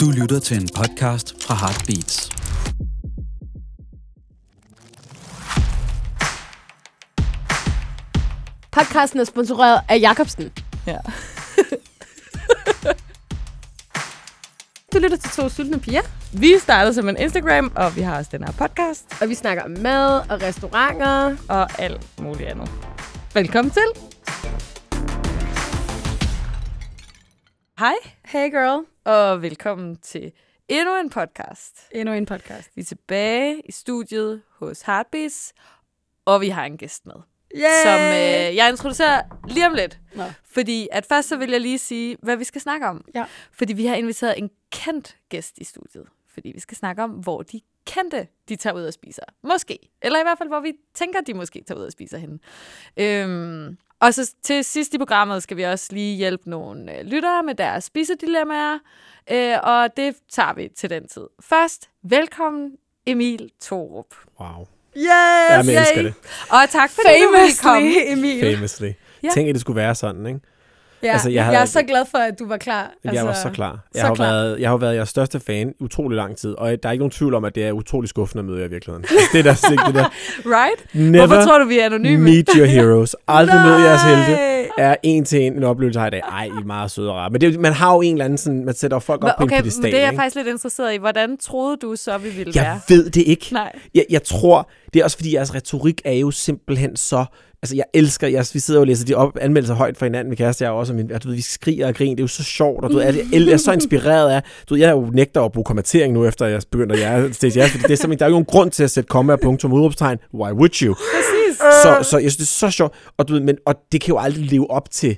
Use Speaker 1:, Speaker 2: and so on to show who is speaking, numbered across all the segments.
Speaker 1: Du lytter til en podcast fra Heartbeats.
Speaker 2: Podcasten er sponsoreret af Jacobsen.
Speaker 3: Ja.
Speaker 2: Du lytter til to sultne piger,
Speaker 3: Vi startede som en Instagram, og vi har også den her podcast
Speaker 2: og vi snakker om mad og restauranter.
Speaker 3: og alt muligt andet. Velkommen til. Hej,
Speaker 2: Hey girl.
Speaker 3: og velkommen til endnu en podcast.
Speaker 2: Endnu en podcast.
Speaker 3: Vi er tilbage i studiet hos Heartbeats, og vi har en gæst med,
Speaker 2: Yay!
Speaker 3: som øh, jeg introducerer lige om lidt.
Speaker 2: Nå.
Speaker 3: Fordi at først så vil jeg lige sige, hvad vi skal snakke om.
Speaker 2: Ja.
Speaker 3: Fordi vi har inviteret en kendt gæst i studiet. Fordi vi skal snakke om, hvor de kendte, de tager ud og spiser. Måske. Eller i hvert fald, hvor vi tænker, de måske tager ud og spiser henne. Øhm, og så til sidst i programmet skal vi også lige hjælpe nogle øh, lyttere med deres spisedilemmaer. Øh, og det tager vi til den tid. Først, velkommen Emil Torup.
Speaker 4: Wow.
Speaker 2: Yes!
Speaker 4: Jamen, jeg elsker det.
Speaker 3: Og tak for det, du ville
Speaker 2: Famously,
Speaker 3: komme.
Speaker 2: Emil.
Speaker 4: Famously.
Speaker 3: Ja.
Speaker 4: Ja. Tænk, at det skulle være sådan, ikke?
Speaker 2: Ja,
Speaker 4: Altså, jeg
Speaker 2: jeg,
Speaker 4: havde-
Speaker 2: jeg er så glad for, at du var klar.
Speaker 4: Altså, jeg var så klar.
Speaker 2: så
Speaker 4: Jeg har jo
Speaker 2: klar.
Speaker 4: været, jeg har jo været jeres største fan i utrolig lang tid, og der er ikke nogen tvivl om, at det er utrolig skuffende at møde jer i virkeligheden. Altså, det er der sikkert det der.
Speaker 3: Right?
Speaker 4: Never
Speaker 3: Hvorfor tror du, vi er anonyme?
Speaker 4: meet your heroes. Aldrig mød jeres helte.
Speaker 3: Nej.
Speaker 4: Er en til en en oplevelse her i dag. Ej, I er meget søde og rare. Men det, er jo- man har jo en eller anden sådan, man sætter jo folk op
Speaker 3: Hva-
Speaker 4: på en
Speaker 3: Okay, men
Speaker 4: pedestal,
Speaker 3: det er jeg
Speaker 4: ikke?
Speaker 3: faktisk lidt interesseret i. Hvordan troede du så, vi ville være?
Speaker 4: Jeg ved det ikke.
Speaker 3: Nej.
Speaker 4: Jeg, jeg tror, det er også fordi, jeres retorik er jo simpelthen så... Altså, jeg elsker jeres... Vi sidder jo og læser de op, anmeldelser højt for hinanden. Min kæreste, jeg er jo også... og Min, og du ved, vi skriger og griner. Det er jo så sjovt, og du ved, jeg, jeg er så inspireret af... Du ved, jeg er jo nægter at bruge kommentering nu, efter jeg begynder at jeg, det, jeg, fordi det er simpelthen, der er jo ikke nogen grund til at sætte komma og punktum udråbstegn. Why would you?
Speaker 3: Præcis.
Speaker 4: Så, så jeg synes, det er så sjovt. Og, du ved, men, og det kan jo aldrig leve op til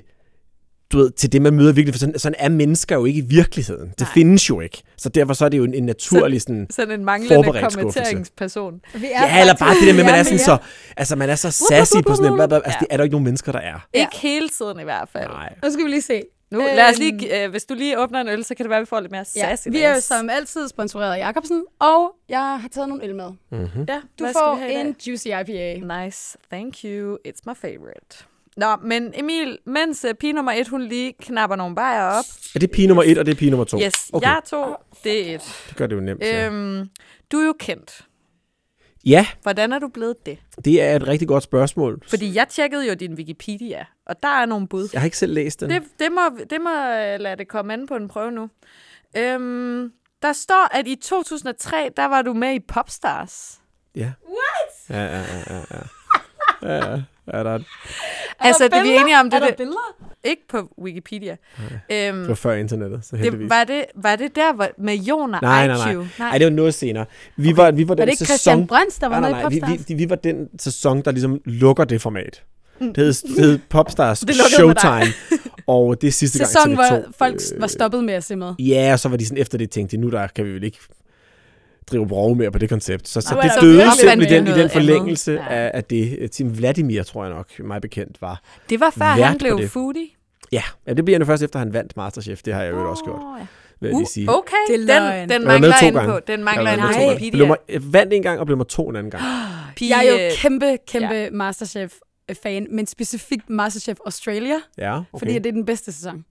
Speaker 4: du ved, til det, man møder virkelig, for sådan, sådan er mennesker jo ikke i virkeligheden. Det
Speaker 3: Nej.
Speaker 4: findes jo ikke. Så derfor så er det jo en, en naturlig sådan...
Speaker 3: Sådan en manglende
Speaker 4: Forberedt skuffelse.
Speaker 3: kommenteringsperson.
Speaker 2: Vi er
Speaker 4: Ja, eller bare det der med, at man er sådan
Speaker 2: faktisk-
Speaker 4: så, altså man er så sassy på sådan en,
Speaker 3: blub, blub.
Speaker 4: altså det er der jo ikke nogen mennesker, der er.
Speaker 2: Ja.
Speaker 3: Ikke hele tiden i hvert fald.
Speaker 4: Nej.
Speaker 2: Nu skal vi lige se.
Speaker 3: Nu, lad os lige, øh, hvis du lige åbner en øl, så kan det være, at vi får lidt mere
Speaker 2: Øhm. Ja,
Speaker 3: sass i
Speaker 2: vi
Speaker 3: dag.
Speaker 2: er jo som altid sponsoreret af Jacobsen, og jeg har taget nogle øl med.
Speaker 4: Mhm.
Speaker 3: Ja,
Speaker 2: Du
Speaker 3: hvad skal
Speaker 2: får
Speaker 3: vi have i dag?
Speaker 2: en juicy IPA.
Speaker 3: Nice, thank you. It's my favorite. Nå, men Emil, mens uh, pige nummer et, hun lige knapper nogle bajer op.
Speaker 4: Er det pige nummer et, og det er pige nummer to?
Speaker 3: Yes, okay.
Speaker 4: Okay,
Speaker 3: jeg er to, det er et.
Speaker 4: det gør det jo nemt. ja.
Speaker 3: Øhm, du er jo kendt.
Speaker 4: Ja,
Speaker 3: Hvordan er du blevet det?
Speaker 4: det er et rigtig godt spørgsmål.
Speaker 3: Fordi jeg tjekkede jo din Wikipedia, og der er nogle bud.
Speaker 4: Jeg har ikke selv læst den.
Speaker 3: Det, det, må, det må øh, lade det komme an på en prøve nu. Øhm, der står, at i 2003, der var du med i Popstars.
Speaker 4: Ja. What? Ja, ja, ja, ja. ja. Ja, ja, ja, der er,
Speaker 3: altså, det, vi er enige om
Speaker 2: Er
Speaker 3: det,
Speaker 2: der
Speaker 3: det
Speaker 2: billeder?
Speaker 3: ikke på Wikipedia. Øhm,
Speaker 4: det var før internettet, så
Speaker 3: det,
Speaker 4: heldigvis.
Speaker 3: var, det, var det der hvor, med Jon og
Speaker 4: nej,
Speaker 3: IQ?
Speaker 4: nej, nej. Ej, det var noget senere. Vi var, vi var den
Speaker 2: Var det ikke
Speaker 4: sæson... Ah,
Speaker 2: Christian Brøns, der var med
Speaker 4: nej,
Speaker 2: i
Speaker 4: nej, nej.
Speaker 2: Popstars?
Speaker 4: Vi, vi, vi var den sæson, der ligesom lukker det format. Det hed, det hed Popstars
Speaker 3: Det lukkede med dig.
Speaker 4: Showtime, og det er sidste gang
Speaker 2: Sæsonen,
Speaker 4: TV2.
Speaker 2: hvor folk
Speaker 4: Øh.
Speaker 2: var stoppet med at se med.
Speaker 4: Ja, og så var de sådan efter det tænkte, de, nu der kan vi vel ikke drive brov mere på det koncept. Så, så
Speaker 2: Nej,
Speaker 4: det
Speaker 2: så
Speaker 4: døde
Speaker 2: opfandt
Speaker 4: simpelthen
Speaker 2: vi
Speaker 4: i den, i
Speaker 3: noget
Speaker 4: den forlængelse
Speaker 3: andet. Ja.
Speaker 4: af, af det. Team Vladimir, tror jeg nok, mig bekendt var.
Speaker 3: Det var før,
Speaker 4: Vært
Speaker 3: han
Speaker 4: på
Speaker 3: blev
Speaker 4: det.
Speaker 3: foodie.
Speaker 4: Ja, ja det bliver han jo først efter, han vandt Masterchef. Det har jeg jo også gjort,
Speaker 3: Åh, ja.
Speaker 4: vil jeg
Speaker 3: Uh,
Speaker 4: lige sige.
Speaker 2: oh,
Speaker 3: okay,
Speaker 2: Det er
Speaker 3: den,
Speaker 2: løgn.
Speaker 3: den
Speaker 4: Jeg har været
Speaker 3: mangler
Speaker 4: med to
Speaker 3: ind
Speaker 4: gange.
Speaker 3: på. Den
Speaker 4: Jeg har
Speaker 3: mangler
Speaker 4: været
Speaker 3: ind
Speaker 2: Nej.
Speaker 3: på
Speaker 4: med to gange. Blev
Speaker 3: Wikipedia.
Speaker 4: nummer, jeg vandt en gang og blev nummer to en anden gang.
Speaker 3: Pige, øh,
Speaker 2: Jeg er jo kæmpe, kæmpe ja. Masterchef-fan, men specifikt Masterchef Australia, okay.
Speaker 4: Ja, okay.
Speaker 2: fordi det er den bedste sæson.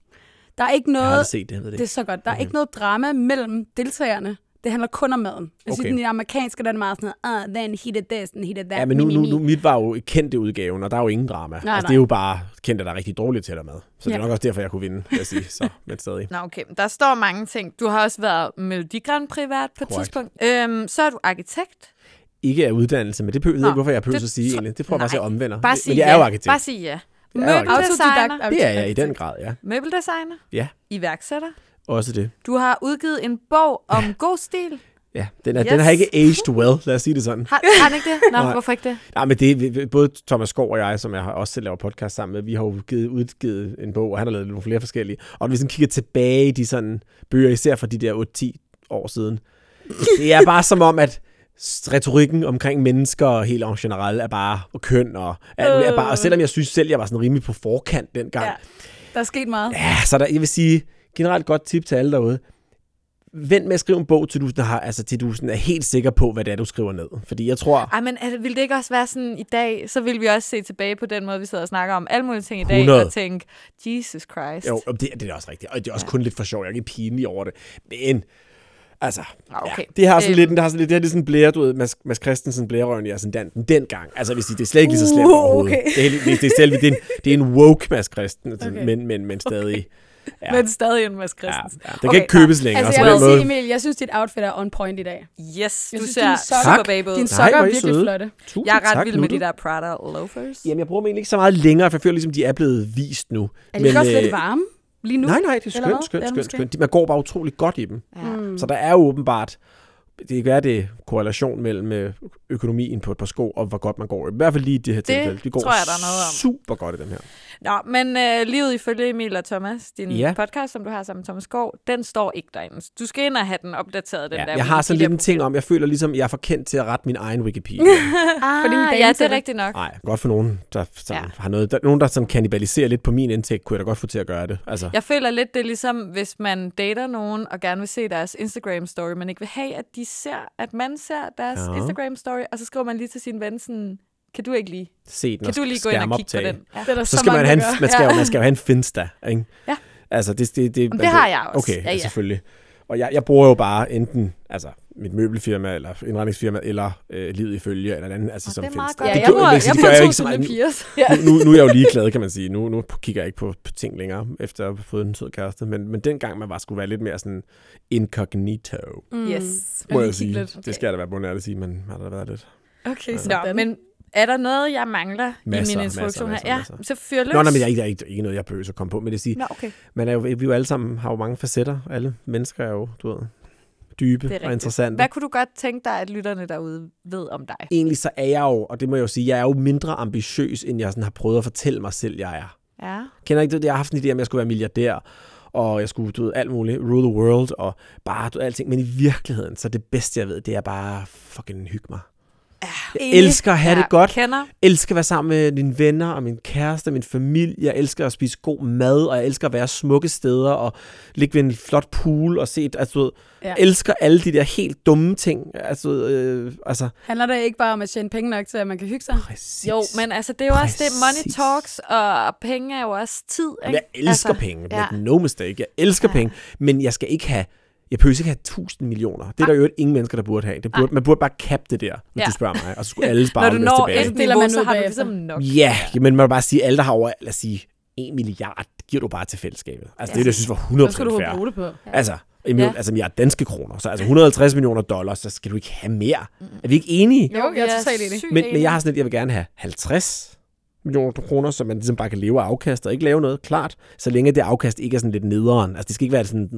Speaker 2: Der er ikke
Speaker 4: jeg har
Speaker 2: noget,
Speaker 4: aldrig set det, jeg ved
Speaker 2: det
Speaker 4: det
Speaker 2: er
Speaker 4: ikke.
Speaker 2: så godt, der er ikke noget drama mellem deltagerne. Det handler kun om maden. Jeg synes,
Speaker 4: Okay.
Speaker 2: okay. den amerikanske, der er meget sådan noget, uh, then he did this, and he did that.
Speaker 4: Ja, men nu,
Speaker 2: mi,
Speaker 4: nu,
Speaker 2: mi, mi."
Speaker 4: nu mit var jo kendte udgaven, og der er jo ingen
Speaker 2: Nej,
Speaker 4: drama. altså,
Speaker 2: nej.
Speaker 4: det er jo bare kendte, der er rigtig dårligt til dig med. Så det
Speaker 2: Ja.
Speaker 4: er nok også derfor, jeg kunne vinde, vil jeg sige. Så, men stadig.
Speaker 3: Nå, okay. Der står mange ting. Du har også været Melodi Grand Prix vært på et
Speaker 4: Korrekt.
Speaker 3: tidspunkt. Øhm, så er du arkitekt.
Speaker 4: Ikke af uddannelse, men det behøver jeg
Speaker 3: Nå,
Speaker 4: ved ikke, hvorfor jeg behøver
Speaker 3: det
Speaker 4: at sige
Speaker 3: tror-
Speaker 4: egentlig. Det prøver jeg faktisk, at jeg omvender.
Speaker 3: Bare
Speaker 4: Men-
Speaker 3: sig
Speaker 4: men jeg er
Speaker 3: ja.
Speaker 4: jo arkitekt.
Speaker 3: Bare sig ja.
Speaker 4: Jeg er jo arkitekt.
Speaker 3: Møbeldesigner.
Speaker 4: Det er jeg i den grad, ja.
Speaker 3: Møbeldesigner.
Speaker 4: Ja,
Speaker 3: Iværksætter.
Speaker 4: også det.
Speaker 3: Du har udgivet en bog om god stil.
Speaker 4: Ja, den, er, yes. den har
Speaker 3: Yes.
Speaker 4: ikke aged well, lad os sige det sådan.
Speaker 3: Har, har den ikke det? Nå,
Speaker 4: Nej.
Speaker 3: hvorfor ikke det?
Speaker 4: Nej, men det er vi- vi- både Thomas Skov og jeg, som jeg har- også selv laver podcast sammen med, vi har jo givet, udgivet en bog, og han har lavet nogle flere forskellige. Og hvis vi sådan kigger tilbage i de sådan bøger, især fra de der 8-10 år siden, det er bare som om, at s- retorikken omkring mennesker og helt en generelt er bare og køn og alt muligt. Er bare, og selvom jeg synes selv, jeg var sådan rimelig på forkant dengang,
Speaker 2: Ja. Der er sket meget.
Speaker 4: Ja, så der, jeg vil sige, generelt godt tip til alle derude. vent med at skrive en bog, til du, sådan har, altså, til du sådan er helt sikker på, hvad det er, du skriver ned. Fordi jeg tror
Speaker 3: Ej, men altså, ville det ikke også være sådan i dag, så ville vi også se tilbage på den måde, vi sidder og snakker om alle mulige ting i dag,
Speaker 4: 100.
Speaker 3: og tænke, Jesus Christ.
Speaker 4: Jo, det, det er da også rigtigt. Og det er også ja. kun lidt for sjov. Jeg er ikke pinlig over det. Men, altså...
Speaker 3: Ah, okay.
Speaker 4: det har sådan
Speaker 3: Øhm.
Speaker 4: lidt, det har sådan lidt, det her, det er sådan blære, du ved, Mads, Mads Christensen blærerøven i ascendanten dengang. Altså, hvis det er slet ikke lige så slemt
Speaker 2: Uh,
Speaker 4: overhovedet.
Speaker 2: okay.
Speaker 4: Det, er, helt- det, er, det, er, selv- det, er en, det er en woke Mads Christensen, okay.
Speaker 2: Okay.
Speaker 4: men, men, men stadig...
Speaker 3: Ja. Men stadig en Mads
Speaker 4: Ja,
Speaker 3: Christensen.
Speaker 4: ja, det kan okay, ikke købes
Speaker 3: nej.
Speaker 4: længere.
Speaker 2: Altså,
Speaker 4: Altså,
Speaker 2: jeg
Speaker 4: på
Speaker 2: vil
Speaker 4: den
Speaker 2: sige,
Speaker 4: måde.
Speaker 2: Emil, jeg synes, dit outfit er on point i dag.
Speaker 3: Yes,
Speaker 2: Jeg
Speaker 3: du
Speaker 2: synes,
Speaker 3: ser
Speaker 2: dine sokker-
Speaker 3: super
Speaker 4: Tak.
Speaker 3: babe ud.
Speaker 2: Dine
Speaker 4: Nej,
Speaker 2: sokker
Speaker 4: hvor
Speaker 2: er
Speaker 4: er I
Speaker 2: virkelig
Speaker 4: søde.
Speaker 2: flotte.
Speaker 4: Tusind
Speaker 3: Jeg er ret
Speaker 4: tak,
Speaker 3: vild med
Speaker 4: Nutte.
Speaker 3: de der Prada loafers.
Speaker 4: Jamen, jeg bruger dem egentlig ikke så meget længere, for jeg føler ligesom, de er blevet vist nu.
Speaker 2: Er de ikke også
Speaker 4: øh,
Speaker 2: lidt varme lige nu?
Speaker 4: Nej, nej, det er
Speaker 2: Eller hvad?
Speaker 4: skønt, skønt,
Speaker 2: Ja,
Speaker 4: skønt,
Speaker 2: måske.
Speaker 4: skønt. De- Man går bare utrolig godt i dem.
Speaker 3: Ja.
Speaker 2: Mm.
Speaker 4: Så der er jo åbenbart, det kan være, det er korrelation mellem øh, økonomien på et par sko, og hvor godt man går. I hvert fald lige i det her
Speaker 3: Det
Speaker 4: tilfælde. De går
Speaker 3: tror jeg, der er noget om.
Speaker 4: super godt i dem her.
Speaker 3: Nå, men øh, livet ifølge Emil og Thomas, din
Speaker 4: Ja.
Speaker 3: ja. podcast, som du har sammen med Thomas Skov, den står ikke derinde. Du skal ind og have den opdateret, den
Speaker 4: Ja,
Speaker 3: der.
Speaker 4: jeg har sådan lidt en ting om, jeg føler ligesom, jeg er for kendt til at rette min egen Wikipedia.
Speaker 3: Ah,
Speaker 2: Fordi
Speaker 3: Fordi
Speaker 2: vi
Speaker 3: ja,
Speaker 2: danser
Speaker 3: det er
Speaker 2: det.
Speaker 3: rigtigt nok.
Speaker 4: Nej, godt for nogen, der, sådan,
Speaker 3: Ja.
Speaker 4: ja. har noget. Der, nogen, der sådan kanibaliserer lidt på min indtægt, kunne jeg da godt få til at gøre det. Altså,
Speaker 3: Jeg føler lidt, det er ligesom, hvis man dater nogen og gerne vil se deres Instagram-story, men ikke vil have, at de ser, at man ser deres
Speaker 4: Ja.
Speaker 3: ja. Instagram-story, og så skriver man lige til sin ven sådan, kan du ikke lige?
Speaker 4: se den
Speaker 3: Kan
Speaker 4: og
Speaker 3: du lige gå ind og kigge
Speaker 4: skærmoptage.
Speaker 3: på den? Ja.
Speaker 2: Det er der
Speaker 4: Så, skal man,
Speaker 2: mange,
Speaker 4: have en,
Speaker 2: der gør.
Speaker 4: man, skal jo,
Speaker 3: Ja.
Speaker 4: man skal jo have en Finsta, ikke?
Speaker 3: Ja.
Speaker 4: Altså, det, det, det,
Speaker 3: Jamen,
Speaker 4: altså,
Speaker 3: det har jeg også.
Speaker 4: Okay, ja,
Speaker 3: Ja,
Speaker 4: ja.
Speaker 3: ja.
Speaker 4: selvfølgelig. Og jeg, jeg bruger jo bare enten altså, mit møbelfirma, eller indretningsfirma, eller øh, livet i følge, eller andet, altså, som
Speaker 3: det er
Speaker 4: findes.
Speaker 3: meget godt.
Speaker 2: Ja,
Speaker 3: jeg
Speaker 2: gør-
Speaker 3: bruger,
Speaker 4: vil
Speaker 3: jeg
Speaker 4: sige,
Speaker 3: bruger
Speaker 4: gør
Speaker 3: to
Speaker 4: ikke så
Speaker 3: sådan
Speaker 4: meget.
Speaker 3: lidt pigers.
Speaker 4: Nu, nu, nu er jeg jo ligeglad, kan man sige. Nu, nu kigger jeg ikke på, på ting længere, efter at have fået en sød kæreste. Men, men dengang man bare skulle være lidt mere sådan incognito,
Speaker 2: Mm.
Speaker 3: Yes.
Speaker 2: lige
Speaker 4: må jeg
Speaker 2: kigge
Speaker 4: sige.
Speaker 2: lidt.
Speaker 4: Okay. Det skal jeg da være bundet at sige, men har der været lidt.
Speaker 2: Okay, sådan.
Speaker 3: Nå, men er der noget, jeg mangler
Speaker 4: Øh. Masser,
Speaker 3: i min
Speaker 4: masser,
Speaker 3: instruktion
Speaker 4: masser,
Speaker 3: her?
Speaker 4: masser.
Speaker 3: Ja, så fyr løs.
Speaker 4: Nå, nej, men jeg, jeg, jeg, ikke, ikke noget, jeg behøver at komme på, men det siger,
Speaker 3: Nå, okay.
Speaker 4: man er jo, vi er jo alle sammen, har jo mange facetter. Alle mennesker er jo, du ved, dybe
Speaker 3: rigtigt.
Speaker 4: og interessante.
Speaker 3: Hvad kunne du godt tænke dig, at lytterne derude ved om dig?
Speaker 4: egentlig så er jeg jo, og det må jeg jo sige, jeg er jo mindre ambitiøs, end jeg sådan har prøvet at fortælle mig selv, jeg er.
Speaker 3: Ja.
Speaker 4: Kender ikke det? Jeg har haft en idé om, at jeg skulle være milliardær, og jeg skulle, du ved, alt muligt, rule the world, og bare, du ved, alting. Men i virkeligheden, så det bedste, jeg ved, det er bare fucking hygge mig. Jeg elsker at have
Speaker 3: ja,
Speaker 4: det godt.
Speaker 3: Kender.
Speaker 4: elsker at være sammen med mine venner og min kæreste og min familie. Jeg elsker at spise god mad, og jeg elsker at være smukke steder og ligge ved en flot pool og se... et- Altså, du ved,
Speaker 2: Ja.
Speaker 4: ja. elsker alle de der helt dumme ting. Altså, øh, altså
Speaker 2: Handler det ikke bare om at tjene penge nok til, at man kan hygge sig?
Speaker 4: præcis.
Speaker 3: Jo, men altså, det er jo også det, money
Speaker 4: Præcis.
Speaker 3: talks, og penge er jo også tid, ikke?
Speaker 4: Jamen, jeg elsker
Speaker 3: altså,
Speaker 4: altså, penge.
Speaker 3: ja.
Speaker 4: Ja. No mistake. Jeg elsker ja. penge, men jeg skal ikke have... Jeg behøver ikke have 1000 millioner. Det er der jo ingen mennesker, der burde have. Det burde, man burde bare kappe det der, hvis
Speaker 3: Ja.
Speaker 4: ja. du spørger mig. Og så skulle alle spare
Speaker 3: Når du
Speaker 4: dem
Speaker 3: når
Speaker 4: tilbage.
Speaker 3: et
Speaker 2: Deler
Speaker 3: niveau,
Speaker 2: man
Speaker 3: så
Speaker 2: ud
Speaker 3: har du
Speaker 2: bagefter.
Speaker 3: ligesom nok.
Speaker 4: Ja, men man må bare sige, at alle, der har over, lad os sige, 1 milliard, giver du bare til fællesskabet. Altså, det er det, jeg synes var 100%
Speaker 2: Hvad skulle du
Speaker 4: fair.
Speaker 2: bruge det på?
Speaker 4: Altså, i million,
Speaker 3: Ja.
Speaker 4: ja. altså, jeg er danske kroner, så altså 150 millioner dollars, så skal du ikke have mere. Er vi ikke enige?
Speaker 2: Jo, jeg er
Speaker 3: vi
Speaker 2: totalt enig.
Speaker 3: sygt
Speaker 4: Men, men
Speaker 3: enige.
Speaker 4: jeg har sådan lidt, jeg vil gerne have 50 millioner kroner, så man ligesom bare kan leve af afkast og ikke lave noget, klart, så længe det afkast ikke er sådan lidt nederen. Altså det skal ikke være sådan,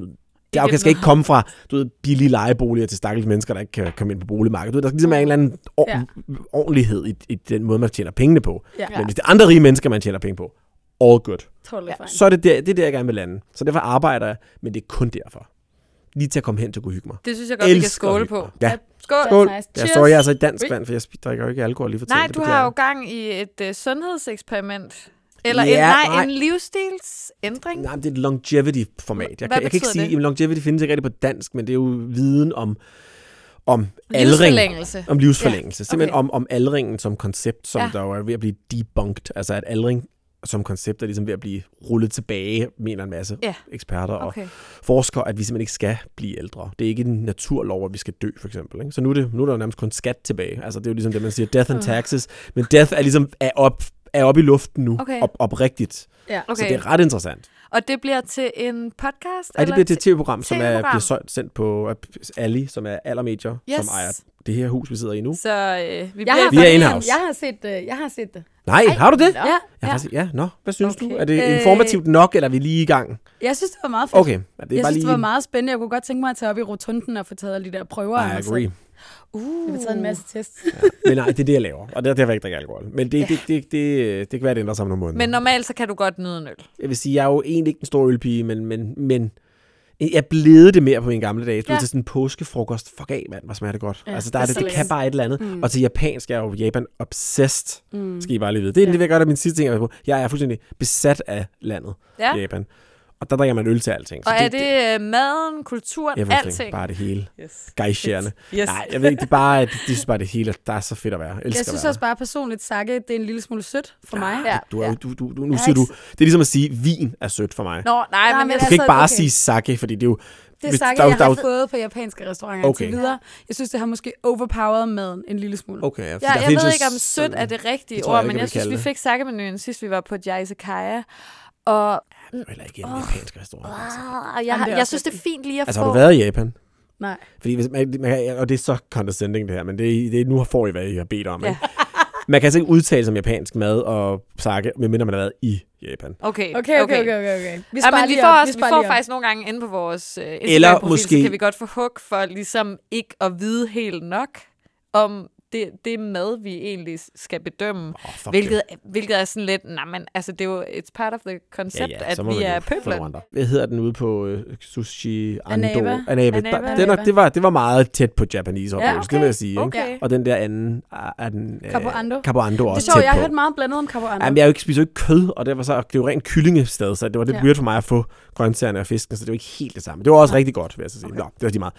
Speaker 4: det afkast skal ikke komme fra, du ved, billige lejeboliger til stakkels mennesker, der ikke kan komme ind på boligmarkedet. Du ved, der skal ligesom være en eller anden or-
Speaker 2: Ja.
Speaker 4: ja. ordentlighed i, i, den måde, man tjener pengene på.
Speaker 2: Ja.
Speaker 4: Men hvis det er andre rige mennesker, man tjener penge på, all good.
Speaker 2: Totally fine.
Speaker 4: Så er det der, det er der, jeg gerne vil lande. Så derfor arbejder jeg, men det er kun derfor. Lige til at komme hen til at kunne hygge mig.
Speaker 3: Det synes jeg godt, vi kan
Speaker 4: elsker
Speaker 3: skåle
Speaker 4: at hygge
Speaker 3: på.
Speaker 4: mig. Ja.
Speaker 3: Skål.
Speaker 2: Skål. Nice.
Speaker 4: Nice. Jeg
Speaker 2: Cheers.
Speaker 4: står jeg altså i dansk vand, for jeg sp- drikker jo ikke alkohol lige for tiden.
Speaker 3: Nej,
Speaker 4: det
Speaker 3: du
Speaker 4: beklager
Speaker 3: har
Speaker 4: jeg.
Speaker 3: jo gang i et øh, sundhedseksperiment. Eller
Speaker 4: Ja,
Speaker 3: en, nej,
Speaker 4: nej.
Speaker 3: en livsstilsændring.
Speaker 4: Nej, men det er et longevity-format. Jeg,
Speaker 3: Hvad
Speaker 4: kan, jeg kan ikke
Speaker 3: betyder det?
Speaker 4: sige, at longevity findes ikke rigtig på dansk, men det er jo viden om, om aldring.
Speaker 3: Livsforlængelse.
Speaker 4: Om livsforlængelse. Ja, okay. Simpelthen
Speaker 3: okay.
Speaker 4: om, om aldringen som koncept, som
Speaker 3: Ja.
Speaker 4: ja. der jo er ved at blive debunked. Altså at aldring som koncept er ligesom ved at blive rullet tilbage, mener en masse
Speaker 3: Ja.
Speaker 4: eksperter og
Speaker 3: Okay.
Speaker 4: forskere, at vi simpelthen ikke skal blive ældre. Det er ikke en naturlov, at vi skal dø, for eksempel. Ikke? Så nu er, det, nu er der jo nærmest kun skat tilbage. Altså, det er jo ligesom det, man siger, death and
Speaker 2: Ah.
Speaker 4: taxes. Men death er ligesom er op, er op i luften nu,
Speaker 3: Okay.
Speaker 4: op, oprigtigt.
Speaker 2: Ja.
Speaker 4: Okay. Så
Speaker 3: Okay.
Speaker 4: det er ret interessant.
Speaker 3: Og det bliver til en podcast?
Speaker 4: Ej, det
Speaker 3: eller
Speaker 4: bliver til et tv-program, som er,
Speaker 3: TV-program.
Speaker 4: bliver solgt, sendt på øh, Ali, som er Allermedier,
Speaker 3: Yes.
Speaker 4: som ejer det her hus, vi sidder i nu.
Speaker 3: Så øh, vi
Speaker 2: Jeg har,
Speaker 3: bliver...
Speaker 4: Vi er
Speaker 2: faktisk-
Speaker 4: in-house.
Speaker 2: Jeg har set det. Jeg har set det.
Speaker 4: Nej, har du det?
Speaker 2: Nå.
Speaker 3: Ja,
Speaker 4: Ja,
Speaker 3: ja.
Speaker 4: faktisk, ja. Nå, hvad synes okay. du?
Speaker 2: Okay.
Speaker 4: Er det
Speaker 2: Øh,
Speaker 4: informativt nok, eller er vi lige i gang?
Speaker 2: Jeg synes, det var meget fedt.
Speaker 4: Okay, ja, det er
Speaker 2: jeg
Speaker 4: bare
Speaker 2: synes,
Speaker 4: lige...
Speaker 2: det var meget spændende. Jeg kunne godt tænke mig at tage op i rotunden og få taget alle de der prøver. af
Speaker 4: Ah, I
Speaker 2: mig selv.
Speaker 4: agree.
Speaker 2: Jeg har taget en masse tests.
Speaker 4: Men nej, det er det, jeg laver. Og det er derfor, jeg ikke drikker alkohol. Men det, det, det, det, det kan være, det ændrer sig om nogle måneder.
Speaker 3: Men normalt så kan du godt nyde en øl.
Speaker 4: jeg vil sige, jeg er jo egentlig ikke en stor ølpige, men, men, men jeg blev det mere på mine gamle dage. Du ja.
Speaker 3: Ja.
Speaker 4: til sådan en påskefrokost. Fuck af, mand, hvor smager det godt. Ja,
Speaker 2: Ja,
Speaker 4: altså, der er det, det
Speaker 2: præcis.
Speaker 4: kan bare et eller andet. Mm. Og til japansk, jeg er jo Japan obsessed, mm. skal I bare lige vide. Det er ja. det, jeg gør, der er min sidste ting, jeg er på. Jeg er fuldstændig besat af landet,
Speaker 3: Ja.
Speaker 4: Japan. Og der drikker man øl til alting.
Speaker 3: Og er det, øh, maden, kulturen,
Speaker 4: everything,
Speaker 3: alting?
Speaker 4: Bare det hele.
Speaker 3: Yes.
Speaker 4: Gejshjerne.
Speaker 3: yes.
Speaker 4: Nej, jeg ved ikke, det er bare, det, det synes bare, det hele, der er så fedt at være. Jeg elsker
Speaker 2: Jeg synes
Speaker 4: at være
Speaker 2: også bare personligt, Sakke, det er en lille smule sødt for mig.
Speaker 3: Ja,
Speaker 4: der. du, er,
Speaker 3: ja.
Speaker 4: jo- du, du, du, nu siger du, det er ligesom at sige, vin er sødt for mig.
Speaker 3: Nå, nej,
Speaker 2: Nej,
Speaker 3: men,
Speaker 2: men
Speaker 3: jeg,
Speaker 4: du
Speaker 2: altså-
Speaker 4: kan ikke bare
Speaker 2: okay.
Speaker 4: sige sake, fordi det er jo...
Speaker 2: Det er
Speaker 4: hvis-
Speaker 2: Sakke,
Speaker 4: der er jo-
Speaker 2: jeg
Speaker 4: der er
Speaker 2: har
Speaker 4: jo-
Speaker 2: fået på japanske restauranter okay.
Speaker 4: Okay. Oh.
Speaker 2: til videre. Jeg synes, det har måske overpowered maden en lille smule.
Speaker 4: Okay, ja, fordi
Speaker 3: jeg,
Speaker 4: der
Speaker 3: jeg
Speaker 4: findes
Speaker 3: ved
Speaker 4: jo
Speaker 3: ikke, om sødt
Speaker 4: sådan-
Speaker 3: er det rigtige
Speaker 4: Det
Speaker 3: det
Speaker 4: tror jeg
Speaker 3: ord,
Speaker 4: ikke,
Speaker 3: men
Speaker 4: jeg
Speaker 3: jeg
Speaker 4: vil
Speaker 3: synes,
Speaker 4: kalde
Speaker 3: vi
Speaker 4: det.
Speaker 3: fik sakkemenuen sidst, vi var på et izakaya. Og
Speaker 4: Det er jo heller ikke en japansk restaurant. Altså.
Speaker 3: ah, jeg,
Speaker 2: Jamen,
Speaker 3: har,
Speaker 2: det er
Speaker 3: jeg
Speaker 2: også
Speaker 3: synes, det er fint lige at
Speaker 4: altså,
Speaker 3: få...
Speaker 4: har du været i Japan?
Speaker 2: Nej.
Speaker 4: Fordi hvis man, man kan, og det er så condescending det her, men det, det nu får I, hvad I har bedt om.
Speaker 3: Ja.
Speaker 4: Ikke? Man kan altså ikke udtale sig om japansk mad og sake, medmindre man har været i Japan.
Speaker 3: Okay,
Speaker 2: Okay, okay, okay, okay. okay. Vi
Speaker 3: Ja, men vi får, også, vi
Speaker 2: sparer
Speaker 3: får
Speaker 2: lige op.
Speaker 3: faktisk nogle gange inde på vores øh,
Speaker 4: Eller
Speaker 3: Instagram-profil, så
Speaker 4: måske-
Speaker 3: kan vi godt få hug for ligesom ikke at vide helt nok om det, det mad, vi egentlig skal bedømme.
Speaker 4: Oh, fuck
Speaker 3: Hvilket, hvilket er sådan lidt, nej, men altså, det er jo, it's part of the concept, ja, ja,
Speaker 4: så
Speaker 3: at
Speaker 4: må
Speaker 3: vi
Speaker 4: man
Speaker 3: er
Speaker 4: jo- så må
Speaker 3: pøbler.
Speaker 4: man da. Hvad hedder den ude på øh, Sushi Ando?
Speaker 2: Anaba.
Speaker 4: Anaba.
Speaker 3: Anaba.
Speaker 4: Der- Den er, det, var, det var meget tæt på Japanese oplevelse, det vil jeg sige. Ikke?
Speaker 3: Okay.
Speaker 4: Og den der anden er- er den... øh,
Speaker 2: Capo Ando.
Speaker 4: Capo Ando er
Speaker 2: Det er
Speaker 4: også
Speaker 2: sjovt,
Speaker 4: tæt
Speaker 2: jeg har
Speaker 4: på.
Speaker 2: hørt meget blandet om carboander.
Speaker 4: Jamen, jeg er jo ikke, spiser jo ikke kød, og det var så, det er jo rent kyllingested, så det var lidt
Speaker 2: Ja.
Speaker 4: ja. weird for mig at få grøntsagerne og fisken, så det var ikke helt det samme. Det var også rigtig godt, vil jeg så sige. Okay. Nå, det var lige meget.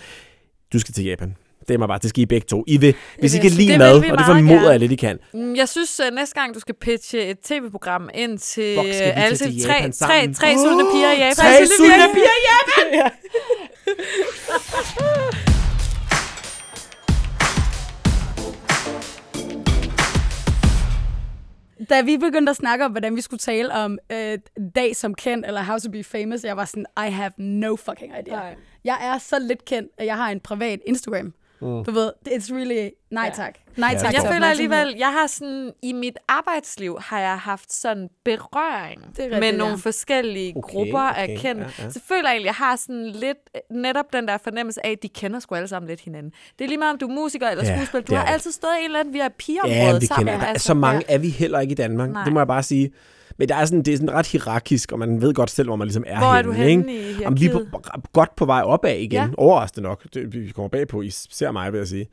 Speaker 4: Du skal til Japan. Det er mig bare, det skal I begge to. I vil, hvis I
Speaker 2: vil
Speaker 4: kan
Speaker 2: jeg
Speaker 4: lide
Speaker 3: sige. Det
Speaker 4: mad,
Speaker 3: vil vi
Speaker 4: og det
Speaker 3: meget
Speaker 4: formoder
Speaker 3: gerne.
Speaker 4: jeg lidt, I kan.
Speaker 3: Mm, Jeg synes, uh, næste gang, du skal pitche et tv-program ind til
Speaker 4: Fuck, skal vi
Speaker 3: øh, alle
Speaker 4: tage til
Speaker 3: tre,
Speaker 4: Japan
Speaker 3: tre,
Speaker 4: sammen?
Speaker 3: tre sultne piger i Japan.
Speaker 4: Tre sultne piger
Speaker 3: i Japan!
Speaker 2: Da vi begyndte at snakke om, hvordan vi skulle tale om øh, Dag som kendt, eller How to be famous, jeg var sådan, I have no fucking idea.
Speaker 3: Nej.
Speaker 2: Jeg er så lidt kendt, at jeg har en privat Instagram. Du ved, it's really... Nej
Speaker 3: Ja.
Speaker 2: tak. Nej
Speaker 4: Mm. Ja,
Speaker 2: tak.
Speaker 3: Jeg
Speaker 2: til
Speaker 3: føler
Speaker 2: Altså, opmærksomhed.
Speaker 3: alligevel, jeg har sådan, i mit arbejdsliv har jeg haft sådan berøring
Speaker 2: rigtigt,
Speaker 3: med
Speaker 2: ja.
Speaker 3: nogle forskellige
Speaker 4: Okay,
Speaker 3: grupper af
Speaker 4: okay,
Speaker 3: kendte.
Speaker 4: ja, ja.
Speaker 3: Så føler jeg egentlig, jeg har sådan lidt øh, netop den der fornemmelse af, at de kender sgu alle sammen lidt hinanden. Det er lige meget, om du er musiker eller
Speaker 4: Ja,
Speaker 3: skuespiller. Du
Speaker 4: det
Speaker 3: har
Speaker 4: er det.
Speaker 3: altid stået i en eller anden via pigeområdet
Speaker 4: Ja, men det
Speaker 3: sammen. Altså,
Speaker 4: kender jeg. Der er så mange
Speaker 3: ja.
Speaker 4: er vi heller ikke i Danmark.
Speaker 3: Nej.
Speaker 4: Det må jeg bare sige. Men der er sådan, det er sådan ret hierarkisk, og man ved godt selv, hvor man ligesom er
Speaker 3: Hvor er du henne
Speaker 4: ikke?
Speaker 3: i
Speaker 4: Jamen, vi er
Speaker 3: hierarkiet?
Speaker 4: på, godt på vej opad igen.
Speaker 3: Ja.
Speaker 4: Ja. Overraskende nok. Det, vi kommer bagpå, især mig, vil jeg sige.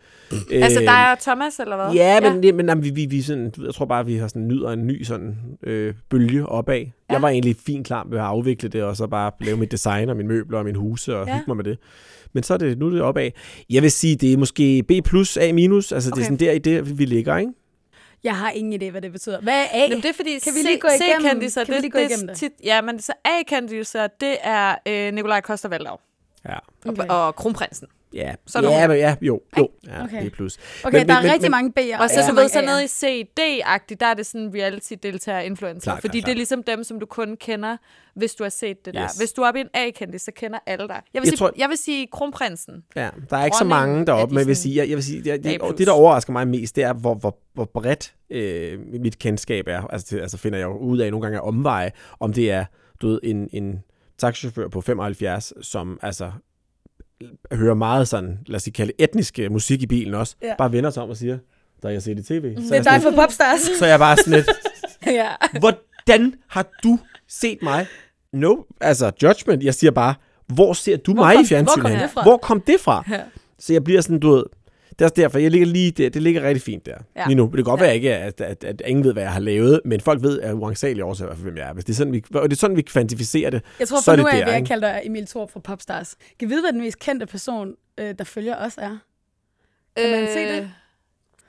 Speaker 3: Altså
Speaker 4: Øhm,
Speaker 3: dig og Thomas, eller hvad?
Speaker 4: Ja, men, det, men jamen, vi, vi, vi sådan, du ved, jeg tror bare, vi har sådan, nyder en ny sådan, øh, bølge opad. Ja. Jeg var egentlig fint klar med at afvikle det, og så bare lave mit design og mine møbler og mine huse og
Speaker 3: Ja.
Speaker 4: ja. hygge mig med det. Men så er det nu er det opad. Jeg vil sige, det er måske B+, A-, minus. altså okay. det
Speaker 3: Okay.
Speaker 4: er sådan der i det, vi ligger, ikke?
Speaker 2: Jeg har ingen idé, hvad det betyder. Hvad er A?
Speaker 3: Jamen, det er fordi,
Speaker 2: Kan vi
Speaker 3: se-
Speaker 2: lige gå
Speaker 3: se
Speaker 2: igennem-
Speaker 3: kendiser,
Speaker 2: kan vi
Speaker 3: det-
Speaker 2: lige gå
Speaker 3: det er
Speaker 2: igennem det?
Speaker 3: Tit, ja, men så A-kendiser, det er øh, Nikolaj Koster-Valdau
Speaker 4: Ja.
Speaker 3: okay. og kronprinsen.
Speaker 4: Ja,
Speaker 3: Sådan
Speaker 4: ja,
Speaker 3: nogle-
Speaker 4: men, ja jo, jo. Ja,
Speaker 2: Okay.
Speaker 4: okay. B+.
Speaker 2: Okay,
Speaker 4: Men-
Speaker 2: der er
Speaker 4: men- men-
Speaker 2: rigtig
Speaker 4: men-
Speaker 2: mange B'er.
Speaker 3: Og så,
Speaker 2: ikke
Speaker 3: ja. du ved,
Speaker 2: mange
Speaker 3: så
Speaker 2: A'er.
Speaker 3: nede i CD-agtigt, der er det sådan reality-deltager-influencer.
Speaker 4: Klart,
Speaker 3: fordi
Speaker 4: klart,
Speaker 3: det er
Speaker 4: klart.
Speaker 3: ligesom dem, som du kun kender, hvis du har set det der.
Speaker 4: Yes.
Speaker 3: Hvis du er oppe i en A-kendis, så kender alle dig. Jeg vil,
Speaker 4: Jeg
Speaker 3: sige,
Speaker 4: tror-
Speaker 3: jeg vil sige kronprinsen.
Speaker 4: Ja, der er ikke så
Speaker 3: Dronningen
Speaker 4: mange
Speaker 3: er de
Speaker 4: deroppe, men jeg vil
Speaker 3: sådan
Speaker 4: sige, jeg, jeg vil sige jeg, jeg,
Speaker 3: A+.
Speaker 4: og det, der overrasker mig mest, det er, hvor, hvor, hvor bredt øh, mit kendskab er. Altså, det, altså finder jeg jo ud af nogle gange af omveje, om det er du ved, en, en taxichauffør på 75, som altså hører meget sådan, lad os sige, kalde etnisk øh, musik i bilen også,
Speaker 2: Ja.
Speaker 4: ja. bare vender sig om og siger, der jeg set i tv. Mm. Så,
Speaker 2: Det
Speaker 4: er
Speaker 2: er
Speaker 4: jeg sådan,
Speaker 2: dig for Popstars.
Speaker 4: lidt- så er jeg bare sådan lidt,
Speaker 2: ja.
Speaker 4: hvordan har du set mig? No, altså judgment. Jeg siger bare, hvor ser du
Speaker 2: Hvor
Speaker 4: mig
Speaker 2: kom-
Speaker 4: i fjernsynet?
Speaker 2: hvor kom
Speaker 4: hen?
Speaker 2: det fra?
Speaker 4: Hvor kom det fra?
Speaker 3: Ja.
Speaker 4: Så jeg bliver sådan, du ved, det er også derfor, jeg ligger lige der. Det ligger rigtig fint der
Speaker 3: Ja.
Speaker 4: ja. lige nu. Det kan godt
Speaker 3: Ja.
Speaker 4: ja. være, ikke, at, at, at, ingen ved, hvad jeg har lavet, men folk ved af uansagelige årsager, i hvert fald, hvem jeg er. Hvis det er sådan, vi, og det er sådan, vi kvantificerer det.
Speaker 2: Jeg tror,
Speaker 4: så
Speaker 2: for
Speaker 4: er
Speaker 2: nu
Speaker 4: det
Speaker 2: af
Speaker 4: der,
Speaker 2: vil jeg
Speaker 4: ikke?
Speaker 2: kalde dig Emil Thor fra Popstars. Kan vide, hvad den mest kendte person, øh, der følger os, er? Kan man se det?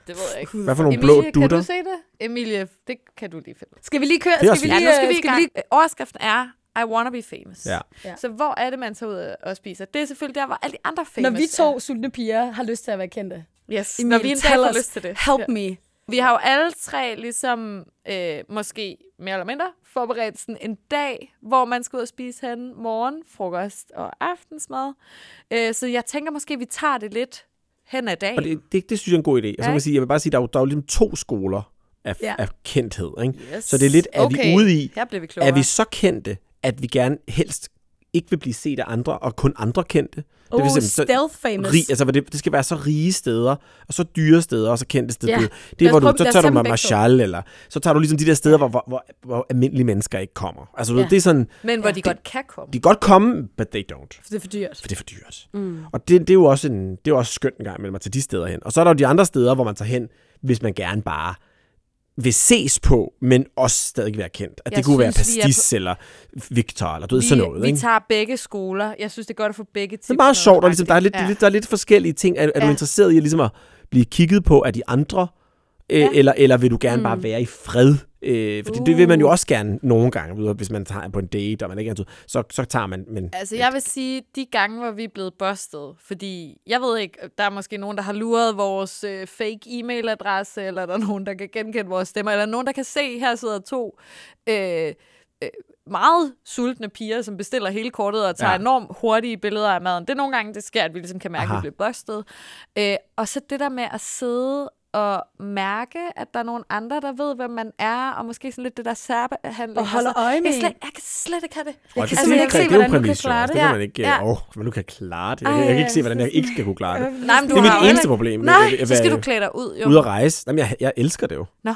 Speaker 3: Det ved jeg ikke.
Speaker 4: Hvad for nogle blå
Speaker 3: Øh, Emilie, kan
Speaker 4: dutter?
Speaker 3: du se det? Emilie, det kan du lige finde.
Speaker 2: Skal vi lige køre?
Speaker 4: Det er også
Speaker 2: Skal vi
Speaker 4: fint.
Speaker 3: Ja,
Speaker 2: lige,
Speaker 3: nu skal
Speaker 2: øh,
Speaker 3: vi i gang. Øh, Overskriften er, I wanna be famous.
Speaker 4: Ja.
Speaker 2: Ja.
Speaker 3: Så hvor er det, man tager ud og spiser? Det er selvfølgelig der, hvor alle de andre famous
Speaker 2: Når vi
Speaker 3: er.
Speaker 2: to sultne piger har lyst til at være kendte.
Speaker 3: Yes,
Speaker 2: Emil,
Speaker 3: når vi en dag
Speaker 2: tell
Speaker 3: får
Speaker 2: us.
Speaker 3: lyst til det.
Speaker 2: Help me.
Speaker 3: Vi har jo alle tre ligesom, øh, måske mere eller mindre, forberedt sådan en dag, hvor man skal ud og spise hen morgen, frokost og aftensmad. Øh, så jeg tænker måske, vi tager det lidt hen ad dagen.
Speaker 4: Og det, det, det synes jeg er en god idé. Og så kan
Speaker 3: Ja.
Speaker 4: jeg, sige, jeg vil bare sige, der er jo, der er jo ligesom to skoler af,
Speaker 2: Ja.
Speaker 4: ja. af kendthed. Ikke? Så det er lidt, er okay. vi ude i,
Speaker 3: Her bliver vi klogere.
Speaker 4: Er vi så kendte, at vi gerne helst ikke vil blive set af andre, og kun andre kendte?
Speaker 2: Oh, det
Speaker 4: simpelthen så
Speaker 2: stealth famous.
Speaker 4: Rig, altså, hvor det, det skal være så rige steder, og så dyre steder, og så kendte steder.
Speaker 2: Ja.
Speaker 4: Yeah.
Speaker 2: Lad
Speaker 4: Det
Speaker 2: os
Speaker 4: er, hvor du,
Speaker 2: prøve-
Speaker 4: så
Speaker 2: lad os tage
Speaker 4: tager du
Speaker 2: dem
Speaker 4: med
Speaker 2: begge to.
Speaker 4: Marshall, eller så tager du ligesom de der steder, hvor, hvor, hvor, hvor almindelige mennesker ikke kommer. Altså, du
Speaker 2: Ja.
Speaker 4: ved, det er sådan,
Speaker 3: Men hvor ja, de godt kan komme.
Speaker 4: de kan godt komme, but they don't.
Speaker 2: For det er for dyrt.
Speaker 4: For det er for dyrt. Mm. Og det, det, er jo også en, det er jo også skønt en gang imellem at tage de steder hen. Og så er der jo de andre steder, hvor man tager hen, hvis man gerne bare vil ses på, men også stadig være kendt. At det
Speaker 3: Jeg
Speaker 4: kunne være
Speaker 3: synes, vi er
Speaker 4: Pastis eller Victor, eller du ved, sådan noget.
Speaker 3: vi
Speaker 4: ikke?
Speaker 3: tager begge skoler. Jeg synes, det er godt at få begge tips.
Speaker 4: Det er meget
Speaker 3: med,
Speaker 4: sjovt, og ligesom, der, er lidt,
Speaker 3: faktisk.
Speaker 4: ja. der er lidt forskellige ting. Er, er ja. du
Speaker 3: Ja.
Speaker 4: interesseret i ligesom at blive kigget på af de andre, øh, ja.
Speaker 3: Ja.
Speaker 4: eller, eller vil du gerne mm. bare være i fred? Øh, fordi uh. det vil man jo også gerne nogle gange, ved du, hvis man tager på en date, og man ikke er ansøgt, så, så tager man... Men,
Speaker 3: Altså, jeg vil sige, de gange, hvor vi er blevet bustet, fordi jeg ved ikke, der er måske nogen, der har luret vores øh, fake e-mailadresse, eller der er nogen, der kan genkende vores stemmer, eller nogen, der kan se, her sidder to øh, øh, meget sultne piger, som bestiller hele kortet og tager
Speaker 4: Ja.
Speaker 3: ja. enormt hurtige billeder af maden. Det er nogle gange, det sker, at vi ligesom kan mærke,
Speaker 4: Aha.
Speaker 3: at vi bliver bustet. Øh, og så det der med at sidde og mærke, at der er nogle andre, der ved, hvem man er, og måske sådan lidt det der særbehandling. Altså,
Speaker 2: Og holder øje med
Speaker 3: jeg,
Speaker 2: en.
Speaker 3: slet, jeg kan slet ikke have det.
Speaker 4: Og
Speaker 3: Jeg
Speaker 4: det
Speaker 3: kan
Speaker 4: er
Speaker 3: simpelthen ikke se,
Speaker 4: jo præ- det er jo
Speaker 3: hvordan du kan
Speaker 4: præmis, jo.
Speaker 3: klare
Speaker 4: Altså,
Speaker 3: det.
Speaker 4: Det kan
Speaker 3: Ja,
Speaker 4: man ikke...
Speaker 3: ja.
Speaker 4: Ja. Åh, men du kan klare det. Jeg,
Speaker 3: Ej,
Speaker 4: jeg kan ikke se,
Speaker 2: jeg
Speaker 4: hvordan jeg ikke skal kunne klare det.
Speaker 3: Nej, men du
Speaker 4: Det er
Speaker 3: har
Speaker 4: mit
Speaker 3: jo
Speaker 4: eneste
Speaker 3: heller
Speaker 4: problem.
Speaker 3: ikke-
Speaker 4: med at-
Speaker 3: Nej,
Speaker 4: at
Speaker 3: så skal
Speaker 4: være
Speaker 3: du klæde dig ud, jo.
Speaker 4: Ude at rejse. Jamen, jeg, jeg elsker det jo.
Speaker 3: Nå.
Speaker 4: Og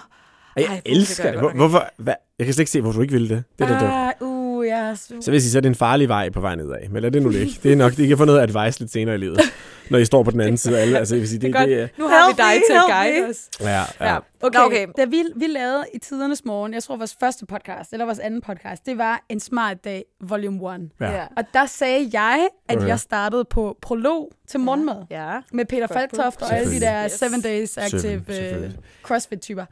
Speaker 3: Ej,
Speaker 4: jeg
Speaker 3: hvor
Speaker 4: elsker
Speaker 3: gør
Speaker 4: det.
Speaker 3: jeg
Speaker 4: Hvor,
Speaker 3: godt nok
Speaker 4: hvorfor, hvad? Jeg kan slet ikke se, hvorfor du ikke vil det. Det er det, der.
Speaker 2: Ah, uh, jeg er su-
Speaker 4: Så vil jeg sige, så er det en farlig vej på vej nedad. Men lad det nu ligge. Det er nok, det I kan få noget advice lidt senere i livet, når I står på den anden side af alle. Altså, jeg vil sige, det, det,
Speaker 3: Godt,
Speaker 4: det er...
Speaker 3: nu har vi
Speaker 2: Help
Speaker 3: dig
Speaker 2: me,
Speaker 3: til at
Speaker 2: help
Speaker 3: guide
Speaker 2: me.
Speaker 3: os.
Speaker 4: Ja, ja.
Speaker 3: Ja.
Speaker 2: Okay.
Speaker 3: Nå, okay.
Speaker 2: Da vi, vi lavede i tidernes morgen, jeg tror vores første podcast, eller vores anden podcast, det var En Smart Dag, Volume 1.
Speaker 4: ja.
Speaker 2: Og der sagde jeg, at
Speaker 4: Okay.
Speaker 2: okay. jeg startede på prolog til morgenmad.
Speaker 3: Ja.
Speaker 2: Med Peter
Speaker 3: Godt bud.
Speaker 2: Falktoft og alle de der
Speaker 3: Yes.
Speaker 2: 7 Days Active øh,
Speaker 4: selvfølgelig.
Speaker 2: CrossFit-typer.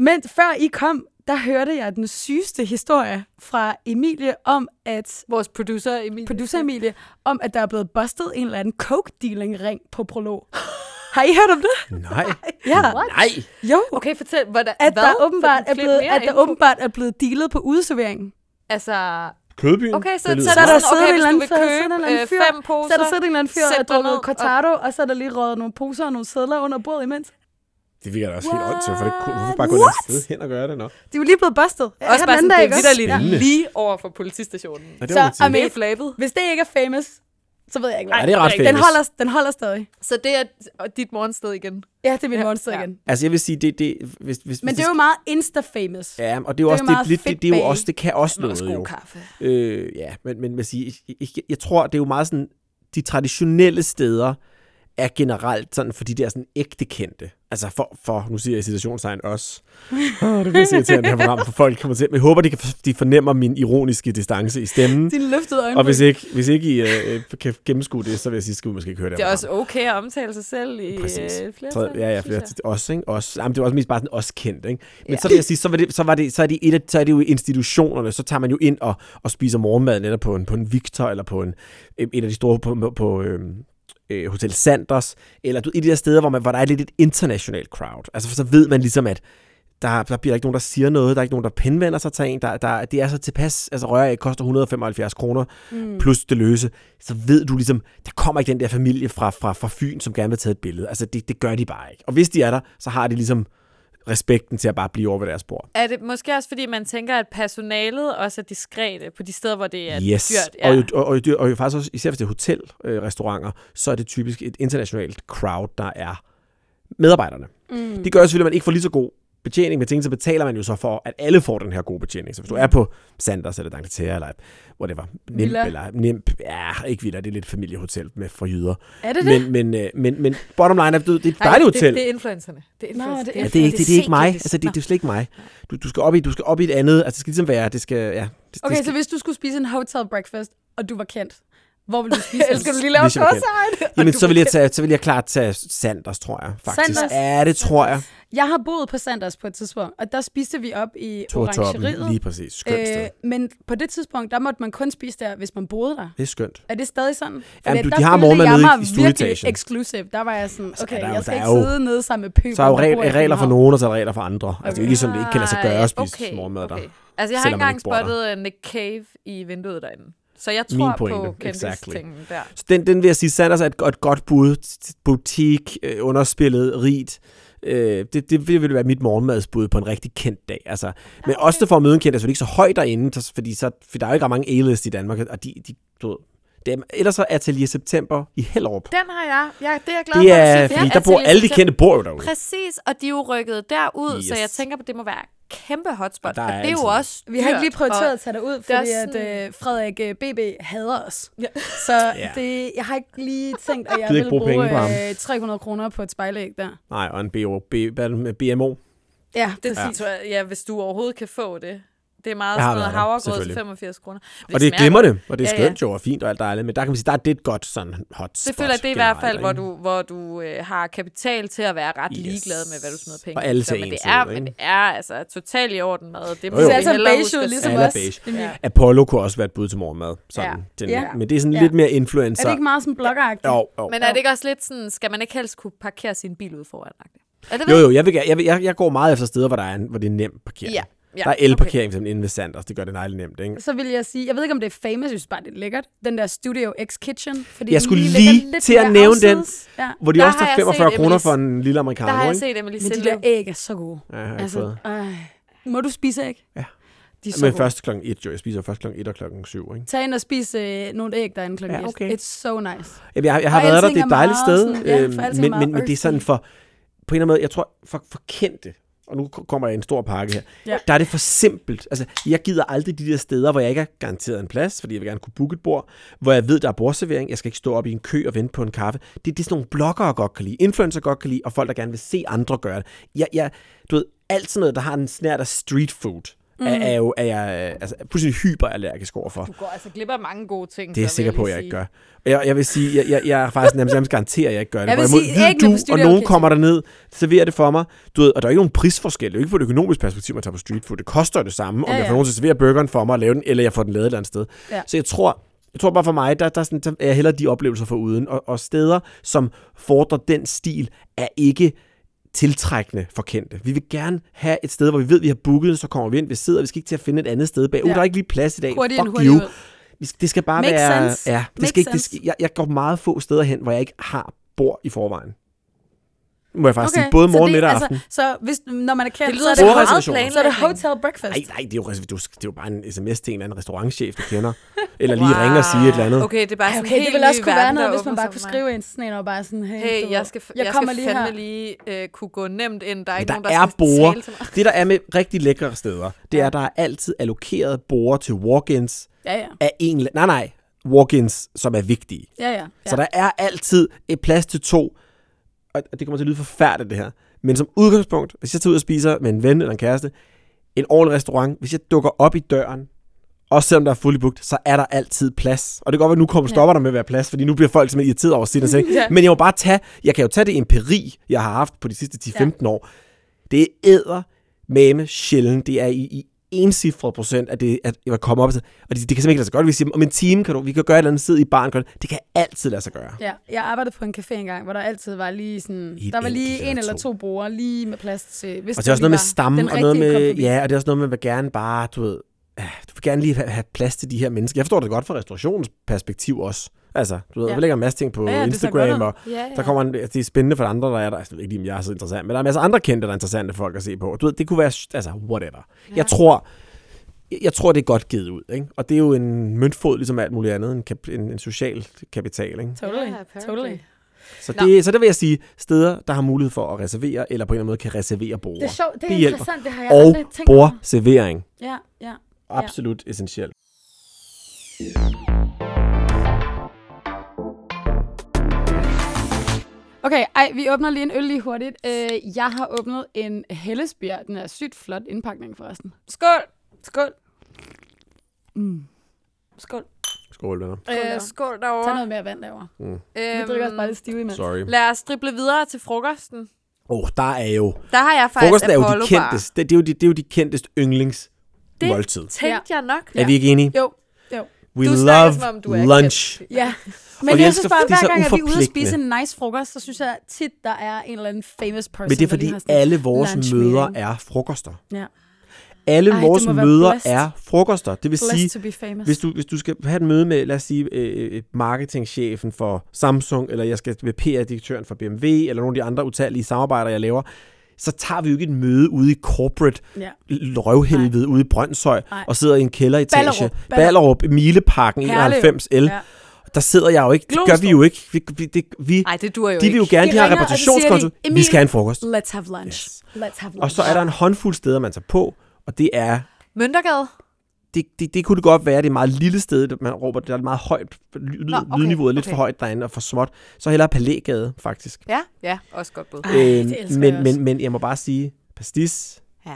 Speaker 2: Men før I kom, der hørte jeg den sygeste historie fra Emilie om, at
Speaker 3: Vores producer, Emil.
Speaker 2: producer Emilie, om at der er blevet bustet en eller anden coke-dealing-ring på prolog. Har I hørt om det?
Speaker 4: Nej.
Speaker 2: Ja.
Speaker 4: Nej.
Speaker 2: Jo.
Speaker 3: Okay, fortæl, hvordan,
Speaker 2: At
Speaker 3: hvad?
Speaker 2: der, åbenbart er
Speaker 3: Lidt
Speaker 2: blevet,
Speaker 3: mere
Speaker 2: at der
Speaker 3: info.
Speaker 2: åbenbart er blevet dealet på udeserveringen.
Speaker 3: Altså,
Speaker 4: Kødbyen?
Speaker 3: okay, så,
Speaker 4: Det lyder
Speaker 3: så,
Speaker 2: Så er
Speaker 4: smart.
Speaker 2: der
Speaker 3: sådan,
Speaker 2: siddet
Speaker 3: okay,
Speaker 2: en eller anden
Speaker 3: hvis du vil
Speaker 2: fyr-
Speaker 3: købe
Speaker 2: sådan en eller
Speaker 3: øh,
Speaker 2: anden fyr-
Speaker 3: fem poser,
Speaker 2: Så er der siddet en eller anden fyr
Speaker 3: sæt
Speaker 2: og
Speaker 3: dig
Speaker 2: har drukket
Speaker 3: ned
Speaker 2: cortado, og så er der lige røget nogle poser og nogle sædler under bordet imens.
Speaker 4: Det virker da også helt åndssigt, for det kunne, hvorfor bare gå
Speaker 2: What?
Speaker 4: et andet sted hen og gøre det, nå?
Speaker 2: De er jo lige blevet bustet.
Speaker 3: og- Også bare sådan, det er vidderligt
Speaker 4: Ja.
Speaker 3: lige over for politistationen.
Speaker 4: Nej, det
Speaker 2: Så,
Speaker 4: var så,
Speaker 2: amen.
Speaker 3: Med flabet.
Speaker 2: Hvis det ikke er famous, så ved jeg ikke,
Speaker 4: Ja,
Speaker 2: hvad
Speaker 4: det er ret
Speaker 3: det er
Speaker 4: fedt.
Speaker 2: den holder, den holder stadig.
Speaker 3: Så det er og dit morgensted igen.
Speaker 2: Ja, det er mit
Speaker 3: Ja,
Speaker 2: monster
Speaker 3: ja.
Speaker 2: igen.
Speaker 4: Altså, jeg vil sige, det, det, hvis, hvis,
Speaker 2: Men
Speaker 4: hvis
Speaker 2: det er jo meget insta-famous.
Speaker 4: Ja, og
Speaker 2: det
Speaker 4: det er jo
Speaker 2: er
Speaker 4: også
Speaker 2: jo meget
Speaker 4: det, lidt, det,
Speaker 2: fedt
Speaker 4: det, er jo
Speaker 2: bag.
Speaker 4: også, det kan også
Speaker 3: Med
Speaker 4: noget,
Speaker 3: god
Speaker 4: jo.
Speaker 3: kaffe.
Speaker 4: Øh, ja, men, men man siger, jeg, jeg, jeg tror, det er jo meget sådan, de traditionelle steder er generelt sådan, fordi det er sådan ægte kendte. Altså for, for nu siger jeg i citationstegn os. Åh, det bliver så irriterende, det her program for folk kommer til. Men jeg håber, de, kan, de fornemmer min ironiske distance i stemmen.
Speaker 2: Din løftede øjne.
Speaker 4: Og hvis ikke, hvis ikke I øh, øh, kan gennemskue det, så vil jeg sige, skal vi måske ikke høre det
Speaker 3: Det er
Speaker 4: her
Speaker 3: også okay at omtale sig selv i
Speaker 4: Præcis.
Speaker 3: øh, flere
Speaker 4: program. Træd- Ja, ja, flere, os, ikke? Os. Jamen, det var også mest bare sådan os kendt, ikke? Men
Speaker 3: Ja.
Speaker 4: så vil jeg sige, så, var det, så, var det, så, er det et af, så er det jo institutionerne, så tager man jo ind og, og spiser morgenmad netop på en, på en Victor, eller på en, øh, et af de store på, på, på øhm, øh, Hotel Sanders, eller du, ved, et af de der steder, hvor, man, hvor der er lidt et internationalt crowd. Altså, for så ved man ligesom, at der, der bliver ikke nogen, der siger noget, der er ikke nogen, der penvender sig til en, der, der, det er så tilpas, altså rører jeg koster 175 kroner, mm. plus det løse, så ved du ligesom, der kommer ikke den der familie fra, fra, fra Fyn, som gerne vil tage et billede. Altså det, det gør de bare ikke. Og hvis de er der, så har de ligesom respekten til at bare blive over ved deres bord.
Speaker 3: Er det måske også, fordi man tænker, at personalet også er diskrete på de steder, hvor det er
Speaker 4: yes.
Speaker 3: dyrt?
Speaker 4: Og, jo, og, og, jo dyr- og jo faktisk også, især hvis det er hotelrestauranter, øh, så er det typisk et internationalt crowd, der er medarbejderne. Mm. Det gør selvfølgelig, at man ikke får lige så god betjening med ting, så betaler man jo så for, at alle får den her gode betjening. Så hvis du er på Sanders eller D'Angleterre eller whatever, Nimp
Speaker 2: Villa.
Speaker 4: eller Nimp, ja, ikke Villa, det er lidt familiehotel med for jyder.
Speaker 2: Er det det?
Speaker 4: Men, men, øh, men, men bottom line er, du ved, det er et
Speaker 3: Nej,
Speaker 4: dejligt
Speaker 3: Det,
Speaker 4: hotel.
Speaker 3: det er influencerne. Det er influencerne.
Speaker 2: det er
Speaker 4: Ja, det, er ikke, det, det er ikke mig. Altså, det, det er slet ikke mig. Du, du, skal op i, du skal op i et andet. Altså, det skal ligesom være... Det skal, ja, det,
Speaker 2: Okay,
Speaker 4: det
Speaker 2: så
Speaker 4: skal,
Speaker 2: hvis du skulle spise en hotel breakfast, og du var kendt, hvor ville du spise
Speaker 3: Jeg elsker, du lige laver
Speaker 4: Hvis jeg var kendt.
Speaker 3: korsegn.
Speaker 4: jamen, så vil, jeg tage, så vil jeg klart tage Sanders, tror jeg. Faktisk.
Speaker 2: Sanders.
Speaker 4: Ja, det tror jeg.
Speaker 2: Jeg har boet på Sanders på et tidspunkt, og der spiste vi op i
Speaker 4: Tortoppen,
Speaker 2: orangeriet.
Speaker 4: lige præcis. Skønt sted.
Speaker 2: Øh, men på det tidspunkt, der måtte man kun spise der, hvis man boede der.
Speaker 4: Det er skønt.
Speaker 2: Er det stadig sådan? Fordi
Speaker 4: Jamen, du-
Speaker 2: der
Speaker 4: de har
Speaker 2: følte
Speaker 4: morgenmad
Speaker 2: jeg
Speaker 4: nede i-
Speaker 2: mig
Speaker 4: i
Speaker 2: virkelig
Speaker 4: stueetagen. Altså,
Speaker 2: exclusive. Der var jeg sådan, okay,
Speaker 4: der er jo-
Speaker 2: jeg skal
Speaker 4: der er
Speaker 2: ikke
Speaker 4: jo-
Speaker 2: sidde nede sammen med pøber.
Speaker 4: Så er jo regler, regler for nogen, og så er der regler for andre. Altså, det er jo ikke sådan, det ikke kan lade sig gøre at spise okay, morgenmad der.
Speaker 3: Okay. Altså, jeg har
Speaker 4: selvom
Speaker 3: ikke
Speaker 4: man
Speaker 3: engang
Speaker 4: ikke bor der.
Speaker 3: spottet øh, Nick Cave i vinduet derinde. Så jeg
Speaker 4: Min
Speaker 3: tror
Speaker 4: pointe,
Speaker 3: på kendtistingen der.
Speaker 4: Så den, den vil jeg sige, Sanders er et godt, godt bud. Butik, øh, underspillet, rigt. Øh, det, det ville være mit morgenmadsbud på en rigtig kendt dag. Altså. Men okay. også det for at møde en kendt er selvfølgelig ikke så højt derinde, så- fordi, så, for der er jo ikke ret mange A-list i Danmark, og de, de du ved, dem. Ellers så Atelier September i Hellerup.
Speaker 3: Den har jeg. Ja, det er jeg glad
Speaker 4: Det
Speaker 3: for,
Speaker 4: er,
Speaker 3: at du siger.
Speaker 4: fordi
Speaker 3: Ja, altså,
Speaker 4: der bor
Speaker 3: Atelier
Speaker 4: alle de
Speaker 3: September.
Speaker 4: kendte bor jo derude.
Speaker 3: Præcis, og de er jo rykket derud, så
Speaker 4: Yes.
Speaker 3: jeg tænker på, at det må være kæmpe hotspot.
Speaker 4: Og
Speaker 3: Og,
Speaker 4: der
Speaker 3: og
Speaker 4: er
Speaker 3: det er jo
Speaker 4: altid-
Speaker 3: også
Speaker 2: Vi har ikke lige
Speaker 3: dyrt, og-
Speaker 2: prioriteret at tage dig ud,
Speaker 3: er
Speaker 2: fordi
Speaker 3: sådan-
Speaker 2: at øh, Frederik øh, BB hader os.
Speaker 3: Ja.
Speaker 2: Så
Speaker 4: Ja.
Speaker 2: det, jeg har ikke lige tænkt, at jeg
Speaker 4: Gider ikke
Speaker 2: ville
Speaker 4: bruge penge på ham.
Speaker 2: bruge øh, 300 kroner på et spejlæg der.
Speaker 4: Nej, og en BO, B, hvad er det med BMO?
Speaker 2: Ja,
Speaker 3: Det
Speaker 2: præcis.
Speaker 3: ja. tror jeg, ja, hvis du overhovedet kan få det. Det er meget
Speaker 4: Jeg har
Speaker 3: sådan noget
Speaker 4: været der,
Speaker 3: havregrød til
Speaker 4: selvfølgelig.
Speaker 3: 85 kroner.
Speaker 4: Og det er glimrende, og det er
Speaker 3: Ja, ja.
Speaker 4: skønt jo, og fint og alt dejligt, men der kan man sige, der er det et godt sådan hot
Speaker 3: Det
Speaker 4: spot
Speaker 3: føler jeg, det er i hvert
Speaker 4: generelt,
Speaker 3: fald, hvor
Speaker 4: ikke?
Speaker 3: du, hvor du øh, har kapital til at være ret yes. ligeglad med, hvad du smider penge
Speaker 4: Og alle
Speaker 3: efter.
Speaker 4: ser
Speaker 3: Men det
Speaker 4: ens
Speaker 3: er,
Speaker 4: ud,
Speaker 3: men det
Speaker 4: ikke?
Speaker 3: er altså totalt i orden mad. Det må
Speaker 4: jo.
Speaker 2: Det
Speaker 3: vi
Speaker 2: ser altså
Speaker 3: hellere
Speaker 2: beige
Speaker 3: huske
Speaker 2: ud,
Speaker 3: at
Speaker 2: ligesom
Speaker 4: Alle
Speaker 3: sige.
Speaker 4: er
Speaker 2: os.
Speaker 4: beige.
Speaker 2: Det er vildt.
Speaker 4: Apollo kunne også være et bud til morgenmad. Sådan, ja. Den,
Speaker 3: Ja.
Speaker 4: ja. Men det er sådan
Speaker 2: Ja.
Speaker 4: lidt mere
Speaker 2: Er det
Speaker 4: influencer.
Speaker 2: ikke meget sådan bloggeragtigt?
Speaker 4: Jo, jo.
Speaker 3: Men er det ikke også lidt sådan, skal man ikke helst kunne parkere sin bil ude foran? Er det
Speaker 4: jo, jo, jeg, vil, gerne- jeg, vil, jeg, jeg går meget efter steder, hvor, der er, en, hvor det er nemt parkering.
Speaker 3: Ja, ja,
Speaker 4: der er
Speaker 3: okay.
Speaker 4: elparkering okay. inden ved Sanders, det gør det nejligt nemt. Ikke?
Speaker 2: Så vil jeg sige, jeg ved ikke, om det er famous, jeg synes bare, det er lækkert. Den der Studio X Kitchen. Fordi
Speaker 4: Jeg
Speaker 2: den
Speaker 4: skulle
Speaker 2: ligger
Speaker 4: lige
Speaker 2: lidt
Speaker 4: til at
Speaker 2: mere
Speaker 4: nævne den.
Speaker 2: afsides. Ja.
Speaker 4: Hvor de
Speaker 3: Der
Speaker 4: der også
Speaker 3: har
Speaker 4: tager
Speaker 3: jeg set
Speaker 4: 45 kroner
Speaker 3: Emily's-
Speaker 4: for en lille
Speaker 3: Der har
Speaker 4: amerikaner,
Speaker 3: jeg
Speaker 4: ikke?
Speaker 3: set Emily
Speaker 2: Men de
Speaker 3: Sille.
Speaker 2: der æg er så gode.
Speaker 4: Ja, jeg har ikke
Speaker 2: Altså,
Speaker 4: fået.
Speaker 2: øh, må du spise æg?
Speaker 4: Ja.
Speaker 2: De er så
Speaker 4: Men
Speaker 2: gode.
Speaker 4: først klokken 1, jo. Jeg spiser først klokken 1 og klokken 7, ikke?
Speaker 2: Tag ind og spis øh, nogle æg, der er en klokken
Speaker 4: Ja,
Speaker 2: et.
Speaker 4: okay.
Speaker 2: It's so nice.
Speaker 4: Jamen, jeg, jeg har
Speaker 2: Og
Speaker 4: været der,
Speaker 2: alting
Speaker 4: det er et
Speaker 2: er
Speaker 4: dejligt
Speaker 2: meget
Speaker 4: sted,
Speaker 2: sådan- ja, for
Speaker 4: øhm,
Speaker 2: alting er
Speaker 4: men,
Speaker 2: meget
Speaker 4: men, men det er sådan
Speaker 2: earthy.
Speaker 4: for, på en eller anden måde, jeg tror, for, for kendte, og nu ko- kommer jeg i en stor pakke her,
Speaker 2: Ja.
Speaker 4: der er det for simpelt. Altså, jeg gider aldrig de der steder, hvor jeg ikke er garanteret en plads, fordi jeg vil gerne kunne booke et bord, hvor jeg ved, der er bordservering, jeg skal ikke stå op i en kø og vente på en kaffe. Det, det er sådan nogle bloggere godt kan lide, influencer godt kan lide, og folk, der gerne vil se andre gøre det. Jeg, jeg, du ved, alt sådan noget, der har en snært af street food, mm. er, er, jo, er jeg øh, altså, pludselig hyperallergisk overfor.
Speaker 3: Du går altså glip af mange gode ting.
Speaker 4: Det er jeg
Speaker 3: så vil
Speaker 4: sikker på, at
Speaker 3: lige
Speaker 4: jeg ikke
Speaker 3: sige.
Speaker 4: gør. Og Jeg, jeg vil sige, jeg, jeg, jeg er faktisk nærmest, nærmest garanterer, at jeg ikke gør det.
Speaker 2: Jeg vil
Speaker 4: Hvorimod
Speaker 2: sige,
Speaker 4: ved
Speaker 2: æggene på
Speaker 4: du, og
Speaker 2: Studio
Speaker 4: nogen
Speaker 2: Kitchen.
Speaker 4: kommer derned, serverer det for mig. Du ved, og der er ikke nogen prisforskel. Det er jo ikke på et økonomisk perspektiv, at tage på street food. Det koster jo det samme, om
Speaker 2: Ja,
Speaker 4: jeg
Speaker 2: ja.
Speaker 4: får nogen til at servere burgeren for mig og lave den, eller jeg får den lavet et eller andet sted.
Speaker 2: Ja.
Speaker 4: Så jeg tror, jeg tror bare for mig, der, der, er sådan, der er jeg hellere de oplevelser for uden. Og, og steder, som fordrer den stil, er ikke tiltrækkende for kendte. Vi vil gerne have et sted, hvor vi ved, at vi har booket, så kommer vi ind, vi sidder, vi skal ikke til at finde et andet sted bag. Uh,
Speaker 2: Ja.
Speaker 4: der er ikke lige plads i dag.
Speaker 2: Hurtigt ind,
Speaker 4: Fuck
Speaker 2: hurtigt
Speaker 4: you.
Speaker 2: ud.
Speaker 4: Vi skal- Det skal bare
Speaker 2: Makes
Speaker 4: være...
Speaker 2: sense.
Speaker 4: Ja, det
Speaker 2: Makes
Speaker 4: skal ikke, det
Speaker 2: sense.
Speaker 4: skal, jeg, jeg går meget få steder hen, hvor jeg ikke har bord i forvejen. Må jeg faktisk okay. sige.
Speaker 2: Okay,
Speaker 4: Både
Speaker 2: så
Speaker 4: morgen,
Speaker 2: det-
Speaker 4: middag og
Speaker 2: altså,
Speaker 4: aften.
Speaker 2: Så hvis, når man er kendt,
Speaker 3: Det lyder
Speaker 2: så
Speaker 3: da
Speaker 2: er
Speaker 4: meget
Speaker 2: det,
Speaker 4: planlagt.
Speaker 2: så er det hotel breakfast.
Speaker 4: Nej, nej, det er, jo, det, er jo, det er jo bare en sms til en eller anden restaurantchef, du kender. Eller lige wow. ringe og sige et eller andet. Okay.
Speaker 3: Okay, det er bare
Speaker 2: Ej,
Speaker 3: sådan
Speaker 2: okay,
Speaker 3: en
Speaker 2: det
Speaker 3: helt
Speaker 2: ville også
Speaker 3: ny
Speaker 2: kunne være
Speaker 3: verden,
Speaker 2: noget,
Speaker 3: der
Speaker 2: hvis man
Speaker 3: åbner
Speaker 2: bare
Speaker 3: sig
Speaker 2: kunne
Speaker 3: for mig.
Speaker 2: skrive ind til sådan en og bare sådan, hey, du
Speaker 3: Hey,
Speaker 2: ved,
Speaker 3: jeg skal, jeg, jeg
Speaker 2: kommer
Speaker 3: skal
Speaker 2: lige
Speaker 3: fandme
Speaker 2: her.
Speaker 3: lige øh, kunne gå nemt ind. Der er
Speaker 4: Men
Speaker 3: ikke
Speaker 4: der,
Speaker 3: nogen,
Speaker 4: er
Speaker 3: der, skal tale til mig.
Speaker 4: borde. Det, der er med rigtig lækre steder, det er, at der er altid allokeret borde til walk-ins
Speaker 2: Ja, ja.
Speaker 4: af en... eller- Nej, nej. Walk-ins, som er vigtige.
Speaker 2: Ja, ja.
Speaker 4: Så der er altid et plads til to, og og det kommer til at lyde forfærdeligt det her, men som udgangspunkt, hvis jeg tager ud og spiser med en ven eller en kæreste, en ordentlig restaurant, hvis jeg dukker op i døren, også selvom der er fuldt booked, så er der altid plads. Og det kan godt være, at nu kommer stopper der med at være plads, fordi nu bliver folk simpelthen irriteret over sin ting.
Speaker 3: Ja.
Speaker 4: Men jeg må bare tage, jeg kan jo tage det empiri, jeg har haft på de sidste 10-15 år. Det er æder mame sjældent. Det er i, i encifret procent, at det at jeg kommer op til. Og det, det kan simpelthen ikke lade sig gøre. Vi siger, om en time kan du, vi kan gøre et eller andet sidde i barn. Det kan altid lade sig gøre.
Speaker 2: Ja, jeg arbejdede på en café engang, hvor der altid var lige sådan,
Speaker 4: Et
Speaker 2: der var lige
Speaker 4: enkelt
Speaker 2: en
Speaker 4: eller
Speaker 2: eller
Speaker 4: to.
Speaker 2: to borer lige med plads til, hvis
Speaker 4: Og det er også noget med stamme,
Speaker 2: den
Speaker 4: og noget med,
Speaker 2: rigtige
Speaker 4: ja, og det er også noget med, at man vil gerne bare, du ved, øh, du vil gerne lige have, have plads til de her mennesker. Jeg forstår det godt fra restaurationsperspektiv også. Altså, du ved,
Speaker 2: Ja.
Speaker 4: ja. jeg lægger en masse ting på
Speaker 2: Ja,
Speaker 4: ja,
Speaker 2: ja,
Speaker 4: ja,
Speaker 2: det ser godt
Speaker 4: Instagram,
Speaker 2: ud.
Speaker 4: og
Speaker 3: Ja, ja.
Speaker 4: der kommer en, altså, det er spændende for de andre, der er der. Altså, jeg ved ikke lige, om jeg er så interessant, men der er masser af andre kendte, der er interessante folk at se på. Du ved, det kunne være, altså, whatever. Ja. Jeg tror, jeg- jeg tror, det er godt givet ud, ikke? Og det er jo en møntfod, ligesom alt muligt andet, en, kap, en, en social kapital, ikke?
Speaker 2: Totally,
Speaker 3: Ja, apparently.
Speaker 2: totally.
Speaker 4: Så
Speaker 3: Nå.
Speaker 4: det, så det vil jeg sige, steder, der har mulighed for at reservere, eller på en eller anden måde kan reservere borgere.
Speaker 2: Det er sjovt, det er
Speaker 4: Det hjælper.
Speaker 2: interessant, det har jeg
Speaker 4: og
Speaker 2: aldrig tænkt over.
Speaker 4: bordservering.
Speaker 2: Ja, ja.
Speaker 4: Absolut ja. essentielt.
Speaker 2: Okay, ej, vi åbner lige en øl lige hurtigt. Øh, jeg har åbnet en Hellesbjerg. Den er sygt flot indpakning forresten.
Speaker 3: Skål! Skål!
Speaker 2: Skål.
Speaker 4: Skål, venner.
Speaker 3: Øh, skål derovre.
Speaker 2: Tag noget mere vand derovre. Vi drikker os bare
Speaker 3: Øhm,
Speaker 2: lidt stive imens.
Speaker 4: Sorry.
Speaker 3: lad os drible videre til frokosten.
Speaker 4: Åh, oh, der er jo...
Speaker 3: Der har jeg faktisk
Speaker 4: Frokosten er jo de
Speaker 3: Apollo Bar.
Speaker 4: kendteste, det, det, er jo de, det er jo de kendteste yndlings
Speaker 3: Det
Speaker 4: måltid.
Speaker 3: tænkte jeg nok.
Speaker 4: Er vi ikke enige?
Speaker 2: Jo, jo.
Speaker 4: We
Speaker 3: Du snakker,
Speaker 4: love
Speaker 3: som om du er
Speaker 4: lunch.
Speaker 3: kendt.
Speaker 2: Ja, men
Speaker 4: jeg
Speaker 2: jeg,
Speaker 4: elsker,
Speaker 2: synes bare,
Speaker 4: fordi de
Speaker 2: hver
Speaker 4: er så
Speaker 2: gang, at vi er ude og
Speaker 4: uforpligtende.
Speaker 2: spise en nice frokost, så synes jeg tit, der er en eller anden famous person.
Speaker 4: Men det er
Speaker 2: der lige
Speaker 4: fordi,
Speaker 2: har sådan en
Speaker 4: alle vores
Speaker 2: lunch
Speaker 4: møder
Speaker 2: meeting.
Speaker 4: er frokoster.
Speaker 2: Ja.
Speaker 4: Alle
Speaker 2: Ej,
Speaker 4: vores
Speaker 2: det må være
Speaker 4: møder
Speaker 2: blessed.
Speaker 4: er frokoster. Det vil sige,
Speaker 2: Blessed to be famous.
Speaker 4: Hvis du, hvis du skal have et møde med, lad os sige, øh, øh, marketingchefen for Samsung, eller jeg skal med PR-direktøren for BMW, eller nogle af de andre utallige samarbejder, jeg laver, så tager vi jo ikke et møde ude i corporate
Speaker 2: Ja.
Speaker 4: l- røvhelvede ude i Brøndshøj,
Speaker 2: Nej.
Speaker 4: og sidder i en kælderetage.
Speaker 2: Ballerup.
Speaker 4: Ballerup, Mileparken
Speaker 2: Herlev.
Speaker 4: 91L.
Speaker 2: Ja.
Speaker 4: Ja. Der sidder jeg jo ikke. Det gør vi jo ikke. Vi, vi, det, vi,
Speaker 3: Nej, det dur jo
Speaker 4: de vil jo
Speaker 3: ikke.
Speaker 4: gerne, de,
Speaker 2: De
Speaker 4: har
Speaker 2: ringer, og så siger de,
Speaker 4: reparationskonto. Vi
Speaker 2: "Emil,
Speaker 4: skal have en frokost.
Speaker 2: Let's have lunch.
Speaker 4: Yes.
Speaker 2: Let's have lunch.
Speaker 4: Og så er der en håndfuld steder, man tager på, og det er
Speaker 3: Møntergade.
Speaker 4: det, det, det kunne det godt være, det er et meget lille sted, man råber, det er et meget højt, lyd,
Speaker 3: Nå, okay,
Speaker 4: okay, lydniveauet er lidt
Speaker 3: okay.
Speaker 4: for højt derinde og for småt. Så hellere Palægade, faktisk. Øhm,
Speaker 3: Ja, ja, også godt bud.
Speaker 2: Ej, det elsker jeg
Speaker 4: men,
Speaker 2: også.
Speaker 4: men, men jeg må bare sige, pastis
Speaker 3: Ja.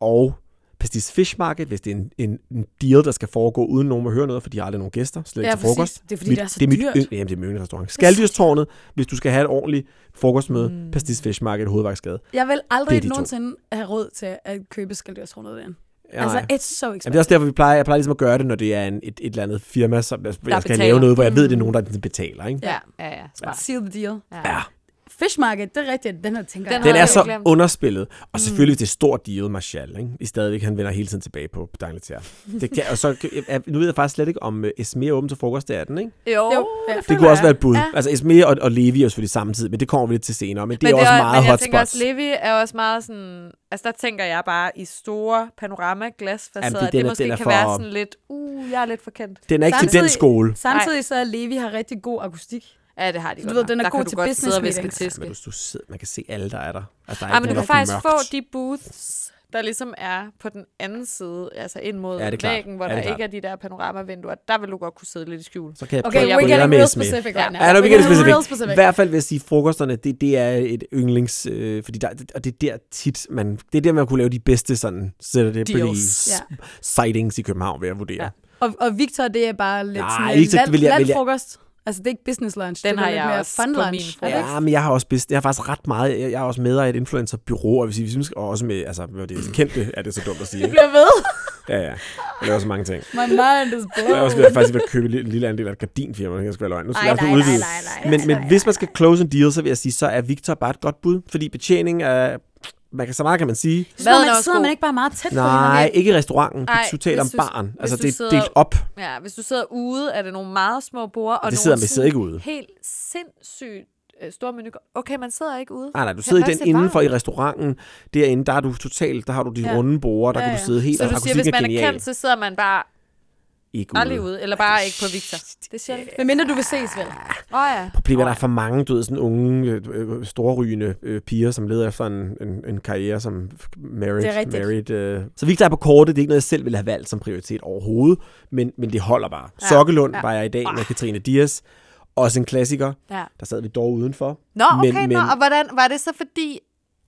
Speaker 4: og pastis fish market, hvis det er en, en, en deal, der skal foregå, uden nogen må høre noget, for de har aldrig nogen gæster, slet ikke
Speaker 3: Ja,
Speaker 4: til frokost.
Speaker 2: Det er fordi, det er så
Speaker 4: det er
Speaker 2: dyrt.
Speaker 4: Mit, ynd- jamen, det er min yndlingsrestaurant. Skaldyrstårnet, hvis du skal have et ordentligt frokostmøde, mm. pastis fish market, hovedvejsgade.
Speaker 2: Jeg vil
Speaker 4: Det er
Speaker 2: aldrig
Speaker 4: de to.
Speaker 2: nogensinde have råd til at købe skaldyrstrånet derinde.
Speaker 4: Ja,
Speaker 2: Altså,
Speaker 4: nej.
Speaker 2: it's so
Speaker 4: Jamen, det er
Speaker 2: expensive.
Speaker 4: også derfor, vi plejer, jeg plejer ligesom at gøre det, når det er en, et, et eller andet firma, som jeg, jeg skal
Speaker 3: betaler.
Speaker 4: lave noget, hvor jeg ved,
Speaker 2: Mm.
Speaker 4: det er nogen, der ligesom betaler. Ikke?
Speaker 3: Ja, ja, ja. Smart.
Speaker 2: Seal the deal.
Speaker 4: Altså, Ja.
Speaker 2: Fish market, det er rigtigt. Den her tænker
Speaker 3: Den
Speaker 2: jeg.
Speaker 3: Mm.
Speaker 4: Den
Speaker 3: har
Speaker 4: er
Speaker 3: jeg
Speaker 4: så
Speaker 3: jo glemt.
Speaker 4: underspillet. Og selvfølgelig, det er stort deal, Marshall. Ikke? I stadigvæk, han vender hele tiden tilbage på Dangletær. Det kan, og så, jeg- nu ved jeg faktisk slet ikke, om øh, Esme er åben til frokost, det er den, ikke?
Speaker 3: Jo,
Speaker 2: Jo, ja.
Speaker 3: det,
Speaker 4: Det
Speaker 3: føler
Speaker 4: kunne også
Speaker 3: jeg.
Speaker 4: være et bud.
Speaker 3: Ja.
Speaker 4: Ja. Altså Esme og, og Levi er jo selvfølgelig samtidig, men det kommer vi lidt til senere. Men det men er også meget
Speaker 3: men jeg tænker
Speaker 4: hotspots.
Speaker 3: også, Levi er også meget sådan... Altså, der tænker jeg bare i store panoramaglasfacader.
Speaker 4: Jamen, det
Speaker 3: Ja,
Speaker 4: er
Speaker 3: det,
Speaker 4: den,
Speaker 3: det
Speaker 4: at
Speaker 3: måske
Speaker 4: den er
Speaker 3: kan
Speaker 4: for-
Speaker 3: være sådan lidt... Uh, jeg er lidt for kendt.
Speaker 4: Den er ikke til den
Speaker 2: Samtidig-
Speaker 4: skole.
Speaker 2: Samtidig så er Levi har rigtig god akustik.
Speaker 3: Ja, det har de
Speaker 2: Du
Speaker 3: godt
Speaker 2: ved,
Speaker 3: nok.
Speaker 2: den er
Speaker 3: der
Speaker 2: god
Speaker 3: kan
Speaker 2: til
Speaker 3: du godt sidde og
Speaker 2: business
Speaker 3: viske
Speaker 2: meetings.
Speaker 3: tiske.
Speaker 4: Men du, du sidder, man kan se alle, der er der. Altså, der
Speaker 3: Ja,
Speaker 4: er ikke
Speaker 3: Ah, men du kan
Speaker 4: nogen, der er for
Speaker 3: faktisk få
Speaker 4: mørkt.
Speaker 3: de booths, der ligesom er på den anden side, altså ind mod
Speaker 4: Ja, det er klart.
Speaker 3: væggen, hvor
Speaker 4: Ja,
Speaker 3: der
Speaker 4: det er
Speaker 3: ikke
Speaker 4: klart.
Speaker 3: er de der panoramavinduer. Der vil du godt kunne sidde lidt i skjul.
Speaker 4: Så kan jeg
Speaker 2: Okay,
Speaker 4: prøve at
Speaker 2: we're
Speaker 4: bryde jer
Speaker 2: getting
Speaker 4: med
Speaker 2: real
Speaker 4: Esme.
Speaker 2: specific
Speaker 3: Ja.
Speaker 2: right now.
Speaker 4: Ja, nu
Speaker 2: We're
Speaker 4: vi det
Speaker 2: getting real
Speaker 4: specifikt. I
Speaker 2: specific.
Speaker 4: hvert fald vil jeg sige, at frokosterne, det, det er et yndlings... Øh, fordi der, og det er der tit, man, det er der, man kunne lave de bedste sådan, sætter det på de
Speaker 3: Deals.
Speaker 2: Ja.
Speaker 4: sightings i København, vil jeg vurdere.
Speaker 3: Ja.
Speaker 4: Ja.
Speaker 2: Og, og Victor, det er bare lidt
Speaker 4: Nej,
Speaker 2: sådan
Speaker 4: ikke så-
Speaker 2: land,
Speaker 4: vil jeg- vil jeg-
Speaker 2: landfrokost. Altså, det er ikke business lunch.
Speaker 3: Den
Speaker 2: det er
Speaker 3: har
Speaker 2: lidt
Speaker 3: jeg
Speaker 2: mere
Speaker 3: også
Speaker 2: fun
Speaker 3: på
Speaker 2: lunch.
Speaker 3: min
Speaker 2: er det ikke?
Speaker 4: Ja, men jeg har også best, jeg har faktisk ret meget, jeg, jeg er også med af et influencerbyrå, og hvis vi synes, og også med, altså, hvad det er kendte, er det så dumt at sige.
Speaker 2: Det
Speaker 4: Ikke?
Speaker 2: bliver ved.
Speaker 4: Ja, ja. Jeg laver så mange ting.
Speaker 2: My mind is
Speaker 4: Jeg er
Speaker 2: blown.
Speaker 4: også ved, faktisk ved at købe en lille- lille andel af et gardinfirma, det kan sgu være løgn. Nu skal
Speaker 2: Ej,
Speaker 4: jeg også
Speaker 2: nej, nej,
Speaker 4: udvide.
Speaker 2: nej, nej,
Speaker 4: Men,
Speaker 2: nej,
Speaker 4: men
Speaker 2: nej,
Speaker 4: hvis man skal close en deal, så vil jeg sige, så er Victor bare et godt bud, fordi betjening er, man kan, så meget kan man sige,
Speaker 2: Sidder
Speaker 3: Maden er
Speaker 2: man,
Speaker 3: også
Speaker 2: sidder man
Speaker 3: god.
Speaker 2: ikke bare meget tæt på
Speaker 4: Nej, ikke i restauranten.
Speaker 3: Ej,
Speaker 4: Du taler om
Speaker 3: hvis du-
Speaker 4: baren.
Speaker 3: hvis
Speaker 4: Altså,
Speaker 3: du
Speaker 4: det er
Speaker 3: sidder-
Speaker 4: delt op.
Speaker 3: Ja, hvis du sidder ude, er det nogle meget små borde. Og
Speaker 4: det
Speaker 3: nogle
Speaker 4: sidder- vi
Speaker 3: sådan
Speaker 4: sidder ikke ude.
Speaker 3: Helt sindssygt øh, store menu. Okay, man sidder ikke ude.
Speaker 4: Nej, nej, du sidder i
Speaker 3: faktisk
Speaker 4: den
Speaker 3: et bar.
Speaker 4: indenfor i restauranten. Derinde, der er du totalt, der har du de
Speaker 2: Ja.
Speaker 4: runde borde, der
Speaker 2: Ja,
Speaker 4: kan du
Speaker 2: ja.
Speaker 4: sidde helt,
Speaker 3: Så
Speaker 4: og
Speaker 3: du siger,
Speaker 4: akustikken
Speaker 3: hvis
Speaker 4: er
Speaker 3: man er
Speaker 4: genial.
Speaker 3: kendt, så sidder man bare
Speaker 4: Ikke
Speaker 3: aldrig ude. Eller bare ikke på Victor. Det er sjældent.
Speaker 2: Men mindre du vil ses, vel?
Speaker 3: Åh oh, ja.
Speaker 4: Problemet er, der er for mange, du ved, sådan unge, øh, øh, storrygende øh, piger, som leder efter en, en, en karriere som f- married.
Speaker 2: Det er rigtigt.
Speaker 4: married øh. Så Victor er på kortet, det er ikke noget, jeg selv ville have valgt som prioritet overhovedet, men, men det holder bare.
Speaker 3: Ja,
Speaker 4: Sokkelund
Speaker 3: ja. Ah.
Speaker 4: var jeg i dag med Katrine Dias, også en klassiker.
Speaker 3: ja.
Speaker 4: Der sad vi dog udenfor.
Speaker 3: Nå, okay,
Speaker 4: Men-
Speaker 3: men,
Speaker 4: men-
Speaker 3: nå, og hvordan var det så fordi,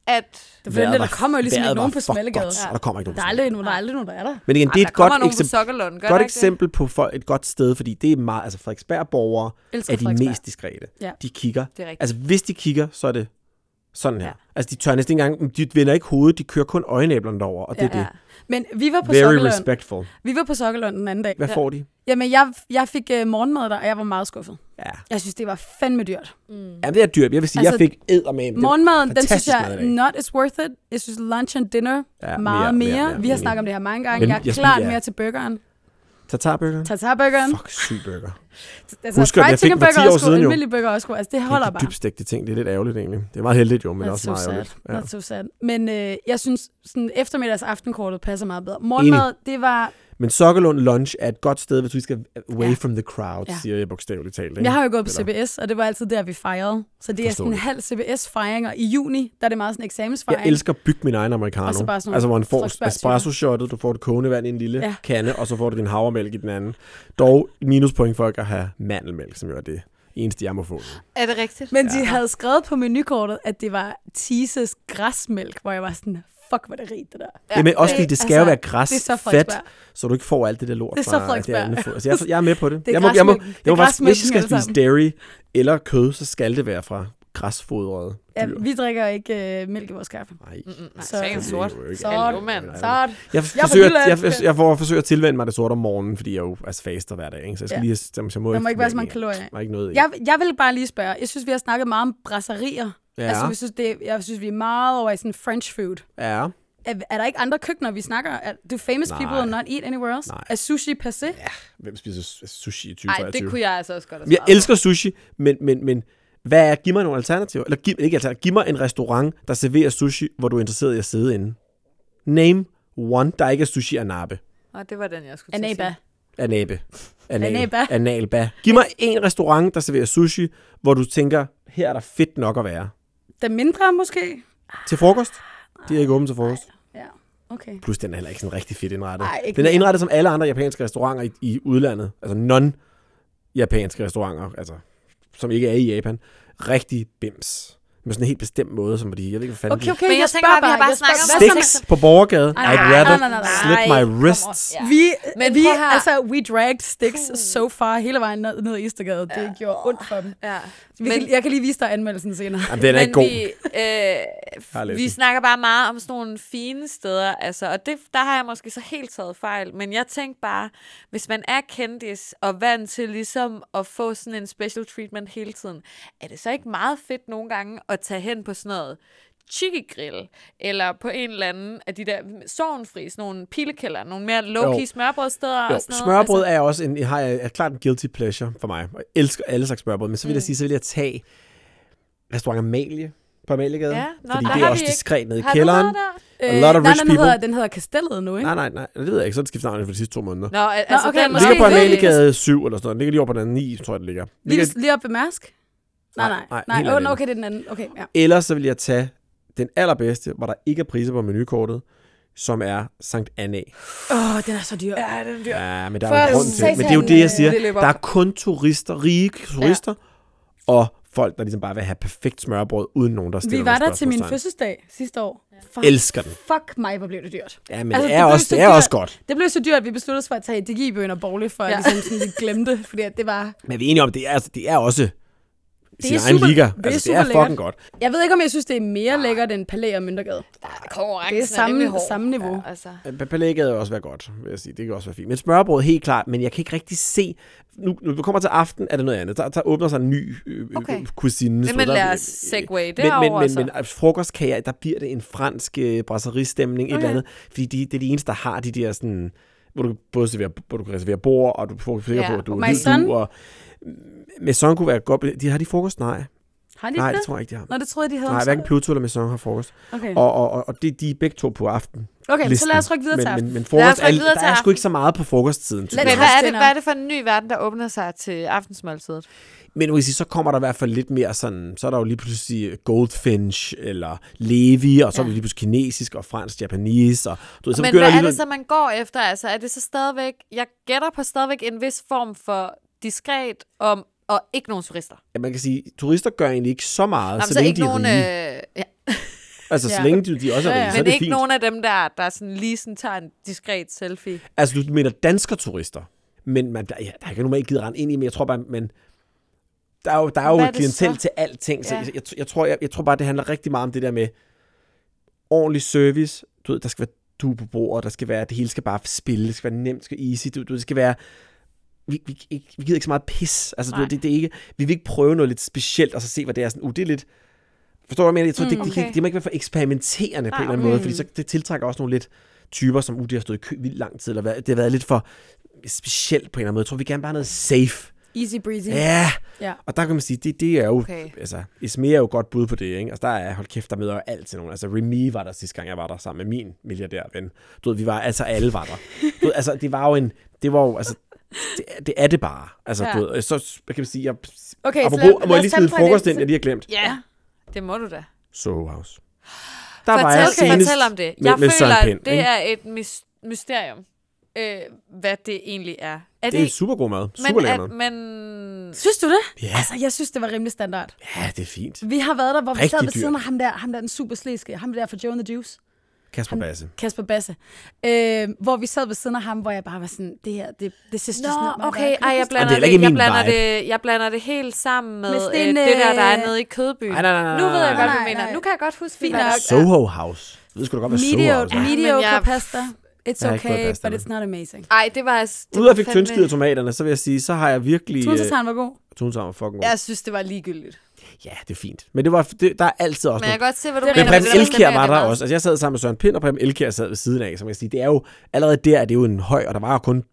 Speaker 3: at...
Speaker 2: Det er fordi,
Speaker 4: Vejret
Speaker 2: der
Speaker 4: var-
Speaker 2: kommer jo ligesom
Speaker 4: vejret
Speaker 2: ikke nogen på
Speaker 4: var for
Speaker 2: Smallegade.
Speaker 4: godt, og der kommer ikke nogen
Speaker 2: Der
Speaker 4: på
Speaker 2: er aldrig nogen, der er aldrig nogen, der er der.
Speaker 4: Men igen,
Speaker 3: Ej,
Speaker 4: det er
Speaker 3: der
Speaker 4: et
Speaker 3: kommer
Speaker 4: godt,
Speaker 3: nogen på
Speaker 4: eksempel,
Speaker 3: Sokkelund, gør
Speaker 4: godt
Speaker 3: der ikke det?
Speaker 4: eksempel på for, et godt sted, fordi det er meget, altså Frederiksberg-borgere
Speaker 2: Elsker
Speaker 4: er de
Speaker 2: Frederiksberg.
Speaker 4: mest diskrete.
Speaker 2: Ja.
Speaker 4: De kigger.
Speaker 3: Det er rigtigt.
Speaker 4: Altså hvis de kigger, så er det sådan her.
Speaker 3: Ja.
Speaker 4: Ja. Altså de tør næsten ikke engang, de vender ikke hovedet, de kører kun øjenæblerne derover, og det er
Speaker 3: Ja.
Speaker 4: det.
Speaker 2: Men vi var på
Speaker 4: Very
Speaker 2: Sokkelund.
Speaker 4: respectful.
Speaker 2: Vi var på Sokkelund den anden dag.
Speaker 4: Hvad får de?
Speaker 2: Jamen, jeg, jeg fik uh, morgenmad der, og jeg var meget skuffet.
Speaker 4: Ja.
Speaker 2: Jeg synes, det var fandme dyrt.
Speaker 3: Mm.
Speaker 4: Jamen, det er dyrt. Jeg vil sige,
Speaker 2: Mm. Altså,
Speaker 4: jeg fik eddermame. Det-
Speaker 2: Morgenmaden, den synes
Speaker 4: fantastisk
Speaker 2: jeg,
Speaker 4: mad i dag.
Speaker 2: not is worth it. Jeg synes, lunch and dinner,
Speaker 4: Ja,
Speaker 2: meget mere. mere, Vi har
Speaker 4: mere.
Speaker 2: snakket om det her mange gange.
Speaker 4: Men
Speaker 2: jeg er
Speaker 4: jeg
Speaker 2: klart
Speaker 4: spiser-
Speaker 2: mere til burgeren.
Speaker 4: Tatarburgeren?
Speaker 2: Tatarburgeren.
Speaker 4: Fuck, syg burger.
Speaker 2: Altså,
Speaker 4: Husker,
Speaker 2: fried
Speaker 4: jeg fik
Speaker 2: chicken
Speaker 4: den for
Speaker 2: burger
Speaker 4: 10 år
Speaker 2: også god,
Speaker 4: siden, jo.
Speaker 2: almindelig burger også god. Altså, det
Speaker 4: Det er
Speaker 2: holder
Speaker 4: ikke
Speaker 2: bare.
Speaker 4: de dybstegte ting. Det er lidt ærgerligt, egentlig. Det er meget heldigt, jo, men
Speaker 2: That's
Speaker 4: også
Speaker 2: so
Speaker 4: meget
Speaker 2: sad.
Speaker 4: ærgerligt.
Speaker 2: Ja.
Speaker 4: Ja.
Speaker 2: That's so sad. Men øh, jeg synes, sådan eftermiddags aftenkort passer meget bedre. Morgenmad, det var...
Speaker 4: Men Sokkelund Lunch er et godt sted, hvis du skal away
Speaker 2: Ja.
Speaker 4: from the crowd,
Speaker 2: Ja.
Speaker 4: siger jeg bogstaveligt talt. Ikke?
Speaker 2: Jeg har jo gået på
Speaker 4: Eller-
Speaker 2: CBS, og det var altid der, vi fejrede. Så det er sådan en
Speaker 4: Forståeligt.
Speaker 2: halv CBS-fejring, og i juni, der er det meget sådan en eksamensfejring.
Speaker 4: Jeg elsker at bygge min egen americano.
Speaker 2: Og så bare sådan nogle
Speaker 4: altså, hvor man får
Speaker 2: Frederiksberg-typer.
Speaker 4: espresso-shotet, du får et kogende vand i en lille
Speaker 2: Ja.
Speaker 4: ja. kande, og så får du din havremælk i den anden. Dog minuspoint for ikke at have mandelmælk, som jo er det eneste, jeg må få.
Speaker 3: Er det rigtigt?
Speaker 2: Men de havde skrevet på menukortet, at det var Tises græsmælk, hvor jeg var sådan, fuck, hvor er det rigt, det der.
Speaker 4: Ja, Jamen også fordi det skal
Speaker 2: altså,
Speaker 4: jo være græs,
Speaker 2: det er så
Speaker 4: fedt,
Speaker 2: Frederiksberg.
Speaker 4: så du ikke får alt det der lort
Speaker 2: Det er så
Speaker 4: fra det
Speaker 2: Frederiksberg.
Speaker 4: andet fod. Altså, jeg, er- jeg er med på det.
Speaker 2: Det er
Speaker 4: jeg må, jeg må, jeg
Speaker 2: græsmælken. Det er
Speaker 4: må faktisk, hvis jeg
Speaker 2: græsmælken altså.
Speaker 4: skal
Speaker 2: alle
Speaker 4: spise dairy eller kød, så skal det være fra græsfodrede
Speaker 2: Ja,
Speaker 4: dyr.
Speaker 2: vi drikker ikke øh, mælk i vores kaffe.
Speaker 4: Nej.
Speaker 3: Nej,
Speaker 2: Så-
Speaker 3: så er det
Speaker 4: Det er
Speaker 3: sort.
Speaker 4: jo ikke
Speaker 3: Så
Speaker 2: alt.
Speaker 3: jo, mand.
Speaker 4: Nej,
Speaker 2: Så
Speaker 4: nej.
Speaker 2: er det-
Speaker 4: Jeg,
Speaker 2: Jeg er fra
Speaker 4: forsøger,
Speaker 2: Jylland.
Speaker 4: jeg, jeg, jeg, får, forsøger at tilvende mig det sorte om morgenen, fordi jeg jo altså faster hver dag, ikke? så jeg skal
Speaker 2: Ja.
Speaker 4: ja. lige... Så jeg må
Speaker 2: Der må ikke være så
Speaker 4: jeg-
Speaker 2: mange kalorier.
Speaker 4: Der er ikke noget i.
Speaker 2: Jeg, jeg vil bare lige spørge. Jeg synes, vi har snakket meget om brasserier. Ja. Altså, jeg synes, det, jeg synes, vi er meget over i sådan French food.
Speaker 4: ja.
Speaker 2: Er, er der ikke andre køkkener, vi snakker? Er, do famous
Speaker 4: Nej.
Speaker 2: people not eat anywhere else?
Speaker 4: Nej.
Speaker 2: Er sushi passé? Ja.
Speaker 4: Hvem spiser su- sushi i
Speaker 3: Nej,
Speaker 4: 2023?
Speaker 3: det kunne jeg altså også godt have
Speaker 4: Jeg
Speaker 3: svaret på.
Speaker 4: elsker sushi, men, men, men hvad er, giv mig nogle alternativer. Eller giv, ikke alternativer, giv mig en restaurant, der serverer sushi, hvor du er interesseret i at sidde inde. Name one, der ikke er sushi anabe.
Speaker 3: Nå, det var den, jeg skulle til at
Speaker 2: Anaba.
Speaker 3: sige.
Speaker 4: Anabe. Anal,
Speaker 2: Anaba.
Speaker 4: Analba. Giv mig en restaurant, der serverer sushi, hvor du tænker, her er der fedt nok at være.
Speaker 2: Den mindre måske?
Speaker 4: Til frokost? De er ikke åbne til frokost.
Speaker 2: Ja, okay.
Speaker 4: Plus, den er heller ikke sådan rigtig fedt indrettet.
Speaker 2: Ej, ikke
Speaker 4: den er
Speaker 2: mere.
Speaker 4: indrettet som alle andre japanske restauranter i, i udlandet. Altså non-japanske restauranter, altså, som ikke er i Japan. Rigtig bims. Men med sådan en helt bestemt måde, som de, jeg ved ikke, hvad fanden
Speaker 2: Okay,
Speaker 4: okay.
Speaker 2: okay,
Speaker 3: Men jeg tænker bare, vi har bare
Speaker 2: jeg spørger
Speaker 3: snakket
Speaker 2: hvad
Speaker 3: om
Speaker 4: det
Speaker 3: Hvad
Speaker 4: er.
Speaker 2: som
Speaker 3: så
Speaker 4: Sticks på borgergaden.
Speaker 2: Ej,
Speaker 4: I'd
Speaker 2: nej,
Speaker 4: rather
Speaker 2: nej, nej, nej.
Speaker 4: slit my wrists.
Speaker 3: Ja.
Speaker 2: Vi,
Speaker 5: Men
Speaker 2: vi
Speaker 5: prøv at høre.
Speaker 2: altså, we dragged sticks so far hele vejen ned, ned i Istergade. Det gjorde ondt for dem. Altså,
Speaker 3: Ja.
Speaker 2: Vi men, kan, jeg kan lige vise dig anmeldelsen senere.
Speaker 4: Jamen, den er ikke
Speaker 3: Men
Speaker 4: god. har
Speaker 3: øh, Vi, øh,
Speaker 4: læst
Speaker 3: vi
Speaker 4: den.
Speaker 3: snakker bare meget om sådan nogle fine steder, altså, og det, der har jeg måske så helt taget fejl, men jeg tænkte bare, hvis man er kendis og vant til ligesom at få sådan en special treatment hele tiden, er det så ikke meget fedt nogle gange at tage hen på sådan noget Chicky Grill, eller på en eller anden af de der sovnfri, sådan nogle pilekælder, nogle mere
Speaker 4: Jo.
Speaker 3: low-key smørbrødsteder
Speaker 4: Jo,
Speaker 3: og sådan noget. Altså,
Speaker 4: smørbrød er også en, har jeg, er klart en guilty pleasure for mig. Jeg elsker alle slags smørbrød, men så vil jeg
Speaker 3: Mm.
Speaker 4: sige, så vil jeg tage restaurant Amalie på Amaliegade.
Speaker 3: Ja, nå,
Speaker 4: fordi
Speaker 3: der
Speaker 4: det er
Speaker 3: har
Speaker 4: også
Speaker 3: vi ikke-
Speaker 4: diskret nede i
Speaker 3: Har du
Speaker 4: kælderen.
Speaker 3: været der? Øh,
Speaker 4: A lot of
Speaker 2: Øh, nej,
Speaker 4: rich
Speaker 2: nej, den
Speaker 4: people.
Speaker 2: hedder, den hedder Kastellet nu, ikke?
Speaker 4: Nej, nej, nej, det ved jeg ikke. Så har den skiftet navn for de sidste to måneder.
Speaker 3: Nå, al- altså
Speaker 2: okay,
Speaker 3: den
Speaker 2: måske.
Speaker 4: ligger på
Speaker 2: det-
Speaker 4: Amaliegade 7 eller sådan noget. Den ligger lige over på den anden 9, tror jeg, den ligger.
Speaker 2: Lige,
Speaker 4: ligger
Speaker 2: ved- lige op ved Mærsk? Nej,
Speaker 4: Nej,
Speaker 2: nej.
Speaker 4: nej,
Speaker 2: nej,
Speaker 4: helt
Speaker 2: nej.
Speaker 4: anden.
Speaker 2: Oh, okay, det er den anden. Okay, ja.
Speaker 4: Ellers så vil jeg tage den allerbedste, hvor der ikke er priser på menukortet, som er Sankt Anna.
Speaker 2: Åh, oh, den er så dyr. Ja.
Speaker 4: Ja, men der
Speaker 2: For
Speaker 4: er jo en grund til.
Speaker 2: satan, øh,
Speaker 4: Men det er jo det, jeg
Speaker 3: det
Speaker 4: siger.
Speaker 3: løber
Speaker 4: Der er kun turister, rige turister, og folk, der ligesom bare vil have perfekt smørbrød, uden nogen, der stiller
Speaker 2: Vi var
Speaker 4: nogen
Speaker 2: der til min
Speaker 4: spørgsmålstegn.
Speaker 2: fødselsdag sidste år. Fuck,
Speaker 4: Elsker den.
Speaker 2: fuck mig, hvor blev det dyrt.
Speaker 4: Ja, men
Speaker 2: Altså,
Speaker 4: altså, det
Speaker 2: det
Speaker 4: er,
Speaker 2: blev
Speaker 4: også,
Speaker 2: så
Speaker 4: det er
Speaker 2: dyrt.
Speaker 4: også godt.
Speaker 2: Det blev så dyrt, at vi besluttede os for at tage i DG-bøgen og Borle, for ja.
Speaker 3: Ja.
Speaker 2: at ligesom sådan, vi glemte, fordi at det var...
Speaker 4: Men vi er enige om, det er, altså, det er også sin
Speaker 2: er
Speaker 4: egen
Speaker 2: super-
Speaker 4: liga.
Speaker 2: det er
Speaker 4: altså, det
Speaker 2: super
Speaker 4: er fucking
Speaker 2: lækkert.
Speaker 4: godt.
Speaker 2: Jeg ved ikke, om jeg synes, det er mere lækkert end Palæ og Møntergade.
Speaker 3: Konkurrencen
Speaker 2: Det er samme-
Speaker 3: rimelig hård.
Speaker 2: samme niveau.
Speaker 3: Ja, altså.
Speaker 4: Øh, Pa- Palægget er også være godt, vil jeg sige. Det kan også være fint. Men smørbrød helt klart, men jeg kan ikke rigtig se... Nu, når du kommer til aften, er det noget andet. Der, der åbner sig en ny øh, okay.
Speaker 3: Okay.
Speaker 4: kusine. så
Speaker 3: men
Speaker 4: Ligesom der-
Speaker 3: lad os segue
Speaker 4: men,
Speaker 3: derover
Speaker 4: men,
Speaker 3: så.
Speaker 4: men, men frokost kan jeg, der bliver det en fransk øh, brasseristemning, okay. et eller andet. Fordi de, det er de eneste, der har de der sådan hvor du kan både servere, hvor du kan reservere bord, og du får sikker
Speaker 3: Ja,
Speaker 4: på, at du
Speaker 2: og
Speaker 4: er helt
Speaker 2: Maison.
Speaker 4: du, og Maison kunne være et godt. be- De har de frokost? Nej.
Speaker 2: Har de
Speaker 4: Nej,
Speaker 2: ikke
Speaker 4: det
Speaker 2: det?
Speaker 4: tror jeg ikke, de har.
Speaker 2: Nå, det troede jeg, de havde.
Speaker 4: Nej,
Speaker 2: om
Speaker 4: hverken
Speaker 2: søndag.
Speaker 4: Pluto eller Maison har frokost.
Speaker 2: Okay,
Speaker 4: Og, og, og, og det, de er begge to på aften.
Speaker 2: okay så lad os
Speaker 4: listen.
Speaker 2: rykke videre til
Speaker 4: men,
Speaker 2: aften.
Speaker 4: men, men frokost,
Speaker 3: rykke
Speaker 4: er-
Speaker 3: videre
Speaker 4: der
Speaker 3: til
Speaker 4: er sgu
Speaker 3: aften.
Speaker 4: ikke så meget på frokosttiden. synes
Speaker 2: Lad-
Speaker 4: jeg.
Speaker 3: Men hvad er, det,
Speaker 2: Frokostdinner.
Speaker 3: hvad er det for en ny verden, der åbner sig til aftensmåltidet?
Speaker 4: Men du kan sige, så kommer der i hvert fald lidt mere sådan, så er der jo lige pludselig øh, Goldfinch eller Levi, og så ja. er det lige pludselig kinesisk og fransk, japanese, og du ved, så
Speaker 3: Men
Speaker 4: begynder
Speaker 3: hvad er
Speaker 4: lige
Speaker 3: det så, man går efter? Altså, er det så stadigvæk... Jeg gætter på stadigvæk en vis form for diskret om, og ikke nogen turister.
Speaker 4: ja, man kan sige, turister gør egentlig ikke så meget,
Speaker 3: Jamen,
Speaker 4: så,
Speaker 3: så
Speaker 4: længe
Speaker 3: ikke
Speaker 4: de er
Speaker 3: nogen...
Speaker 4: rige.
Speaker 3: Øh, ja.
Speaker 4: Altså, så
Speaker 2: Ja.
Speaker 4: længe de, de også er
Speaker 2: Ja,
Speaker 4: rige,
Speaker 2: ja.
Speaker 4: så er
Speaker 3: Men
Speaker 4: det
Speaker 3: ikke
Speaker 4: fint.
Speaker 3: nogen af dem der, der sådan lige sådan tager en diskret selfie.
Speaker 4: Altså, du mener danske turister, men man, der, ja, der kan normalt ikke givet rende ind i, men jeg tror bare, man, der er jo, der er jo
Speaker 3: Hvad er
Speaker 4: et
Speaker 3: det
Speaker 4: klientel
Speaker 3: så?
Speaker 4: til alting, så
Speaker 3: Ja.
Speaker 4: ja. jeg, jeg, jeg, tror, jeg, jeg tror bare, det handler rigtig meget om det der med ordentlig service, du ved, der skal være du på bordet, der skal være, det hele skal bare spille, det skal være nemt, det skal være easy, du, du, det skal være, vi, vi, ikke, vi gider ikke så meget pis, altså du,
Speaker 3: Nej.
Speaker 4: ved, det, det er ikke, vi vil ikke prøve noget lidt specielt, og så se, hvad det er, sådan, uh, det er lidt, forstår du, hvad jeg mener? Jeg tror,
Speaker 3: Mm,
Speaker 4: det, det, kan
Speaker 3: okay.
Speaker 4: ikke- det må ikke være for eksperimenterende
Speaker 3: Nej, mm.
Speaker 4: på en eller anden måde, fordi så, det tiltrækker også nogle lidt typer, som uh, de har stået i kø vildt lang tid, eller hvad, det har været lidt for specielt på en eller anden måde. Jeg tror, vi gerne bare har noget safe.
Speaker 2: Easy breezy.
Speaker 4: Ja.
Speaker 2: Ja.
Speaker 4: Og der kan man sige, det, det er jo,
Speaker 3: Okay.
Speaker 4: okay. altså, Ismea er jo et godt bud på det, ikke? Altså, der er, hold kæft, der møder jo altid nogen. Altså, Remy var der sidste gang, jeg var der sammen med min milliardærven. Du ved, vi var, altså, alle var der. Du ved, altså, det var jo en, det var jo, altså, det, det er det bare. Altså,
Speaker 3: Ja.
Speaker 4: ja. du ved, så hvad kan man sige, jeg,
Speaker 2: Okay,
Speaker 4: apropos,
Speaker 2: så lad,
Speaker 4: må
Speaker 2: lad
Speaker 4: jeg
Speaker 2: os
Speaker 4: lige
Speaker 2: tage den
Speaker 4: smide
Speaker 2: fra en
Speaker 4: frokost
Speaker 2: ende
Speaker 4: ind, jeg lige har glemt.
Speaker 3: Ja, det må du da.
Speaker 4: Soho House. Der var
Speaker 3: fortæl,
Speaker 4: jeg senest
Speaker 3: fortæl om det.
Speaker 4: med,
Speaker 3: Jeg
Speaker 4: med Søren
Speaker 3: føler,
Speaker 4: Pind,
Speaker 3: det
Speaker 4: ikke?
Speaker 3: er et mys- mysterium, øh, hvad det egentlig er. Er
Speaker 4: det er super god mad. Super
Speaker 3: men,
Speaker 4: lækker
Speaker 3: at,
Speaker 4: mad.
Speaker 3: men
Speaker 2: til- Synes du det?
Speaker 4: Ja.
Speaker 2: Altså, jeg synes, det var rimelig standard.
Speaker 4: Ja, det er fint.
Speaker 2: Vi har været der, hvor vi
Speaker 4: Rigtig
Speaker 2: sad ved
Speaker 4: dyrt.
Speaker 2: siden af ham der, ham der den super slæske, ham der fra Joe and the Juice.
Speaker 4: Kasper Basse.
Speaker 2: Kasper Basse, øh, hvor vi sad ved siden af ham, hvor jeg bare var sådan, det her, det, det synes
Speaker 3: Nå,
Speaker 2: du sådan,
Speaker 3: okay, ej, jeg blander
Speaker 4: Jamen, det er
Speaker 3: det,
Speaker 4: heller ikke
Speaker 3: jeg
Speaker 4: min
Speaker 3: blander
Speaker 4: vibe.
Speaker 3: det, jeg blander det helt sammen med,
Speaker 2: Med
Speaker 3: med
Speaker 2: sådan en,
Speaker 3: øh, det der, der
Speaker 2: øh,
Speaker 3: er nede i Kødbyen.
Speaker 4: Ej, nej, nej, nej,
Speaker 3: nu ved jeg
Speaker 4: nej,
Speaker 2: nej,
Speaker 3: godt, hvad du mener.
Speaker 2: nej.
Speaker 3: Nu kan jeg godt huske
Speaker 2: Fint
Speaker 3: hvad der-
Speaker 2: nok.
Speaker 4: Soho House. Du ved sgu da godt, hvad Soho
Speaker 2: Medio,
Speaker 4: House er.
Speaker 2: medio
Speaker 3: men jeg-
Speaker 2: pasta. It's
Speaker 4: Jeg har ikke fået
Speaker 2: okay,
Speaker 4: pasta
Speaker 2: but
Speaker 4: med.
Speaker 2: it's not amazing.
Speaker 3: Ej, det var altså... det
Speaker 4: Ud af
Speaker 3: var
Speaker 4: fik
Speaker 3: fandme-
Speaker 4: tyndskid tomaterne, så vil jeg sige, så har jeg virkelig... øh,
Speaker 2: Tunsesaren var god.
Speaker 4: Tunsam var fucking god.
Speaker 5: Jeg synes, det var ligegyldigt.
Speaker 4: Ja, det er fint. Men det var, det, der er altid også
Speaker 3: Men jeg
Speaker 4: nogle...
Speaker 3: kan godt se, hvad du
Speaker 2: Men
Speaker 3: mener.
Speaker 4: Men Preben
Speaker 3: det der
Speaker 4: Elkjær var
Speaker 3: med, at
Speaker 4: der
Speaker 3: det
Speaker 4: også. Altså, jeg sad sammen med Søren Pind, og Preben Elkjær sad ved siden af, som jeg kan sige. Det er jo, allerede der er det jo en høj, og der var jo kun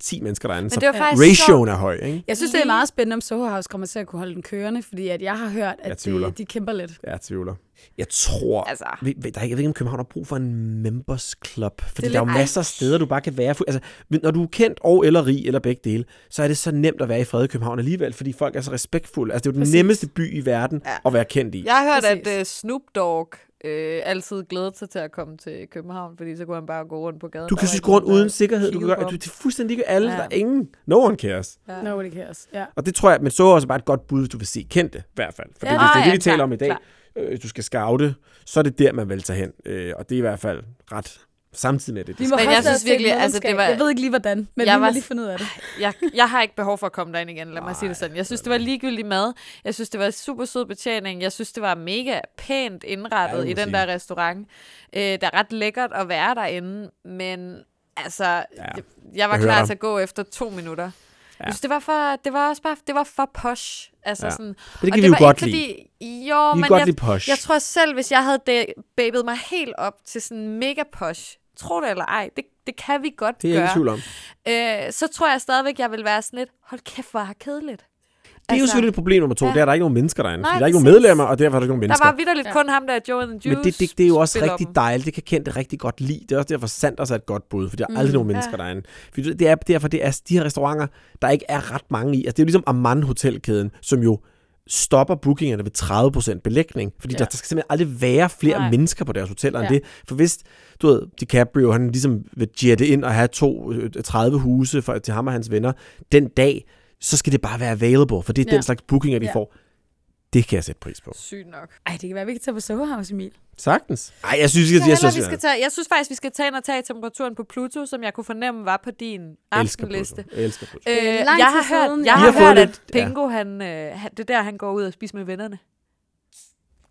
Speaker 4: 10 mennesker derinde,
Speaker 3: Men
Speaker 4: så
Speaker 3: det var faktisk
Speaker 4: ratioen er høj, ikke?
Speaker 2: Jeg synes, det er meget spændende, om Soho House kommer til at kunne holde den kørende, fordi at jeg har hørt,
Speaker 4: Jeg
Speaker 2: at
Speaker 4: tvivler.
Speaker 2: de, de kæmper lidt.
Speaker 4: Ja, Jeg tvivler. Jeg tror...
Speaker 3: Altså.
Speaker 4: Altså. Ved, ved, der, er- jeg ved ikke, om København har brug for en members club. Fordi
Speaker 2: lidt-
Speaker 4: der er jo
Speaker 2: Ej.
Speaker 4: masser af steder, du bare kan være... fu- Altså, men når du er kendt og eller rig eller begge dele, så er det så nemt at være i fred i København alligevel, fordi folk er så respektfulde. Altså, det er jo den
Speaker 2: Præcis.
Speaker 4: nemmeste by i verden ja. at være kendt i.
Speaker 3: Jeg har hørt,
Speaker 2: Præcis.
Speaker 3: at uh, Snoop Dogg øh, altid glædede sig til at komme til København, fordi så kunne han bare gå rundt på gaden.
Speaker 4: Du
Speaker 3: Der
Speaker 4: kan
Speaker 3: var
Speaker 4: synes
Speaker 3: ikke
Speaker 4: gå rundt
Speaker 3: nogen, der
Speaker 4: uden sikkerhed. Du kan
Speaker 3: kiggede
Speaker 4: gøre,
Speaker 3: på
Speaker 4: du,
Speaker 3: ham.
Speaker 4: det er fuldstændig ikke alle.
Speaker 3: Ja.
Speaker 4: Ja. Der er ingen. No one cares.
Speaker 3: Ja.
Speaker 2: Nobody cares. Ja.
Speaker 4: Og det tror jeg, men så er også bare et godt bud, hvis du vil se kendte, i hvert fald. For
Speaker 2: Ja.
Speaker 4: det, det, det,
Speaker 3: Ah,
Speaker 4: det,
Speaker 3: ja,
Speaker 4: vi taler
Speaker 3: klar,
Speaker 4: om i dag.
Speaker 3: klar.
Speaker 4: øh, du skal scoute, så er det der, man vil tage hen. Øh, og det er i hvert fald ret samtidig med det.
Speaker 2: Vi
Speaker 4: det
Speaker 2: må
Speaker 3: Men
Speaker 2: hoppe
Speaker 3: jeg
Speaker 2: os
Speaker 3: synes
Speaker 2: til et
Speaker 3: virkelig, altså, det
Speaker 2: medlemskab.
Speaker 3: var-
Speaker 2: Jeg ved ikke lige, hvordan, men
Speaker 3: Jeg
Speaker 2: vi må
Speaker 3: var-
Speaker 2: lige finde ud af det.
Speaker 3: jeg, jeg har ikke behov for at komme derind igen, lad mig sige det sådan. Jeg synes, det var ligegyldig mad. Jeg synes, det var super sød betjening. Jeg synes, det var mega pænt
Speaker 4: Ja,
Speaker 3: indrettet ja,
Speaker 4: det må
Speaker 3: i den
Speaker 4: sige.
Speaker 3: der restaurant. Øh, det er ret lækkert at være derinde, men altså, ja, jeg, jeg var
Speaker 4: jeg
Speaker 3: jeg
Speaker 4: hører
Speaker 3: klar
Speaker 4: dig.
Speaker 3: til at gå efter to minutter. Ja.
Speaker 4: Ja.
Speaker 3: Jeg synes, det var, for, det var også bare det var for posh. Altså,
Speaker 4: Ja.
Speaker 3: ja. sådan,
Speaker 4: kan
Speaker 3: og
Speaker 4: vi jo
Speaker 3: var
Speaker 4: godt
Speaker 3: ikke,
Speaker 4: lide.
Speaker 3: Fordi, jo,
Speaker 4: Vi
Speaker 3: men
Speaker 4: kan godt
Speaker 3: jeg,
Speaker 4: lide posh.
Speaker 3: jeg tror selv, hvis jeg havde da- babet mig helt op til sådan mega posh, tro det eller ej, det, det kan vi godt
Speaker 4: det er jeg
Speaker 3: gøre
Speaker 4: ikke i tvivl om.
Speaker 3: øh, så tror jeg stadigvæk, jeg vil være sådan lidt, hold kæft, hvor er her kedeligt.
Speaker 4: Det er jo selvfølgelig et problem nummer to,
Speaker 3: Altså, ja.
Speaker 4: ja. det er, at der er ikke nogen mennesker derinde.
Speaker 3: Nej,
Speaker 4: Nej, der er ikke nogen
Speaker 3: præcis.
Speaker 4: medlemmer, og derfor er der ikke nogen
Speaker 3: Der
Speaker 4: mennesker.
Speaker 3: var vidderligt ja. kun ham, der er Joe and the Juice.
Speaker 4: Men det, det, det er jo også
Speaker 3: spiller
Speaker 4: rigtig
Speaker 3: dem.
Speaker 4: dejligt. Det kan Kent rigtig godt lide. Det er også derfor, Sanders er et godt bud, for der er aldrig nogen mennesker derinde. For det er derfor, det er de her restauranter, der ikke er ret mange i. Altså, det er jo ligesom Amman Hotelkæden, som jo stopper bookingerne ved 30% belægning, fordi ja. der, der skal simpelthen aldrig være flere
Speaker 3: Nej.
Speaker 4: Nej. mennesker på deres hoteller end
Speaker 2: Ja.
Speaker 4: ja. det. For hvis, du ved, DiCaprio, han ligesom vil jette ind og have to, øh, 30 huse for, til ham og hans venner den dag, så skal det bare være available, for det er
Speaker 2: Ja.
Speaker 4: den slags bookinger, de
Speaker 2: Ja.
Speaker 4: ja. får. Det kan jeg sætte pris på.
Speaker 3: Sygt nok.
Speaker 2: Ej, det kan være, vi kan tage på Soho House, Emil.
Speaker 4: Sagtens. Ej, jeg synes ikke,
Speaker 3: Jeg,
Speaker 4: at jeg
Speaker 3: heller,
Speaker 4: synes,
Speaker 3: vi skal tage, jeg synes faktisk, vi skal tage ind og tage temperaturen på Pluto, som jeg kunne fornemme var på din
Speaker 4: elsker Pluto.
Speaker 3: aftenliste.
Speaker 4: Elsker Pluto.
Speaker 3: Øh,
Speaker 2: Det er
Speaker 3: jeg
Speaker 2: lang tid
Speaker 3: har hørt,
Speaker 2: siden,
Speaker 3: jeg
Speaker 2: ja.
Speaker 4: Vi
Speaker 3: har
Speaker 4: har
Speaker 3: hørt
Speaker 4: fået
Speaker 3: at
Speaker 4: lidt- ja.
Speaker 3: Pingo, han, øh, han, det er der, han går ud og spiser med vennerne.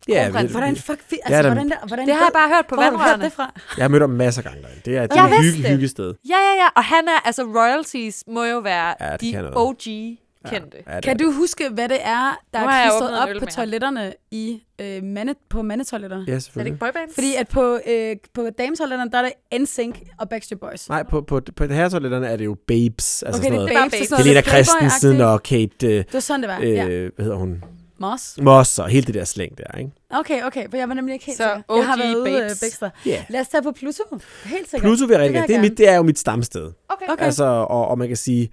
Speaker 4: Ja,
Speaker 3: Kronprins.
Speaker 4: vi-
Speaker 2: Hvordan fuck... fi- Altså,
Speaker 4: er da-
Speaker 2: hvordan, der, hvordan
Speaker 3: Det har jeg
Speaker 2: ved-
Speaker 3: bare hørt på
Speaker 2: Hvor har du hørt
Speaker 3: vandrørene.
Speaker 2: det fra?
Speaker 4: Jeg har mødt ham masser af gange derinde. Det er et
Speaker 3: Jeg vidste
Speaker 4: hygge,
Speaker 3: det.
Speaker 4: hygge sted.
Speaker 3: Ja, ja, ja. Og han er, altså royalties må jo være
Speaker 4: Ja,
Speaker 3: ja,
Speaker 4: det kan
Speaker 3: de
Speaker 4: noget.
Speaker 3: OG-kendte. Ja.
Speaker 4: Ja, det
Speaker 2: Kan
Speaker 4: er det.
Speaker 2: du huske, hvad det er, der
Speaker 3: Nu
Speaker 2: er
Speaker 3: har jeg
Speaker 2: klistret
Speaker 3: åbnet en
Speaker 2: op
Speaker 3: øl
Speaker 2: på
Speaker 3: mere.
Speaker 2: toiletterne i øh, mande, på mandetoiletterne?
Speaker 4: Ja,
Speaker 3: Er det
Speaker 4: selvfølgelig.
Speaker 3: ikke boybands?
Speaker 2: Fordi at på, øh, på dametoiletterne, der er det NSYNC og Backstreet Boys.
Speaker 4: Nej, på, på, på herretoiletterne er det jo babes. Altså
Speaker 2: okay,
Speaker 4: sådan
Speaker 2: det er
Speaker 4: noget.
Speaker 3: bare
Speaker 2: babes. Det er
Speaker 3: babes.
Speaker 2: sådan noget
Speaker 4: Helena
Speaker 2: lidt
Speaker 4: Christensen
Speaker 2: playboy-agtigt.
Speaker 4: og Kate, øh,
Speaker 2: Det var sådan, det var, ja.
Speaker 4: øh, hvad hedder hun?
Speaker 2: Moss.
Speaker 4: Moss og hele det der slæng der, ikke?
Speaker 2: Okay, okay, for jeg var nemlig ikke helt
Speaker 3: Så
Speaker 2: sikker. Jeg har
Speaker 3: OG
Speaker 2: været ude øh,
Speaker 3: babes.
Speaker 2: Bækstra.
Speaker 4: Ja.
Speaker 2: Lad os tage på Pluto. Helt sikkert.
Speaker 4: Pluto vil jeg rigtig
Speaker 2: Det vil
Speaker 4: gerne. Det,
Speaker 2: jeg
Speaker 4: er mit, det er jo mit stamsted.
Speaker 3: Okay.
Speaker 2: Okay.
Speaker 4: Altså, og, og man kan sige,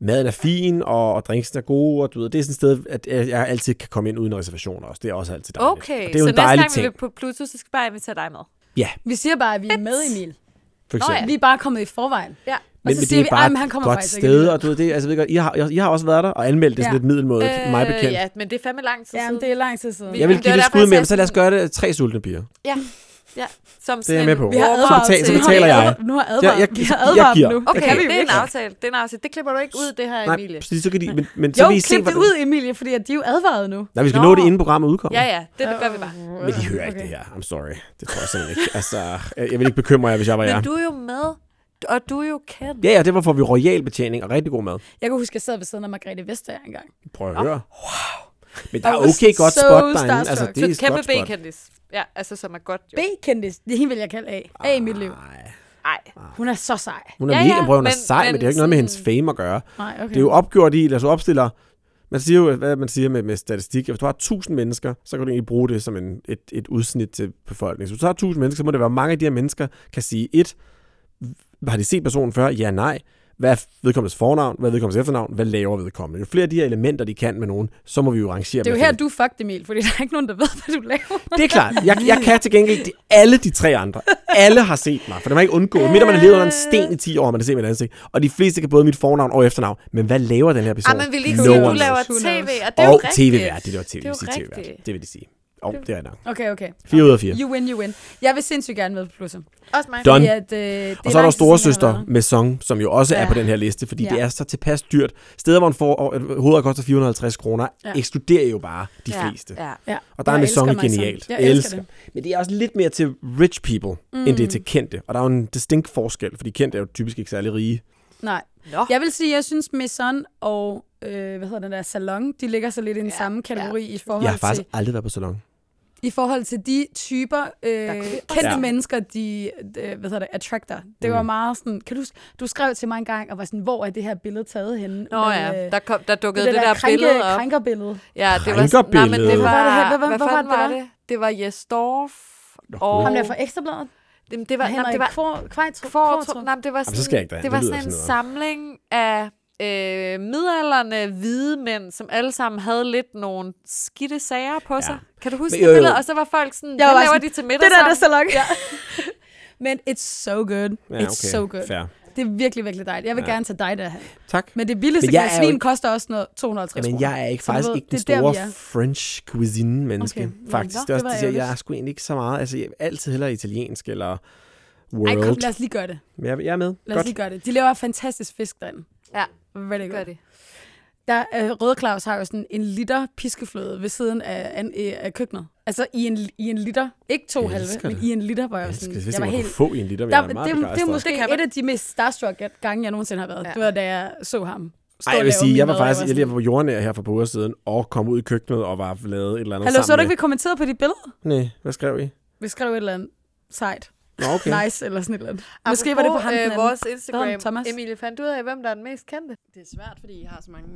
Speaker 4: maden er fin, og, og drinksen er gode, og du ved, det er sådan et sted, at jeg, jeg altid kan komme ind uden reservationer også. Det er også altid dejligt.
Speaker 3: Okay,
Speaker 4: Og det er jo
Speaker 3: så
Speaker 4: en dejlig
Speaker 3: næste gang vi
Speaker 4: ting.
Speaker 3: løber på Pluto, så skal jeg bare invitere dig med.
Speaker 4: Ja,
Speaker 2: Vi siger bare, at vi er med, Emil.
Speaker 4: for
Speaker 3: Nå ja.
Speaker 4: eksempel.
Speaker 2: Vi er bare kommet i forvejen.
Speaker 3: Ja.
Speaker 2: Og så siger vi, "Ej, men han kommer
Speaker 4: godt
Speaker 2: faktisk ikke
Speaker 4: sted,
Speaker 2: alligevel."
Speaker 4: og du ved, det, altså, jeg ved godt, I har, I har også været der og anmeldt det sådan
Speaker 2: Ja.
Speaker 4: lidt middelmådigt, øh, mig bekendt.
Speaker 3: Ja, men det er fandme lang tid
Speaker 2: Jamen,
Speaker 3: siden.
Speaker 2: det er lang tid siden.
Speaker 3: Vi-
Speaker 4: Jeg vil
Speaker 3: Jamen, det
Speaker 4: give
Speaker 3: var
Speaker 4: det
Speaker 3: derfor,
Speaker 4: skud
Speaker 3: jeg
Speaker 4: med,
Speaker 3: sagde
Speaker 4: men så lad os gøre det tre sultne piger.
Speaker 3: Ja, ja. Som
Speaker 4: Det er jeg med på.
Speaker 2: Vi har
Speaker 4: Så
Speaker 2: advaret
Speaker 4: betal- så
Speaker 2: til-
Speaker 4: betaler
Speaker 2: Nu har-
Speaker 4: jeg.
Speaker 2: Nu har advaret.
Speaker 4: Jeg- jeg-
Speaker 2: vi har
Speaker 4: jeg
Speaker 2: advaret
Speaker 4: giver.
Speaker 2: nu.
Speaker 3: Okay,
Speaker 2: kan vi
Speaker 3: det
Speaker 2: jo
Speaker 3: er en
Speaker 2: ikke.
Speaker 3: aftale. Det er en aftale. Det klipper du ikke ud, det her,
Speaker 4: Nej,
Speaker 3: Emilie.
Speaker 4: præcis, så kan de, men, men så
Speaker 2: Jo,
Speaker 4: vil I se,
Speaker 2: klip det
Speaker 4: hvordan-
Speaker 2: ud, Emilie, fordi at de er jo advaret nu.
Speaker 4: Nej, vi skal
Speaker 3: Nå.
Speaker 4: nå det, inden programmet udkommer.
Speaker 3: Ja, ja, det, det gør vi bare.
Speaker 4: Men de hører ikke det her. I'm sorry. Det tror jeg simpelthen ikke. Altså, jeg, jeg vil ikke bekymre jer, hvis jeg var jer.
Speaker 3: Men du er jo med, og du er jo kendt.
Speaker 4: Ja, ja, derfor får vi royal betjening og rigtig god mad.
Speaker 2: Jeg kan huske, jeg sad ved siden af Margrethe Vestager engang.
Speaker 4: Prøv at høre. Wow. Men der er
Speaker 2: I was
Speaker 4: okay godt
Speaker 2: so
Speaker 4: spot derinde.
Speaker 2: starstruck.
Speaker 4: Altså, det er
Speaker 3: Så
Speaker 4: et
Speaker 3: kæmpe
Speaker 4: godt spot.
Speaker 3: B-kendis. Ja, altså som er godt jo.
Speaker 2: B-kendis, det er hende, vil jeg kalde A. A i mit liv.
Speaker 4: Nej.
Speaker 3: Nej.
Speaker 2: Hun er så sej.
Speaker 4: Hun er
Speaker 3: Ja,
Speaker 4: ja,
Speaker 3: ja,
Speaker 4: mega, prøv, hun er
Speaker 3: men-
Speaker 4: sej, men,
Speaker 3: men
Speaker 4: det er jo ikke noget med hendes
Speaker 3: sådan-
Speaker 4: fame at gøre.
Speaker 2: Nej, okay.
Speaker 4: Det er jo opgjort i, lad os opstille, man siger jo, hvad man siger med, med statistik, hvis du har 1000 mennesker, så kan du egentlig bruge det som en, et, et udsnit til befolkningen. Så hvis du har 1000 mennesker, så må det være, at mange af de her mennesker kan sige, et, har de set personen før? Ja, nej. Hvad er vedkommendes fornavn? Hvad er vedkommendes efternavn? Hvad laver vedkommende? Jo flere af de her elementer, de kan med nogen, så må vi jo rangere
Speaker 2: det er
Speaker 4: dem
Speaker 2: jo her,
Speaker 4: efter
Speaker 2: du er fucked, Emil, fordi der er ikke nogen, der ved, hvad du laver.
Speaker 4: det. Det er klart. Jeg, jeg kan til gengæld de, alle de tre andre. Alle har set mig, for det må ikke undgå. Midt om man har levet under en sten i 10 år, har man har set mit ansigt. Og de fleste kan både mit fornavn og efternavn. Men hvad laver den her person?
Speaker 3: Ej, Ah, men vi lige
Speaker 4: No
Speaker 3: sige, at du
Speaker 4: one
Speaker 3: laver
Speaker 4: knows.
Speaker 2: knows.
Speaker 3: tv, og det er jo
Speaker 4: Og
Speaker 3: rigtigt.
Speaker 4: tv-vært, det er jo tv,
Speaker 3: Det er jo
Speaker 4: det sige
Speaker 3: rigtigt.
Speaker 4: tv-vært. Det vil de sige. Og det er nok.
Speaker 2: Okay, okay.
Speaker 4: 4 ud af 4.
Speaker 2: You win, you win. Jeg vil sindssygt gerne med på Plusso.
Speaker 3: Også mig.
Speaker 4: Done.
Speaker 2: Fordi at, øh, det
Speaker 4: Og så
Speaker 2: lang tid
Speaker 4: er der
Speaker 2: siden, jeg har
Speaker 4: storesøster
Speaker 2: været der.
Speaker 4: med Song, som jo også
Speaker 2: Ja.
Speaker 4: er på den her liste, fordi
Speaker 2: Ja.
Speaker 4: det er så tilpas dyrt. Steder, hvor en for, øh, hovedet koster 450 kroner,
Speaker 2: Ja.
Speaker 4: ekskluderer jo bare de
Speaker 3: Ja,
Speaker 4: fleste.
Speaker 3: ja.
Speaker 2: Ja.
Speaker 4: Og der er
Speaker 2: Jeg
Speaker 4: med
Speaker 2: elsker
Speaker 4: Song er
Speaker 2: mig selv.
Speaker 4: genialt.
Speaker 2: Jeg elsker det.
Speaker 4: Men det er også lidt mere til rich people, mm. end det er til kendte. Og der er jo en distinkt forskel, fordi kendte er jo typisk ikke særlig rige.
Speaker 2: Nej.
Speaker 3: Nå.
Speaker 2: Jeg vil sige, at jeg synes, Maison og øh, hvad hedder den der Salon, de ligger så lidt i den ja, samme kategori ja. i, forhold
Speaker 4: Jeg har
Speaker 2: til,
Speaker 4: faktisk aldrig været på salon.
Speaker 2: i forhold til de typer øh, kendte ja.
Speaker 4: Ja.
Speaker 2: mennesker, de øh, hvad hedder det, attractor. Det var meget sådan, kan du, huske- du skrev til mig en gang, og var sådan, hvor er det her billede taget henne?
Speaker 3: Nå
Speaker 2: Men,
Speaker 3: ja,
Speaker 2: øh,
Speaker 3: der, kom, der dukkede
Speaker 2: det,
Speaker 3: det, der,
Speaker 2: krænke,
Speaker 3: billede op.
Speaker 2: krænkerbillede.
Speaker 3: Ja, det var, sådan- nej, men det
Speaker 4: Krænkerbillede.
Speaker 3: var,
Speaker 2: Hvad var det her? Hvad- hvad-
Speaker 3: hvad
Speaker 2: hvad var
Speaker 3: fanden
Speaker 2: det,
Speaker 3: var
Speaker 2: der?
Speaker 3: det? Det var Jesdorf, og...
Speaker 2: Ham der fra Ekstrabladet?
Speaker 3: Jamen, det var,
Speaker 2: Henrik
Speaker 3: nej, det var
Speaker 2: Kvor- Kvejtrup?
Speaker 3: Kvartrup.
Speaker 2: Kvartrup?
Speaker 3: Nej, men det var sådan,
Speaker 4: Jamen, så skal jeg ikke derind.
Speaker 3: det
Speaker 4: Det
Speaker 3: var
Speaker 4: lyder
Speaker 3: sådan en
Speaker 4: sådan
Speaker 3: samling af
Speaker 4: noget.
Speaker 3: øh, midalderne hvide mænd, som alle sammen havde lidt nogle skidte sager på ja. sig. Kan du huske
Speaker 4: Men jo,
Speaker 3: det
Speaker 4: jo.
Speaker 3: billede? Og så var folk sådan,
Speaker 2: Jeg
Speaker 3: hvad
Speaker 2: var
Speaker 3: laver
Speaker 2: sådan,
Speaker 3: de til middag
Speaker 2: Det der, det er
Speaker 3: sammen?
Speaker 2: Salon. Ja. men it's so good.
Speaker 4: Ja,
Speaker 2: it's so good.
Speaker 4: Fair.
Speaker 2: Det Det er virkelig, virkelig dejligt. Jeg vil ja. gerne tage dig derhen.
Speaker 4: Tak.
Speaker 2: Men det billigste
Speaker 4: Men jeg
Speaker 2: glas
Speaker 4: er jo
Speaker 2: svin
Speaker 4: ikke-
Speaker 2: koster også noget 250
Speaker 4: Jamen, jeg er ikke,
Speaker 2: Så du
Speaker 4: faktisk
Speaker 2: ved,
Speaker 4: ikke den
Speaker 2: det er der,
Speaker 4: store
Speaker 2: vi er.
Speaker 4: French cuisine-menneske,
Speaker 2: Okay.
Speaker 4: okay. faktisk.
Speaker 2: Nå,
Speaker 4: Nå, det er
Speaker 2: det
Speaker 4: også
Speaker 2: var
Speaker 4: det, jeg, jeg er
Speaker 2: ærgerligt.
Speaker 4: sgu egentlig ikke så meget. Altså, jeg er altid hellere italiensk eller
Speaker 2: Ej,
Speaker 4: world.
Speaker 2: kom, lad os lige gøre det.
Speaker 4: Men jeg, jeg er med.
Speaker 2: Lad os
Speaker 4: Godt.
Speaker 2: lige gøre det. De laver fantastisk fisk derinde.
Speaker 3: Ja,
Speaker 2: Very
Speaker 3: gør
Speaker 2: good.
Speaker 3: det.
Speaker 2: Der, øh, Røde Claus har jo sådan en liter piskefløde ved siden af, an, øh, af køkkenet. Altså i en, i en liter. Ikke to
Speaker 4: Jeg
Speaker 2: halve,
Speaker 4: elsker
Speaker 2: men
Speaker 4: det.
Speaker 2: i en liter, hvor jeg,
Speaker 4: Jeg
Speaker 2: var
Speaker 4: skal
Speaker 2: sådan,
Speaker 4: vidste,
Speaker 2: jeg var
Speaker 4: man helt...
Speaker 2: helt...
Speaker 4: kunne få en liter, men
Speaker 2: Der,
Speaker 4: jeg er
Speaker 2: det,
Speaker 4: meget
Speaker 2: det, det er
Speaker 4: begejstret.
Speaker 2: måske
Speaker 3: Det kan man.
Speaker 2: et af de mest starstruck gange, jeg nogensinde har været.
Speaker 3: Ja.
Speaker 2: Ja. Det var, da jeg så ham. stå
Speaker 4: Ej, jeg
Speaker 2: og
Speaker 4: vil
Speaker 2: lave
Speaker 4: sige, jeg
Speaker 2: min mad,
Speaker 4: var
Speaker 2: og
Speaker 4: faktisk, jeg
Speaker 2: sådan,
Speaker 4: lige var jordnær her for på uger siden, og kom ud i køkkenet og var lavet et eller andet
Speaker 2: Hallo, så du
Speaker 4: sammen
Speaker 2: ikke, vi kommenterede på dit billede?
Speaker 4: med... Nej, hvad skrev I?
Speaker 2: Vi skrev et eller andet sejt,
Speaker 4: Nå, okay.
Speaker 2: okay. nice eller sådan et eller andet. Måske var det på ham den
Speaker 3: øh,
Speaker 2: anden.
Speaker 3: vores
Speaker 2: Hvad hedder
Speaker 3: Instagram.
Speaker 2: han? Thomas?
Speaker 3: Emilie fandt ud af, hvem der er den mest kendte.
Speaker 6: Det er svært, fordi I har så mange,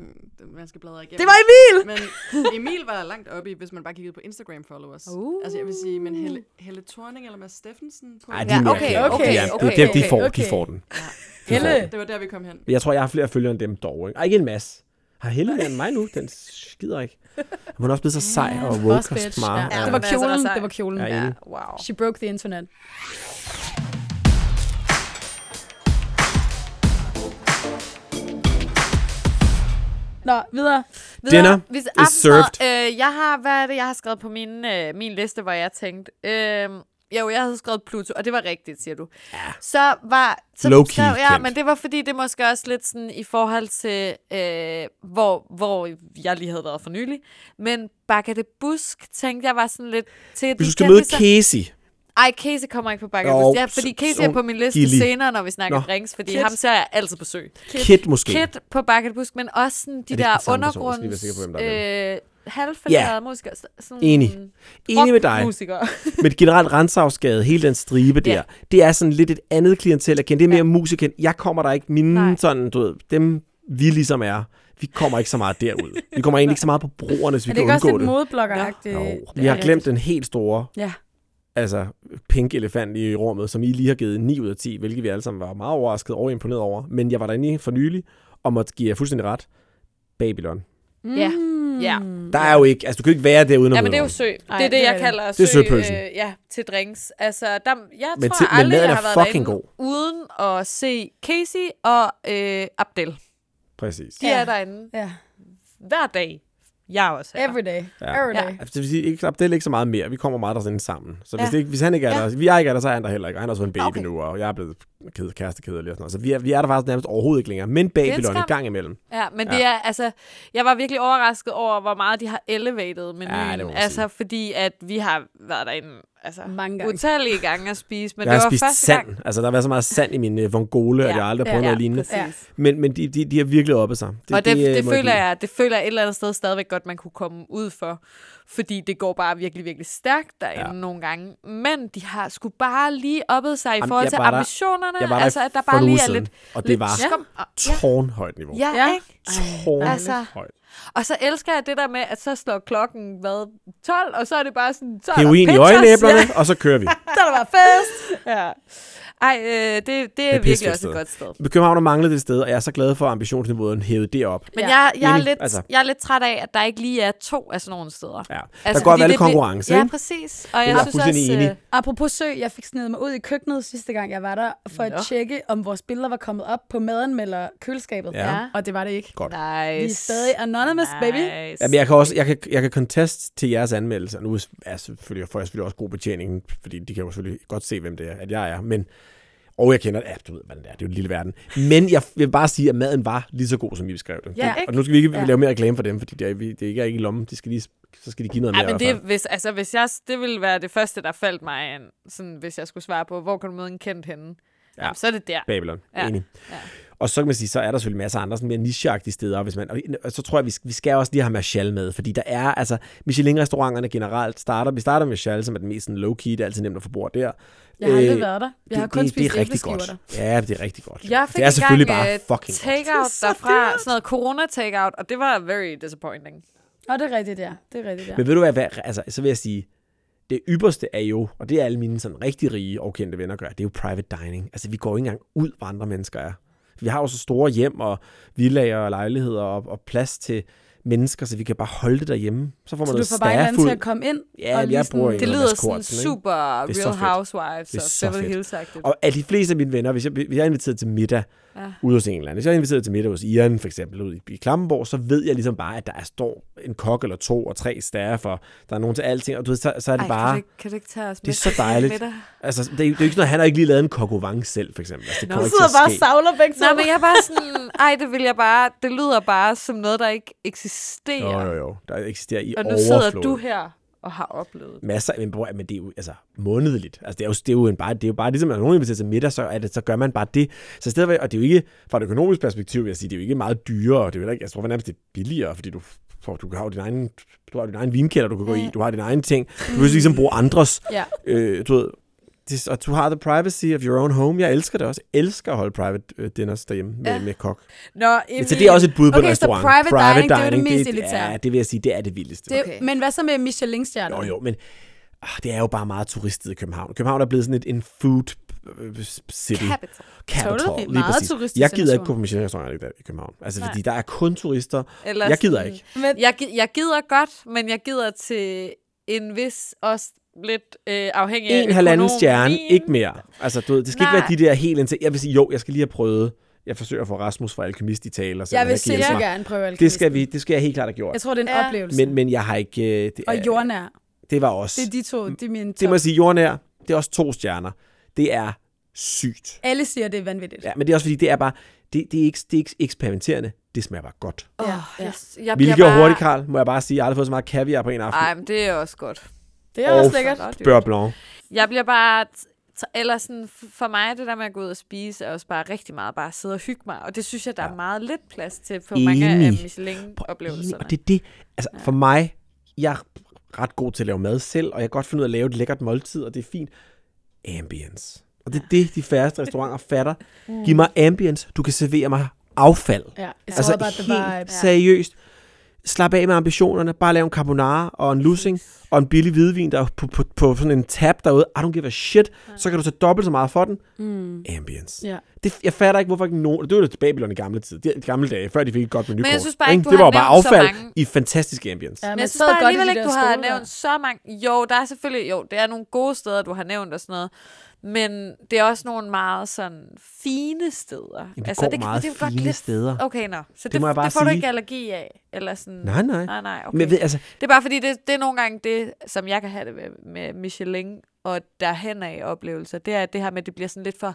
Speaker 6: man skal bladre igennem.
Speaker 2: Det var Emil!
Speaker 6: Men Emil var langt oppe i, hvis man bare kiggede på Instagram-followers.
Speaker 3: Uh.
Speaker 6: Altså jeg vil sige, men Helle, Helle Thorning eller Mads Steffensen? På
Speaker 4: Ej, de er mere
Speaker 3: okay,
Speaker 4: kendte.
Speaker 3: okay,
Speaker 4: De er-
Speaker 3: okay,
Speaker 4: det er- de
Speaker 3: okay,
Speaker 4: får, de
Speaker 2: okay.
Speaker 4: får den.
Speaker 2: Helle.
Speaker 6: Det var der, vi kom hen.
Speaker 4: Men Jeg tror, jeg har flere følgere end dem dog. Ikke? Ej, ikke en masse. Har Helle mere end mig nu? Den skider ikke. Hun er også blevet så sej og woke
Speaker 2: Boss
Speaker 4: og
Speaker 2: bitch.
Speaker 4: smart.
Speaker 2: Ja.
Speaker 4: Ja.
Speaker 2: Det var
Speaker 3: men altså,
Speaker 2: kjolen,
Speaker 3: der er
Speaker 2: det var kjolen.
Speaker 4: Ja, enig.
Speaker 3: Wow.
Speaker 2: She broke the internet. Nå, videre.
Speaker 4: Dinner
Speaker 3: hvis
Speaker 4: is served.
Speaker 3: Øh, jeg har, hvad er det, jeg har skrevet på min, øh, min liste, hvor jeg tænkte... Øh, jo, jeg havde skrevet Pluto, og det var rigtigt, siger du. Ja. Så var... Så
Speaker 4: Low-key
Speaker 3: skrev jeg,
Speaker 4: kendt.
Speaker 3: men det var fordi, det måske også lidt sådan i forhold til, øh, hvor, hvor jeg lige havde været for nylig. Men Bakke det Busk, tænkte jeg var sådan lidt til de
Speaker 4: Hvis du skal møde
Speaker 3: kendte,
Speaker 4: Casey,
Speaker 3: Ej, Casey kommer ikke på Bakke
Speaker 4: Jo,
Speaker 3: det Busk. Ja,
Speaker 4: så-
Speaker 3: fordi Casey
Speaker 4: så-
Speaker 3: er på min liste
Speaker 4: Gilly.
Speaker 3: senere, når vi snakker
Speaker 4: Nå.
Speaker 3: drinks, fordi
Speaker 2: Kit.
Speaker 3: ham ser jeg altid på sø.
Speaker 4: Kid måske.
Speaker 3: Kid på Bucket Busk, men også sådan de
Speaker 4: Er det ikke
Speaker 3: der
Speaker 4: den samme person? Jeg skal lige være
Speaker 3: undergrunds...
Speaker 4: sikker på, hvem der
Speaker 3: Øh, halvfalderede yeah. musikere. s- Sådan
Speaker 4: Enig. Enig med dig.
Speaker 3: Musikere.
Speaker 4: Men generelt Renshavsgade, hele den stribe der,
Speaker 3: Ja.
Speaker 4: det er sådan lidt et andet klientel at kende. Det er mere ja. musikken. Jeg kommer der ikke. Mine
Speaker 3: Nej.
Speaker 4: sådan, du ved, dem vi ligesom er, vi kommer ikke så meget derud. Vi kommer egentlig ikke så meget på broerne, hvis vi
Speaker 2: Er det
Speaker 4: kan
Speaker 2: ikke også
Speaker 4: undgå
Speaker 2: lidt
Speaker 4: det.
Speaker 2: modebloggeragtigt?
Speaker 4: Jo, vi Øh, har glemt den helt store,
Speaker 2: Ja.
Speaker 4: altså pink elefant i rummet, som I lige har givet 9 ud af 10, hvilket vi alle sammen var meget overrasket og imponeret over. Men jeg var derinde for nylig, og måtte give jer fuldstændig ret. Babylon.
Speaker 3: Ja.
Speaker 2: Mm.
Speaker 3: Ja.
Speaker 4: Der er jo ikke, altså du kan jo ikke være der uden at
Speaker 3: Ja,
Speaker 4: møde
Speaker 3: men det er jo
Speaker 4: nogen.
Speaker 3: sø. Det er
Speaker 2: Ej,
Speaker 3: det,
Speaker 2: det er
Speaker 3: jeg
Speaker 2: det.
Speaker 3: kalder
Speaker 4: Det er
Speaker 3: sø.
Speaker 4: søpølsen.
Speaker 3: øh, ja, til drinks. Altså, der, jeg
Speaker 4: Men
Speaker 3: tror
Speaker 4: til- men
Speaker 3: aldrig,
Speaker 4: maden
Speaker 3: jeg
Speaker 4: er
Speaker 3: har været
Speaker 4: fucking
Speaker 3: derinde uden at se Casey og øh, Abdel.
Speaker 4: Præcis.
Speaker 3: De
Speaker 2: Ja.
Speaker 3: er derinde
Speaker 2: Ja.
Speaker 3: hver dag. Jeg er også her.
Speaker 2: Every day.
Speaker 4: Ja.
Speaker 2: Every
Speaker 3: Ja.
Speaker 2: day.
Speaker 4: Altså, det vil sige, ikke, det er ikke så meget mere. Vi kommer meget der sådan sammen. Så hvis,
Speaker 3: Ja.
Speaker 4: det ikke, hvis han ikke er
Speaker 3: Ja.
Speaker 4: der, vi er ikke er der, så er han der heller ikke. Og Han har fået en baby
Speaker 3: Okay.
Speaker 4: okay. nu, og jeg er blevet ked, kæreste kedelig og sådan noget. Så vi er, vi er der faktisk nærmest overhovedet ikke længere. Men Babylon en
Speaker 3: skam.
Speaker 4: gang imellem.
Speaker 3: Ja, men det er, altså, jeg var virkelig overrasket over, hvor meget de har elevated menuen.
Speaker 4: det må man
Speaker 3: altså, fordi at vi har været derinde, altså,
Speaker 2: Mange gange.
Speaker 3: utallige gange at spise, men
Speaker 4: jeg
Speaker 3: det
Speaker 4: har
Speaker 3: var
Speaker 4: spist
Speaker 3: første
Speaker 4: sand.
Speaker 3: gang.
Speaker 4: Altså, der har været så meget sand i min øh, vongole,
Speaker 3: Ja.
Speaker 4: at jeg aldrig har
Speaker 2: Ja.
Speaker 4: prøvet
Speaker 3: Ja,
Speaker 4: noget lignende.
Speaker 3: præcis.
Speaker 4: Men, men de, de, de har virkelig oppe sig.
Speaker 3: Det, og det,
Speaker 4: øh,
Speaker 3: det, det,
Speaker 4: må give.
Speaker 3: føler jeg, det føler jeg et eller andet sted stadigvæk godt, man kunne komme ud for. Fordi det går bare virkelig, virkelig stærkt derinde
Speaker 4: Ja.
Speaker 3: ja. nogle gange. Men de har sgu bare lige oppet sig i
Speaker 4: Jamen,
Speaker 3: forhold
Speaker 4: jeg
Speaker 3: til
Speaker 4: var der-
Speaker 3: ambitionerne.
Speaker 4: Jeg var der
Speaker 3: altså,
Speaker 4: altså,
Speaker 3: at der
Speaker 4: for en
Speaker 3: bare
Speaker 4: uge
Speaker 3: lige er
Speaker 4: siden,
Speaker 3: lidt...
Speaker 4: lidt, og det
Speaker 3: lidt
Speaker 4: var
Speaker 3: skum.
Speaker 4: tårnhøjt niveau.
Speaker 3: Ja,
Speaker 2: Ja.
Speaker 3: ja, ikke? altså.
Speaker 4: Tårnhøjt.
Speaker 3: Og så elsker jeg det der med, at så slår klokken, hvad, 12, og så er det bare sådan... Så er der
Speaker 4: Heroin i
Speaker 3: pitchers.
Speaker 4: øjenæblerne, og så kører vi.
Speaker 2: Så er der var fest!
Speaker 3: Ja. Ej, øh, det, det, det er virkelig
Speaker 4: pissefedt
Speaker 3: også
Speaker 4: sted.
Speaker 3: et godt sted.
Speaker 4: København har manglet det sted, og jeg er så glad for, at ambitionsniveauet hævet det op.
Speaker 3: Men jeg, jeg, er
Speaker 4: Enig.
Speaker 3: lidt,
Speaker 4: Altså.
Speaker 3: altså. jeg er lidt træt af, at der ikke lige er to af sådan nogle steder.
Speaker 4: Ja. der
Speaker 3: Altså,
Speaker 4: går
Speaker 3: fordi
Speaker 4: godt være lidt
Speaker 3: det bliver-
Speaker 4: konkurrence,
Speaker 3: Ja,
Speaker 4: ikke?
Speaker 3: præcis. Og
Speaker 4: Jeg
Speaker 3: jeg
Speaker 4: er
Speaker 3: synes
Speaker 4: fuldstændig
Speaker 3: også,
Speaker 4: enig.
Speaker 3: øh,
Speaker 2: Apropos sø, jeg fik snedet mig ud i køkkenet sidste gang, jeg var der, for at
Speaker 3: Nå.
Speaker 2: tjekke, om vores billeder var kommet op på madanmelder køleskabet.
Speaker 4: Ja. Ja.
Speaker 2: Og det var det ikke.
Speaker 4: Godt.
Speaker 3: nice.
Speaker 2: Vi er stadig anonymous,
Speaker 3: nice.
Speaker 2: baby.
Speaker 4: Jamen, jeg kan også, jeg kan, jeg kan contest til jeres anmeldelser. Nu er jeg selvfølgelig, får jeg selvfølgelig også god betjening, fordi de kan jo selvfølgelig godt se, hvem det er, at jeg er. Men, og jeg kender, ja, du ved, hvordan det er. Det er jo en lille verden. Men jeg vil bare sige, at maden var lige så god, som I beskrev den.
Speaker 3: Ja,
Speaker 4: Det-
Speaker 3: ikke?
Speaker 4: og nu skal vi ikke
Speaker 2: Ja.
Speaker 4: lave mere reklame for dem, fordi det er, vi- det er ikke i lommen. De skal lige, så skal de give noget
Speaker 3: Ej,
Speaker 4: mere.
Speaker 3: men
Speaker 4: i hvert
Speaker 3: det, hvis, altså, hvis jeg, det ville være det første, der faldt mig ind, sådan, hvis jeg skulle svare på, hvor kan du møde en kendt henne? Ja. Jamen, så er det der.
Speaker 4: Babylon, ja.
Speaker 3: Ja.
Speaker 4: enig. Ja.
Speaker 3: Ja.
Speaker 4: Og så kan man sige, så er der selvfølgelig masser af andre sådan mere nicheagtige steder, hvis man, og og så tror jeg, vi, vi skal også lige have Marshall med, fordi der er, altså Michelin-restauranterne generelt starter, vi starter med Marshall, som er den mest sådan low-key, det er altid nemt at få bord der.
Speaker 2: Jeg har aldrig
Speaker 4: Øh,
Speaker 2: været der. Jeg har
Speaker 4: det-
Speaker 2: kun
Speaker 4: det,
Speaker 2: spist
Speaker 4: det er rigtig
Speaker 2: æbleskiver
Speaker 4: godt.
Speaker 2: der.
Speaker 4: Ja, det er rigtig godt.
Speaker 3: Jeg fik
Speaker 4: det er selvfølgelig
Speaker 3: engang,
Speaker 4: bare
Speaker 3: øh,
Speaker 4: fucking godt.
Speaker 3: take-out derfra, sådan noget corona-take-out, og det var very disappointing.
Speaker 2: Og det er rigtigt, ja. Det er rigtigt, ja.
Speaker 4: Men ved du hvad, hvad, altså, så vil jeg sige, det ypperste er jo, og det er alle mine sådan rigtig rige og kendte venner gør, det er jo private dining. Altså, vi går jo ikke engang ud, hvor andre mennesker er. Vi har jo så store hjem og villager og lejligheder og, og plads til mennesker, så vi kan bare holde det derhjemme. Så får man
Speaker 2: Så du
Speaker 4: noget
Speaker 2: får bare en eller anden til
Speaker 4: staffuld.
Speaker 2: at komme ind.
Speaker 4: Ja,
Speaker 2: og
Speaker 4: jeg
Speaker 2: lige
Speaker 4: bruger
Speaker 2: sådan,
Speaker 3: Det
Speaker 4: Eller
Speaker 3: lyder
Speaker 4: Mads
Speaker 3: sådan
Speaker 4: Cortzen, ikke?
Speaker 3: super
Speaker 4: Det er så
Speaker 3: Real
Speaker 4: fedt.
Speaker 3: Housewives
Speaker 4: Det
Speaker 3: og
Speaker 4: er så
Speaker 3: Beverly
Speaker 4: fedt.
Speaker 3: hills -agtigt.
Speaker 4: Og af de fleste af mine venner, hvis jeg, hvis jeg er inviteret til middag ja. ude hos en eller anden, hvis jeg er inviteret til middag hos Iren for eksempel ude i, i Klampenborg, så ved jeg ligesom bare, at der er, står en kok eller to og tre staff, og der er nogen til alting, og du ved, så, så er det
Speaker 3: Ej, kan
Speaker 4: bare...
Speaker 3: du, ikke, kan du ikke tage os
Speaker 4: Det er
Speaker 3: med
Speaker 4: så
Speaker 3: til
Speaker 4: dejligt.
Speaker 3: middag?
Speaker 4: Altså, det er, jo- det er jo ikke noget, han har ikke lige lavet en kokovang selv, for eksempel. Altså, det
Speaker 3: Nå.
Speaker 4: kommer
Speaker 2: Du
Speaker 4: ikke
Speaker 2: sidder
Speaker 4: til at
Speaker 2: bare og
Speaker 4: ske.
Speaker 2: savler begge
Speaker 3: Nej,
Speaker 2: to.
Speaker 3: men jeg er bare sådan, ej, det vil jeg bare, det lyder bare som noget, der ikke eksisterer.
Speaker 4: Jo, jo, jo. Der eksisterer i
Speaker 3: Og nu
Speaker 4: overflod.
Speaker 3: sidder du her og har oplevet det.
Speaker 4: masser, men, bror, men det er jo altså, månedligt. Altså, det er jo, det er jo, en bare, det er jo bare ligesom, at når nogen inviterer til middag, så, er det, så gør man bare det. Så i stedet for, og det er jo ikke, fra et økonomisk perspektiv, vil jeg sige, det er jo ikke meget dyrere, og det er jo heller ikke, jeg tror for nærmest, det er billigere, fordi du, for du har jo din egen, du har din egen vinkælder, du kan gå i, du har din egen ting. Du vil ligesom bruge andres,
Speaker 2: Ja.
Speaker 4: øh, du ved, det, og du har the privacy of your own home. Jeg elsker det også. Jeg elsker at holde private øh, dinners derhjemme med, ja. med kok.
Speaker 2: Nå, Emil.
Speaker 4: Så det er også et bud på
Speaker 2: Okay,
Speaker 4: en
Speaker 2: så
Speaker 4: restaurant.
Speaker 2: private dining, det er jo det mest elitære.
Speaker 4: Ja, det vil jeg sige, det er det vildeste.
Speaker 2: Det, okay. Men hvad så med Michelin-stjerner?
Speaker 4: Jo, jo, men ah, det er jo bare meget turistet i København. København er blevet sådan et, en food øh, city.
Speaker 3: Capital.
Speaker 4: Capital,
Speaker 2: Totally.
Speaker 4: lige
Speaker 2: Meget
Speaker 4: præcis.
Speaker 2: turistisk
Speaker 4: Jeg gider ikke
Speaker 2: natur.
Speaker 4: gå på Michelin-restauranter i dag i København. Altså, fordi der er kun turister.
Speaker 3: Eller
Speaker 4: jeg gider
Speaker 3: sådan-
Speaker 4: ikke.
Speaker 2: Men,
Speaker 3: Jeg, gi- jeg gider godt, men jeg gider til en vis, også lidt øh, afhængig af
Speaker 4: En halvanden
Speaker 3: økonomien.
Speaker 4: stjerne, ikke mere. Altså, du ved, det skal
Speaker 3: Nej.
Speaker 4: ikke være de der helt indtil... Jeg vil sige, jo, jeg skal lige have prøvet... Jeg forsøger at få Rasmus fra Alkemist i tale. Og se,
Speaker 2: jeg
Speaker 4: om han
Speaker 2: vil
Speaker 4: kan hjælpe
Speaker 2: sindssygt
Speaker 4: mig.
Speaker 2: gerne prøve alkohol.
Speaker 4: Det skal, vi, det skal jeg helt klart have
Speaker 2: Jeg
Speaker 4: gjort.
Speaker 2: tror, det er en
Speaker 3: Ja.
Speaker 2: ja. oplevelse.
Speaker 4: Men, men jeg har ikke... øh, Det,
Speaker 2: og
Speaker 4: er-
Speaker 2: jordnær.
Speaker 4: det var også...
Speaker 2: Det er de to, det er mine
Speaker 4: det
Speaker 2: top.
Speaker 4: må jeg sige, jordnær, det er også to stjerner. Det er sygt.
Speaker 2: Alle siger, det er vanvittigt.
Speaker 4: Ja, men det er også fordi, det er bare, det, det, er, ikke, det er ikke eksperimenterende. Det smager bare godt.
Speaker 3: Åh,
Speaker 2: Ja, ja.
Speaker 3: jeg, jeg
Speaker 4: Hvilket
Speaker 3: bliver
Speaker 4: bare... hurtigt, Karl, må jeg bare sige. Jeg har aldrig fået så meget kaviar på en aften.
Speaker 3: Ej, men det er også godt.
Speaker 2: Det er
Speaker 4: Og
Speaker 2: også lækkert.
Speaker 3: Godt,
Speaker 4: Bør blanc.
Speaker 3: Jeg bliver bare... t- Eller sådan, f- for mig, det der med at gå ud og spise, er også bare rigtig meget bare at sidde og hygge mig. Og det synes jeg, der er meget lidt plads til på mange af
Speaker 4: Enig.
Speaker 3: Michelin-oplevelserne.
Speaker 4: Og det er det. Altså, ja. for mig, jeg er ret god til at lave mad selv, og jeg kan godt finde ud af at lave et lækkert måltid, og det er fint. Ambience. Og det er det, de færreste restauranter fatter.
Speaker 2: Mm.
Speaker 4: Giv mig ambience. Du kan servere mig affald.
Speaker 2: Ja, it's
Speaker 4: Altså
Speaker 2: all about the
Speaker 4: helt
Speaker 2: vibe.
Speaker 4: seriøst. Slap af med ambitionerne. Bare lave en carbonara og en lussing og en billig hvidvin, der er på, på, på sådan en tab derude. I don't give a shit. Så kan du tage dobbelt så meget for den. Mm. Ambience.
Speaker 2: Ja.
Speaker 4: Det, jeg fatter ikke, hvorfor ikke nogen... Det var jo til Babylon i gamle tid. De, de gamle dage, før de fik et godt menukort.
Speaker 3: jeg synes bare ikke, du
Speaker 4: Det
Speaker 3: har
Speaker 4: var jo bare
Speaker 3: nævnt så
Speaker 4: affald
Speaker 3: mange.
Speaker 4: i fantastisk ambience.
Speaker 2: Ja,
Speaker 3: Men
Speaker 2: man
Speaker 3: jeg synes
Speaker 2: sad
Speaker 3: bare
Speaker 2: godt i de
Speaker 3: alligevel
Speaker 2: der
Speaker 3: ikke, du har
Speaker 2: stole der.
Speaker 3: nævnt så mange... Jo, der er selvfølgelig... Jo, det er nogle gode steder, du har nævnt og sådan noget. Men det er også nogle meget sådan fine steder.
Speaker 4: Jamen, altså, går det, meget
Speaker 3: er jo
Speaker 4: det fine
Speaker 3: lidt-
Speaker 4: steder.
Speaker 3: Okay, nå. Så det, det,
Speaker 4: må jeg bare
Speaker 3: det får sige. du
Speaker 4: sige.
Speaker 3: ikke allergi af? Eller sådan...
Speaker 4: Nej, nej.
Speaker 3: Nej, nej, okay.
Speaker 4: Men jeg ved, altså,
Speaker 3: Det er bare fordi, det, det er nogle gange det, som jeg kan have det med, med Michelin og derhen af oplevelser, det er det her med, at det bliver sådan lidt for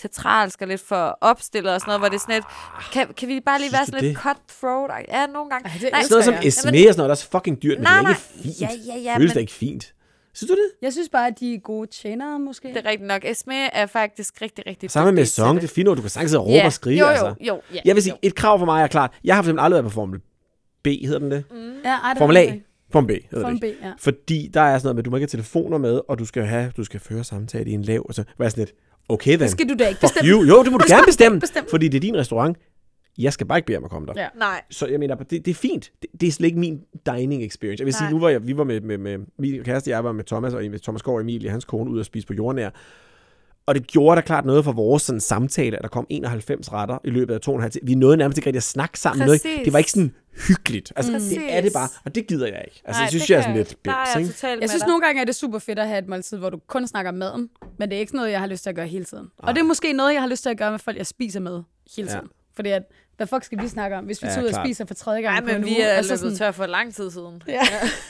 Speaker 3: teatralsk og lidt for opstillet og sådan noget, hvor det er sådan lidt, kan, kan vi bare lige
Speaker 4: Ah, Synes
Speaker 3: være
Speaker 4: du
Speaker 3: sådan lidt
Speaker 4: det?
Speaker 3: cutthroat? Ej, Ja, nogle gange.
Speaker 2: Ej, det
Speaker 3: Nej,
Speaker 2: elsker
Speaker 4: sådan noget
Speaker 2: jeg.
Speaker 4: som E Esme og sådan noget, der er så fucking dyrt, men
Speaker 3: Nej,
Speaker 4: det er ikke
Speaker 3: nej.
Speaker 4: fint.
Speaker 3: Ja, ja, ja,
Speaker 4: Føles det
Speaker 3: men-
Speaker 4: ikke fint? Synes du det?
Speaker 2: Jeg synes bare, at de er gode tjenere, måske.
Speaker 3: det er rigtigt nok. Esme er faktisk rigtig, rigtig
Speaker 4: Sammen med
Speaker 3: dygtig til
Speaker 4: Song, det er fint, at du kan sagtens sidde og råbe
Speaker 3: Ja.
Speaker 4: og skrige.
Speaker 3: Jo, jo,
Speaker 4: altså.
Speaker 3: jo, ja,
Speaker 4: jeg vil sige,
Speaker 3: jo.
Speaker 4: et krav for mig er klart. Jeg har for eksempel aldrig været på Formel B, hedder den det?
Speaker 2: Mm. Ja, ej, det
Speaker 4: Formel
Speaker 2: er
Speaker 4: A.
Speaker 2: rigtigt.
Speaker 4: Formel B hedder
Speaker 2: Formel
Speaker 4: det.
Speaker 2: B, ja.
Speaker 4: Fordi der er sådan noget med, at du må ikke have telefoner med, og du skal, have, du skal føre samtale i en lav. Og så var jeg sådan lidt, okay then. Det
Speaker 2: Skal du da ikke bestemme?
Speaker 4: Jo, jo, det må du gerne bestemme,
Speaker 2: bestemme.
Speaker 4: fordi det er din restaurant. Jeg skal bare ikke bede om at komme der.
Speaker 2: Ja.
Speaker 3: Nej.
Speaker 4: Så jeg mener, det, det er fint. Det, det er slet ikke min dining experience. Jeg vil sige, nu var jeg, vi var med, med, med min kæreste, jeg var med Thomas og med Thomas Gård og Emilie, hans kone, ud og spise på jordnær. Og det gjorde da klart noget for vores sådan, samtale, at der kom 91 retter i løbet af to og en halv time. Vi nåede nærmest ikke rigtig at snakke sammen. Noget.
Speaker 3: Præcis.
Speaker 4: Det var ikke sådan hyggeligt. Altså,
Speaker 3: Præcis.
Speaker 4: det er det bare. Og det gider jeg ikke. Altså,
Speaker 3: Nej,
Speaker 4: jeg synes,
Speaker 3: det
Speaker 4: jeg er
Speaker 3: kan
Speaker 4: sådan lidt
Speaker 3: Der er
Speaker 4: bims,
Speaker 3: jeg altså,
Speaker 4: ikke?
Speaker 3: totalt
Speaker 2: Jeg
Speaker 3: med
Speaker 2: synes,
Speaker 3: dig.
Speaker 2: nogle gange er det super fedt at have et måltid, hvor du kun snakker om maden. Men det er ikke sådan noget, jeg har lyst til at gøre hele tiden. Og det er måske noget, jeg har lyst til at gøre med folk, jeg spiser med hele
Speaker 4: Ja.
Speaker 2: tiden. Fordi at, hvad fuck skal vi snakke om, hvis vi
Speaker 4: Ja,
Speaker 2: tager ud og
Speaker 4: klart.
Speaker 2: spiser for tredje gang
Speaker 3: Nej,
Speaker 2: på en
Speaker 3: men vi
Speaker 2: uge?
Speaker 3: er
Speaker 2: Altså
Speaker 3: løbet
Speaker 2: sådan,
Speaker 3: tør for lang tid siden.
Speaker 2: Ja.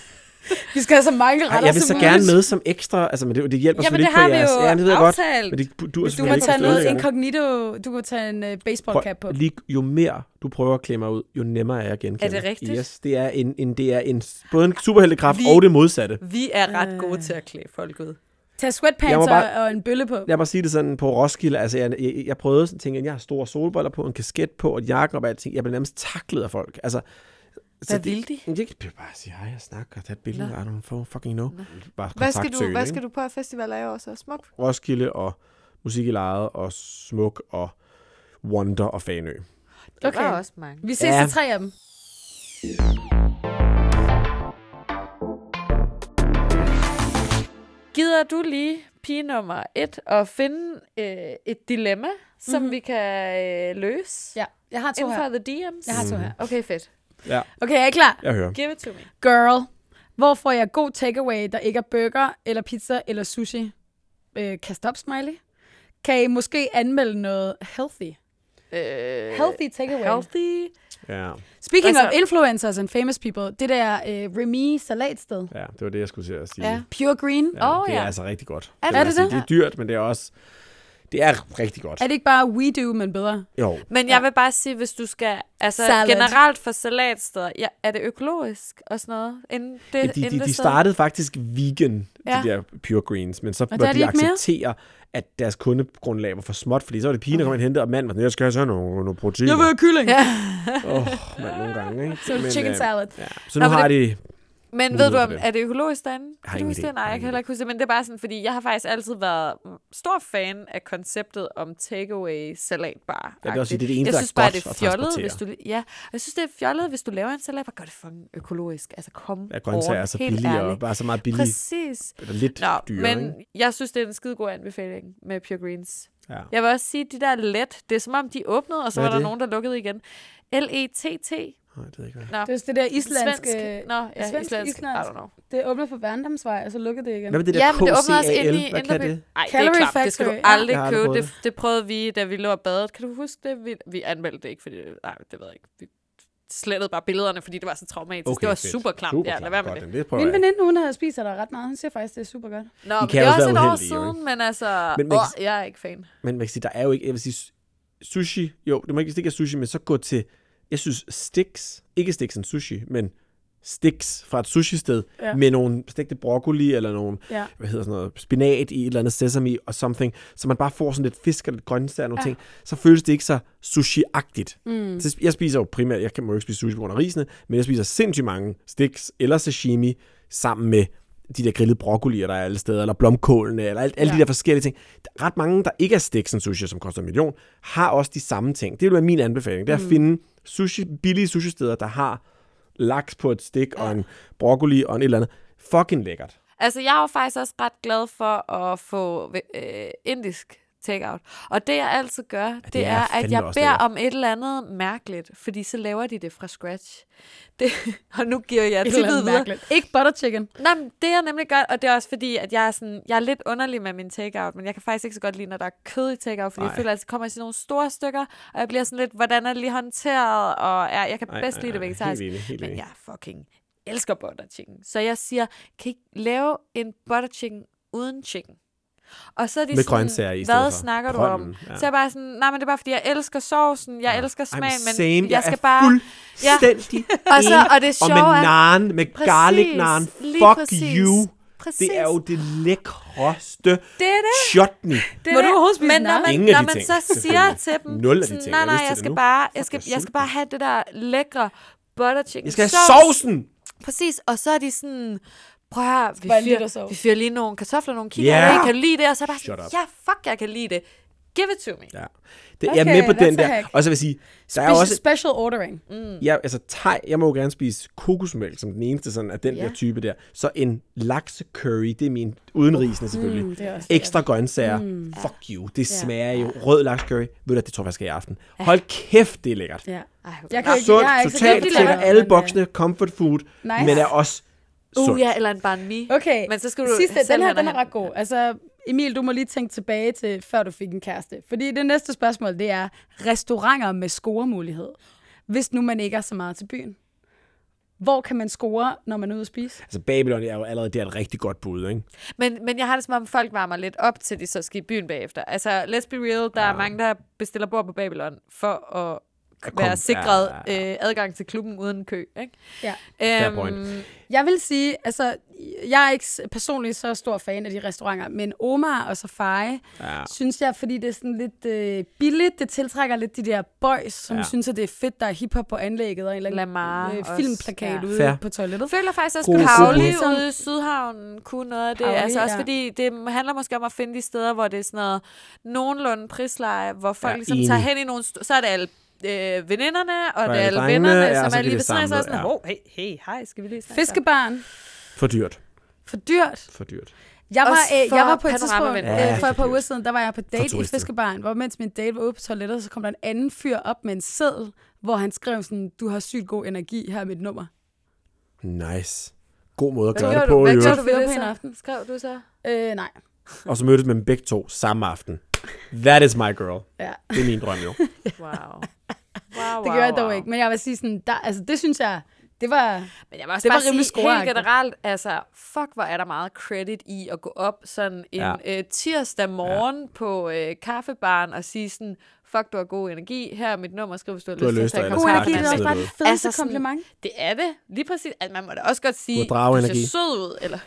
Speaker 2: vi skal have så mange
Speaker 4: Ej,
Speaker 2: retter
Speaker 4: jeg vil så
Speaker 2: som
Speaker 4: gerne
Speaker 2: muligt.
Speaker 4: med som ekstra. Altså, men det, det hjælper
Speaker 3: Jamen, det
Speaker 4: selvfølgelig ikke på
Speaker 3: har vi
Speaker 4: jeres...
Speaker 3: jo
Speaker 4: ja, men det ved jeg godt.
Speaker 3: aftalt.
Speaker 4: Men det, du,
Speaker 3: Hvis du
Speaker 2: Du
Speaker 3: Jeg
Speaker 2: kan
Speaker 3: vil
Speaker 2: tage
Speaker 3: ikke
Speaker 2: noget
Speaker 3: forstå det.
Speaker 2: incognito, du kan tage en uh, baseballcap på.
Speaker 4: Prøv, lige, jo mere du prøver at klemme mig ud, jo nemmere er jeg at genkende.
Speaker 3: Er det rigtigt?
Speaker 4: Yes, det er, en, en, det er en, både en superheltekraft og det modsatte.
Speaker 3: Vi er ret gode til at klæde folk ud.
Speaker 2: Tag
Speaker 4: Jeg må
Speaker 2: sweatpants
Speaker 4: bare-
Speaker 2: bare... og en bølle på.
Speaker 4: Lad mig sige det sådan på Roskilde. Altså, jeg, jeg, jeg prøvede sådan ting, at jeg har store solbriller på, en kasket på, og jakke og alting. Jeg blev nærmest taklet af folk. Altså,
Speaker 3: Hvad vil de?
Speaker 4: Jeg, jeg kan bare at sige hej og snakke og tage et billede. I don't know, fucking know. Bare
Speaker 7: Hvad skal, du,
Speaker 4: kontaktsøgende,
Speaker 7: hvad
Speaker 4: ikke?
Speaker 7: skal du på af festival af år så? Smuk?
Speaker 4: Roskilde og musik i lejet og smuk og Wonder og Fanø.
Speaker 3: Okay. Der er også mange.
Speaker 2: Vi ses
Speaker 4: Ja.
Speaker 2: ja. til tre af dem.
Speaker 3: Gider du lige, pige nummer et, at finde øh, et dilemma, som mm-hmm. vi kan øh, løse
Speaker 2: Ja, jeg har to
Speaker 3: inden for
Speaker 2: her.
Speaker 3: The DM's?
Speaker 4: Mm.
Speaker 2: Jeg har to her.
Speaker 3: Okay, fedt.
Speaker 4: Ja.
Speaker 2: Okay, er I klar?
Speaker 4: Jeg hører.
Speaker 3: Give it to me.
Speaker 2: Girl, hvor får jeg god takeaway, der ikke er burger, eller pizza, eller sushi? Øh, kast op, smiley. Kan I måske anmelde noget healthy?
Speaker 3: Øh,
Speaker 2: Healthy takeaway.
Speaker 3: Healthy.
Speaker 4: Ja,
Speaker 2: Speaking
Speaker 3: Altså-
Speaker 2: of influencers and famous people, det der øh, Remy salatsted,
Speaker 4: ja, det var det, jeg skulle til at sige.
Speaker 3: Ja.
Speaker 2: Pure Green,
Speaker 4: Mm. Ja,
Speaker 3: Åh,
Speaker 4: det er
Speaker 3: ja.
Speaker 4: altså rigtig godt.
Speaker 3: Er
Speaker 4: vil jeg
Speaker 2: det
Speaker 4: sige.
Speaker 2: det?
Speaker 4: Det er dyrt, men det er også... Det er rigtig godt.
Speaker 2: er det ikke bare we do, men bedre?
Speaker 4: Jo.
Speaker 3: Men jeg vil bare sige, hvis du skal... Altså
Speaker 2: Salad.
Speaker 3: Salad. generelt for salatsteder, ja, er det økologisk og sådan noget? Inden det,
Speaker 4: Jamen, De,
Speaker 3: inden
Speaker 4: de, de
Speaker 3: det sted?
Speaker 4: startede faktisk vegan, ja.
Speaker 3: Ja.
Speaker 4: de der Pure Greens, men så
Speaker 2: er
Speaker 4: måtte
Speaker 2: de
Speaker 4: de
Speaker 2: ikke mere?
Speaker 4: acceptere, at deres kundegrundlag var for småt, fordi så var det pigen, der kom ind og hentede, og manden var sådan, jeg skal have sådan nogle, nogle proteiner.
Speaker 2: Jeg vil have kylling. Ja.
Speaker 4: Åh, oh, mand, nogle gange, ikke?
Speaker 2: Så er det
Speaker 4: Men,
Speaker 2: chicken
Speaker 4: øh,
Speaker 2: salad.
Speaker 4: Ja. Så nu
Speaker 3: Nå, men
Speaker 4: har de...
Speaker 3: Men ved
Speaker 4: muligheder
Speaker 3: du,
Speaker 4: for
Speaker 3: om,
Speaker 4: det.
Speaker 3: er det økologisk derinde?
Speaker 4: har
Speaker 3: Kan du
Speaker 4: ingen
Speaker 3: huske
Speaker 4: idé.
Speaker 3: det? Nej,
Speaker 4: Jeg har
Speaker 3: jeg
Speaker 4: ingen
Speaker 3: kan heller
Speaker 4: idé.
Speaker 3: ikke huske det, men det er bare sådan, fordi jeg har faktisk altid været mm, stor fan af konceptet om takeaway salatbar.
Speaker 4: Jeg vil også sige, det er det eneste,
Speaker 3: jeg
Speaker 4: der
Speaker 3: synes
Speaker 4: er
Speaker 3: bare,
Speaker 4: godt
Speaker 3: det er
Speaker 4: at
Speaker 3: fjollet,
Speaker 4: transportere.
Speaker 3: hvis du, ja, og jeg synes, det er fjollet, hvis du laver en salatbar, gør det fucking økologisk. Altså, kom
Speaker 4: Ja, grøntsager er så billige, og bare så meget billige,
Speaker 3: Præcis.
Speaker 4: eller lidt
Speaker 3: Nå,
Speaker 4: dyre,
Speaker 3: men
Speaker 4: ikke?
Speaker 3: jeg synes, det er en skide god anbefaling med Pure Greens.
Speaker 4: Ja.
Speaker 3: Jeg vil også sige, de der let, det er som om, de åbnede, og så
Speaker 4: Hvad er
Speaker 3: var der
Speaker 4: det?
Speaker 3: nogen, der lukkede igen. L-E-T-T.
Speaker 4: Nej, det ved jeg ikke, hvad.
Speaker 3: Nå,
Speaker 2: Det er det der islandske...
Speaker 3: Svensk. Nå, ja,
Speaker 2: øh, svensk,
Speaker 3: svensk, islandsk.
Speaker 2: islandsk.
Speaker 3: I don't know.
Speaker 2: Det åbner for Værendamsvej, og så lukker det igen.
Speaker 4: Hvad med det der
Speaker 3: Ja, men det åbner også
Speaker 4: KCAL?
Speaker 3: inde i
Speaker 4: Hvad kan
Speaker 3: Indreby.
Speaker 4: det?
Speaker 3: Ej, det er
Speaker 2: Calorie
Speaker 3: klart, det skal du
Speaker 2: Factory, ja.
Speaker 3: aldrig
Speaker 4: Jeg har
Speaker 3: ja.
Speaker 4: aldrig
Speaker 3: købe.
Speaker 4: prøvet
Speaker 3: Det, det prøvede vi, da vi lå og badet. Kan du huske det? Vi, vi anmeldte det ikke, fordi... Nej, det ved jeg ikke. Vi slettede bare billederne, fordi det var så traumatisk. Okay, det var
Speaker 4: fedt.
Speaker 3: super klamt.
Speaker 4: Super
Speaker 3: ja, lad være med
Speaker 4: Godt,
Speaker 3: det.
Speaker 4: jamen, det prøver
Speaker 2: Min
Speaker 4: jeg.
Speaker 2: veninde, hun har spist der ret meget. Hun siger faktisk, det er super godt.
Speaker 3: Nå,
Speaker 4: kan
Speaker 3: men det er
Speaker 4: også
Speaker 3: også et
Speaker 4: være
Speaker 3: år
Speaker 4: uheldige, jo,
Speaker 3: siden, men altså... Men,
Speaker 4: Men man
Speaker 3: men,
Speaker 4: kan s-
Speaker 3: åh, jeg er ikke fan.
Speaker 4: Men man kan sige, der er jo ikke, jeg vil sige, su- sushi, jo, det må ikke stikke sushi, men så gå til, jeg synes, sticks, ikke sticks en sushi, men sticks fra et sushi-sted,
Speaker 2: Ja.
Speaker 4: ja. med nogle stegte broccoli, eller nogle,
Speaker 2: Ja.
Speaker 4: ja. hvad hedder sådan noget, spinat i et eller andet sesame og something, så man bare får sådan lidt fisk og lidt grøntsager og nogle ja. ting, så føles det ikke så sushi-agtigt. Mm. Så jeg spiser jo primært, jeg kan må jo ikke spise sushi på grund af risene, men jeg spiser sindssygt mange sticks eller sashimi sammen med de der grillede broccolier, der er alle steder, eller blomkålene, eller alt, alle de der forskellige ting. Der er Ret mange, der ikke er sticks and sushi, som koster en million, har også de samme ting. Det vil være min anbefaling, det er at finde sushi, billige sushi-steder, der har laks på et stik, ja. og en broccoli, og en et eller andet. Fucking lækkert.
Speaker 3: Altså, jeg er jo faktisk også ret glad for at få øh, indisk takeout. Og det, jeg altid gør, det,
Speaker 4: det
Speaker 3: det
Speaker 4: er
Speaker 3: er, er, at
Speaker 4: fandme
Speaker 3: jeg
Speaker 4: også
Speaker 3: beder
Speaker 4: lækkert.
Speaker 3: om et eller andet mærkeligt, fordi så laver de det fra scratch. Det, og nu giver jeg tippet videre.
Speaker 2: Ikke butter chicken.
Speaker 3: Nej, men det er nemlig godt, og det er også fordi, at jeg er, sådan, jeg er lidt underlig med min takeout, men jeg kan faktisk ikke så godt lide, når der er kød i takeout, fordi ej.
Speaker 4: Nej.
Speaker 3: jeg føler, at det kommer i sådan nogle store stykker, og jeg bliver sådan lidt, hvordan er det lige håndteret, og ja, jeg kan
Speaker 4: Ej,
Speaker 3: ej, bedst
Speaker 4: ej,
Speaker 3: lide det
Speaker 4: ej,
Speaker 3: vegetarisk.
Speaker 4: helt enig, helt
Speaker 3: men
Speaker 4: enig.
Speaker 3: jeg fucking elsker butter chicken. Så jeg siger, kan I ikke lave en butter chicken uden chicken? Og så er de
Speaker 4: Med
Speaker 3: sådan,
Speaker 4: grøntsager i stedet
Speaker 3: hvad
Speaker 4: for.
Speaker 3: snakker du om?
Speaker 4: Grønnen, ja.
Speaker 3: Så er jeg bare sådan, nej, men det er bare, fordi jeg elsker sovsen, jeg ja. elsker
Speaker 4: Ej,
Speaker 3: smagen, men
Speaker 4: same.
Speaker 3: jeg, skal
Speaker 4: er
Speaker 3: bare...
Speaker 4: fuldstændig
Speaker 3: Og så-
Speaker 4: enig.
Speaker 3: og det
Speaker 4: og
Speaker 3: sjove
Speaker 4: med
Speaker 3: er-
Speaker 4: naan, med
Speaker 3: Præcis,
Speaker 4: garlic naan,
Speaker 3: lige
Speaker 4: fuck
Speaker 3: præcis.
Speaker 4: you.
Speaker 3: Præcis.
Speaker 4: Det er jo det lækreste
Speaker 3: Det er det.
Speaker 4: chutney.
Speaker 3: Det
Speaker 2: Må
Speaker 3: er
Speaker 2: du
Speaker 3: det.
Speaker 2: overhovedet spise
Speaker 3: Men
Speaker 2: naan?
Speaker 3: når man,
Speaker 4: Ingen af
Speaker 3: når
Speaker 4: de
Speaker 3: man så
Speaker 4: ting,
Speaker 3: siger
Speaker 4: selvfølgelig.
Speaker 3: til dem,
Speaker 4: Nul af de
Speaker 3: sådan,
Speaker 4: ting. Jeg
Speaker 3: nej,
Speaker 4: har
Speaker 3: nej,
Speaker 4: lyst til
Speaker 3: jeg
Speaker 4: det
Speaker 3: skal,
Speaker 4: nu.
Speaker 3: bare,
Speaker 4: jeg er
Speaker 3: jeg, skal, jeg skal bare have det der lækre butter chicken
Speaker 4: Jeg skal have
Speaker 3: sauce.
Speaker 4: sovsen.
Speaker 3: Præcis, og så er de sådan, prøv at høre, vi
Speaker 2: Bare en liter
Speaker 3: fyrer,
Speaker 2: sovs.
Speaker 3: vi fyrer lige nogle kartofler, nogle kigger,
Speaker 4: Ja.
Speaker 3: yeah. kan du lide det? Og så er jeg bare
Speaker 4: Shut
Speaker 3: sådan,
Speaker 4: up.
Speaker 3: ja, fuck, jeg kan lide det. Give it to me.
Speaker 4: Ja. Det, okay, jeg er med
Speaker 2: Okay,
Speaker 4: på
Speaker 2: that's
Speaker 4: den
Speaker 2: a
Speaker 4: der.
Speaker 2: hack.
Speaker 4: Og så vil jeg sige, der er
Speaker 2: Special,
Speaker 4: også...
Speaker 2: special ordering.
Speaker 4: Jeg, altså, thai, jeg må jo gerne spise kokosmælk som den eneste sådan af den
Speaker 3: Ja.
Speaker 4: der type der. Så en laksecurry, det er min uden risene selvfølgelig.
Speaker 2: Mm, det Mm. er også
Speaker 4: Ekstra grøntsager. Fuck you. Det smager jo. Rød laksecurry. Ved du, hvad, det tror jeg, jeg skal i aften. Hold kæft, det er lækkert.
Speaker 2: Ja.
Speaker 3: Ej, hvor
Speaker 2: Jeg kan
Speaker 3: godt.
Speaker 2: ikke,
Speaker 4: sundt,
Speaker 2: jeg er ikke så
Speaker 4: totalt
Speaker 2: glad for
Speaker 4: tæller
Speaker 2: lækkert,
Speaker 4: alle
Speaker 2: men, øh,
Speaker 4: boksene, comfort food,
Speaker 2: Nice.
Speaker 4: men er også sundt.
Speaker 3: Uh, ja, eller en barn mi.
Speaker 2: Okay,
Speaker 3: Men så skal du
Speaker 2: sidste,
Speaker 3: selv
Speaker 2: den her,
Speaker 3: have
Speaker 2: den er ret god. Altså, Emil, du må lige tænke tilbage til, før du fik en kæreste. Fordi det næste spørgsmål, det er restauranter med scoremulighed. Hvis nu man ikke er så meget til byen. Hvor kan man score, når man er ude at spise?
Speaker 4: Altså Babylon er jo allerede der et rigtig godt bud, ikke?
Speaker 3: Men, men jeg har det som om, folk varmer lidt op til, de så skal i byen bagefter. Altså, let's be real, der ja. er mange, der bestiller bord på Babylon for at
Speaker 4: At komme-
Speaker 3: være sikret
Speaker 4: ja,
Speaker 3: ja, ja, ja. Øh, adgang til klubben uden kø. Ikke?
Speaker 2: Ja.
Speaker 4: Fair
Speaker 3: Øhm,
Speaker 4: point.
Speaker 2: Jeg vil sige, altså, jeg er ikke s- personligt så stor fan af de restauranter, men Omar og Safari, ja. synes jeg, fordi det er sådan lidt øh, billigt, det tiltrækker lidt de der boys, som ja.
Speaker 4: Ja.
Speaker 2: synes, at det er fedt, der er hiphop på anlægget, og en eller anden øh,
Speaker 3: Lamar også.
Speaker 2: filmplakat
Speaker 3: Ja.
Speaker 2: ude
Speaker 4: Fair.
Speaker 2: på toilettet.
Speaker 3: Jeg føler faktisk også,
Speaker 4: Gode
Speaker 3: at
Speaker 4: fokus.
Speaker 3: Pauli
Speaker 2: Som-
Speaker 3: ude i Sydhavnen kunne noget af det.
Speaker 2: Pauli,
Speaker 3: Pauli, altså også
Speaker 2: ja.
Speaker 3: fordi, det handler måske om at finde de steder, hvor det er sådan noget nogenlunde prisleje, hvor folk ja,
Speaker 4: Ja,
Speaker 3: ligesom
Speaker 4: enig.
Speaker 3: tager hen i nogle... St- så er det alle øh, veninderne, og
Speaker 4: er
Speaker 3: det er
Speaker 4: det
Speaker 3: alle
Speaker 4: drengene,
Speaker 3: vennerne,
Speaker 4: ja,
Speaker 3: som
Speaker 4: så
Speaker 3: er
Speaker 4: bliver
Speaker 3: lige
Speaker 4: det
Speaker 3: ved siden af, så er
Speaker 4: samlet,
Speaker 3: jeg sådan,
Speaker 4: ja.
Speaker 3: Altså. hov, hey, hey, hej, skal vi lige snakke sammen?"
Speaker 2: Fiskebarn,
Speaker 4: For dyrt.
Speaker 2: for dyrt.
Speaker 4: For dyrt.
Speaker 2: Jeg var,
Speaker 3: Også
Speaker 2: øh,
Speaker 3: for
Speaker 2: jeg var på et tidspunkt,
Speaker 3: Panoramavind.
Speaker 4: Ja,
Speaker 2: ja, øh, for et par
Speaker 4: selvfølgelig.
Speaker 2: uger siden, der var jeg på date i
Speaker 4: turister.
Speaker 2: Fiskebarn, hvor mens min date var ude på toilettet, så kom der en anden fyr op med en seddel, hvor han skrev sådan, du har sygt god energi, her er mit nummer.
Speaker 4: Nice. God måde at
Speaker 3: Hvad
Speaker 4: gøre
Speaker 3: gjorde
Speaker 4: det på,
Speaker 3: du?
Speaker 4: i
Speaker 3: Hvad
Speaker 4: øvrigt.
Speaker 3: gjorde
Speaker 2: du
Speaker 3: du
Speaker 2: ved
Speaker 3: ved
Speaker 2: på
Speaker 3: det
Speaker 2: en
Speaker 3: så?
Speaker 2: aften?
Speaker 3: Skrev du så?
Speaker 2: Øh, nej.
Speaker 4: Og så mødtes man dem begge to samme aften. That is my girl.
Speaker 2: Ja.
Speaker 4: Det er min drøm jo.
Speaker 3: Wow. Wow,
Speaker 2: Det gør jeg dog ikke. Men jeg vil sige sådan, der, altså det synes jeg, det var...
Speaker 3: Men jeg må også
Speaker 2: Det
Speaker 3: det
Speaker 2: var
Speaker 3: bare
Speaker 2: rimelig
Speaker 3: sige, helt
Speaker 2: scoreagtigt.
Speaker 3: generelt, altså, fuck, hvor er der meget credit i at gå op sådan en
Speaker 4: Ja.
Speaker 3: ja. øh, tirsdag morgen ja. på øh, kaffebaren og sige sådan, fuck, du har god energi, her er mit nummer, skriv, hvis du har
Speaker 4: Du har
Speaker 3: lyst til at
Speaker 4: lyst,
Speaker 3: tage
Speaker 4: og
Speaker 2: God
Speaker 4: ellers
Speaker 3: kontakt
Speaker 2: energi,
Speaker 3: med
Speaker 2: det er
Speaker 3: mig.
Speaker 2: også bare det fedeste
Speaker 3: Altså
Speaker 2: altså
Speaker 3: sådan-
Speaker 2: kompliment.
Speaker 3: Det er det, lige præcis. Altså, man må da også godt sige,
Speaker 4: Du har drageenergi.
Speaker 3: du ser sød ud, eller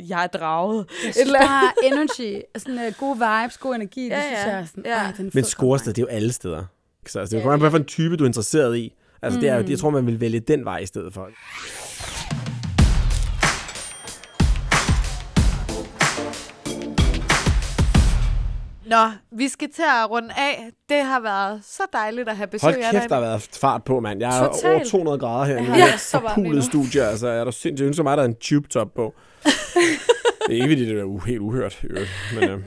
Speaker 3: jeg er draget.
Speaker 2: Jeg synes bare energy, sådan uh, gode vibes, god energi, ja, det
Speaker 3: Ja,
Speaker 2: synes
Speaker 3: ja.
Speaker 2: jeg er sådan,
Speaker 3: Ja.
Speaker 2: ej, den er fed
Speaker 4: Men scorested,
Speaker 2: kompliment.
Speaker 4: det er jo alle steder. Ikke Så, altså, det kommer an på, hvilken type du er interesseret i. Altså, det er, jo- jeg tror, man vil vælge den vej i stedet for.
Speaker 3: Nå, vi skal til at runde af. Det har været så dejligt at have besøg
Speaker 4: Hold
Speaker 3: af
Speaker 4: kæft,
Speaker 3: dig.
Speaker 4: der har været fart på, mand. Jeg er
Speaker 3: Total.
Speaker 4: over 200 grader herinde.
Speaker 2: har
Speaker 4: Jeg
Speaker 2: det så
Speaker 4: er
Speaker 2: varmt lige
Speaker 4: pulet
Speaker 2: nu.
Speaker 4: studie, altså. Jeg er der sindssygt jeg ønsker mig, at der er en tube top på. det er ikke, fordi det er u- helt uhørt, i øvrigt. men øh,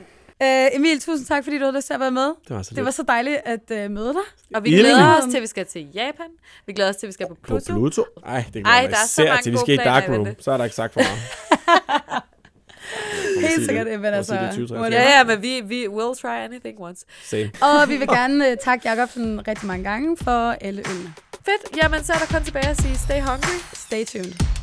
Speaker 2: Øh, Emil, tusind tak, fordi du havde lyst til at være med.
Speaker 4: det var så
Speaker 2: Det var så dejligt at øh, møde dig.
Speaker 3: Og vi
Speaker 4: Enig.
Speaker 3: glæder os til, at vi skal til Japan. Vi glæder os til, at vi skal på
Speaker 4: På
Speaker 3: Pluto.
Speaker 4: Pluto? Ej, det kan
Speaker 3: Ej,
Speaker 4: Ej,
Speaker 3: der
Speaker 4: være
Speaker 3: er så
Speaker 4: især
Speaker 3: mange
Speaker 4: til, vi
Speaker 3: gode
Speaker 4: skal i
Speaker 3: planer i
Speaker 4: Dark Room.
Speaker 3: vente.
Speaker 4: Så er der ikke sagt for meget. Må man sige
Speaker 2: Helt sikkert,
Speaker 4: det?
Speaker 2: men
Speaker 4: Må man
Speaker 2: altså...
Speaker 4: sige det i 2023?
Speaker 2: whatever.
Speaker 3: Ja, ja, men vi, vi will try anything once.
Speaker 4: Same.
Speaker 2: Og vi vil gerne uh, takke Jacobsen rigtig mange gange for alle ølene.
Speaker 3: Fedt. Jamen, så er der kun tilbage at sige, stay hungry.
Speaker 2: Stay tuned.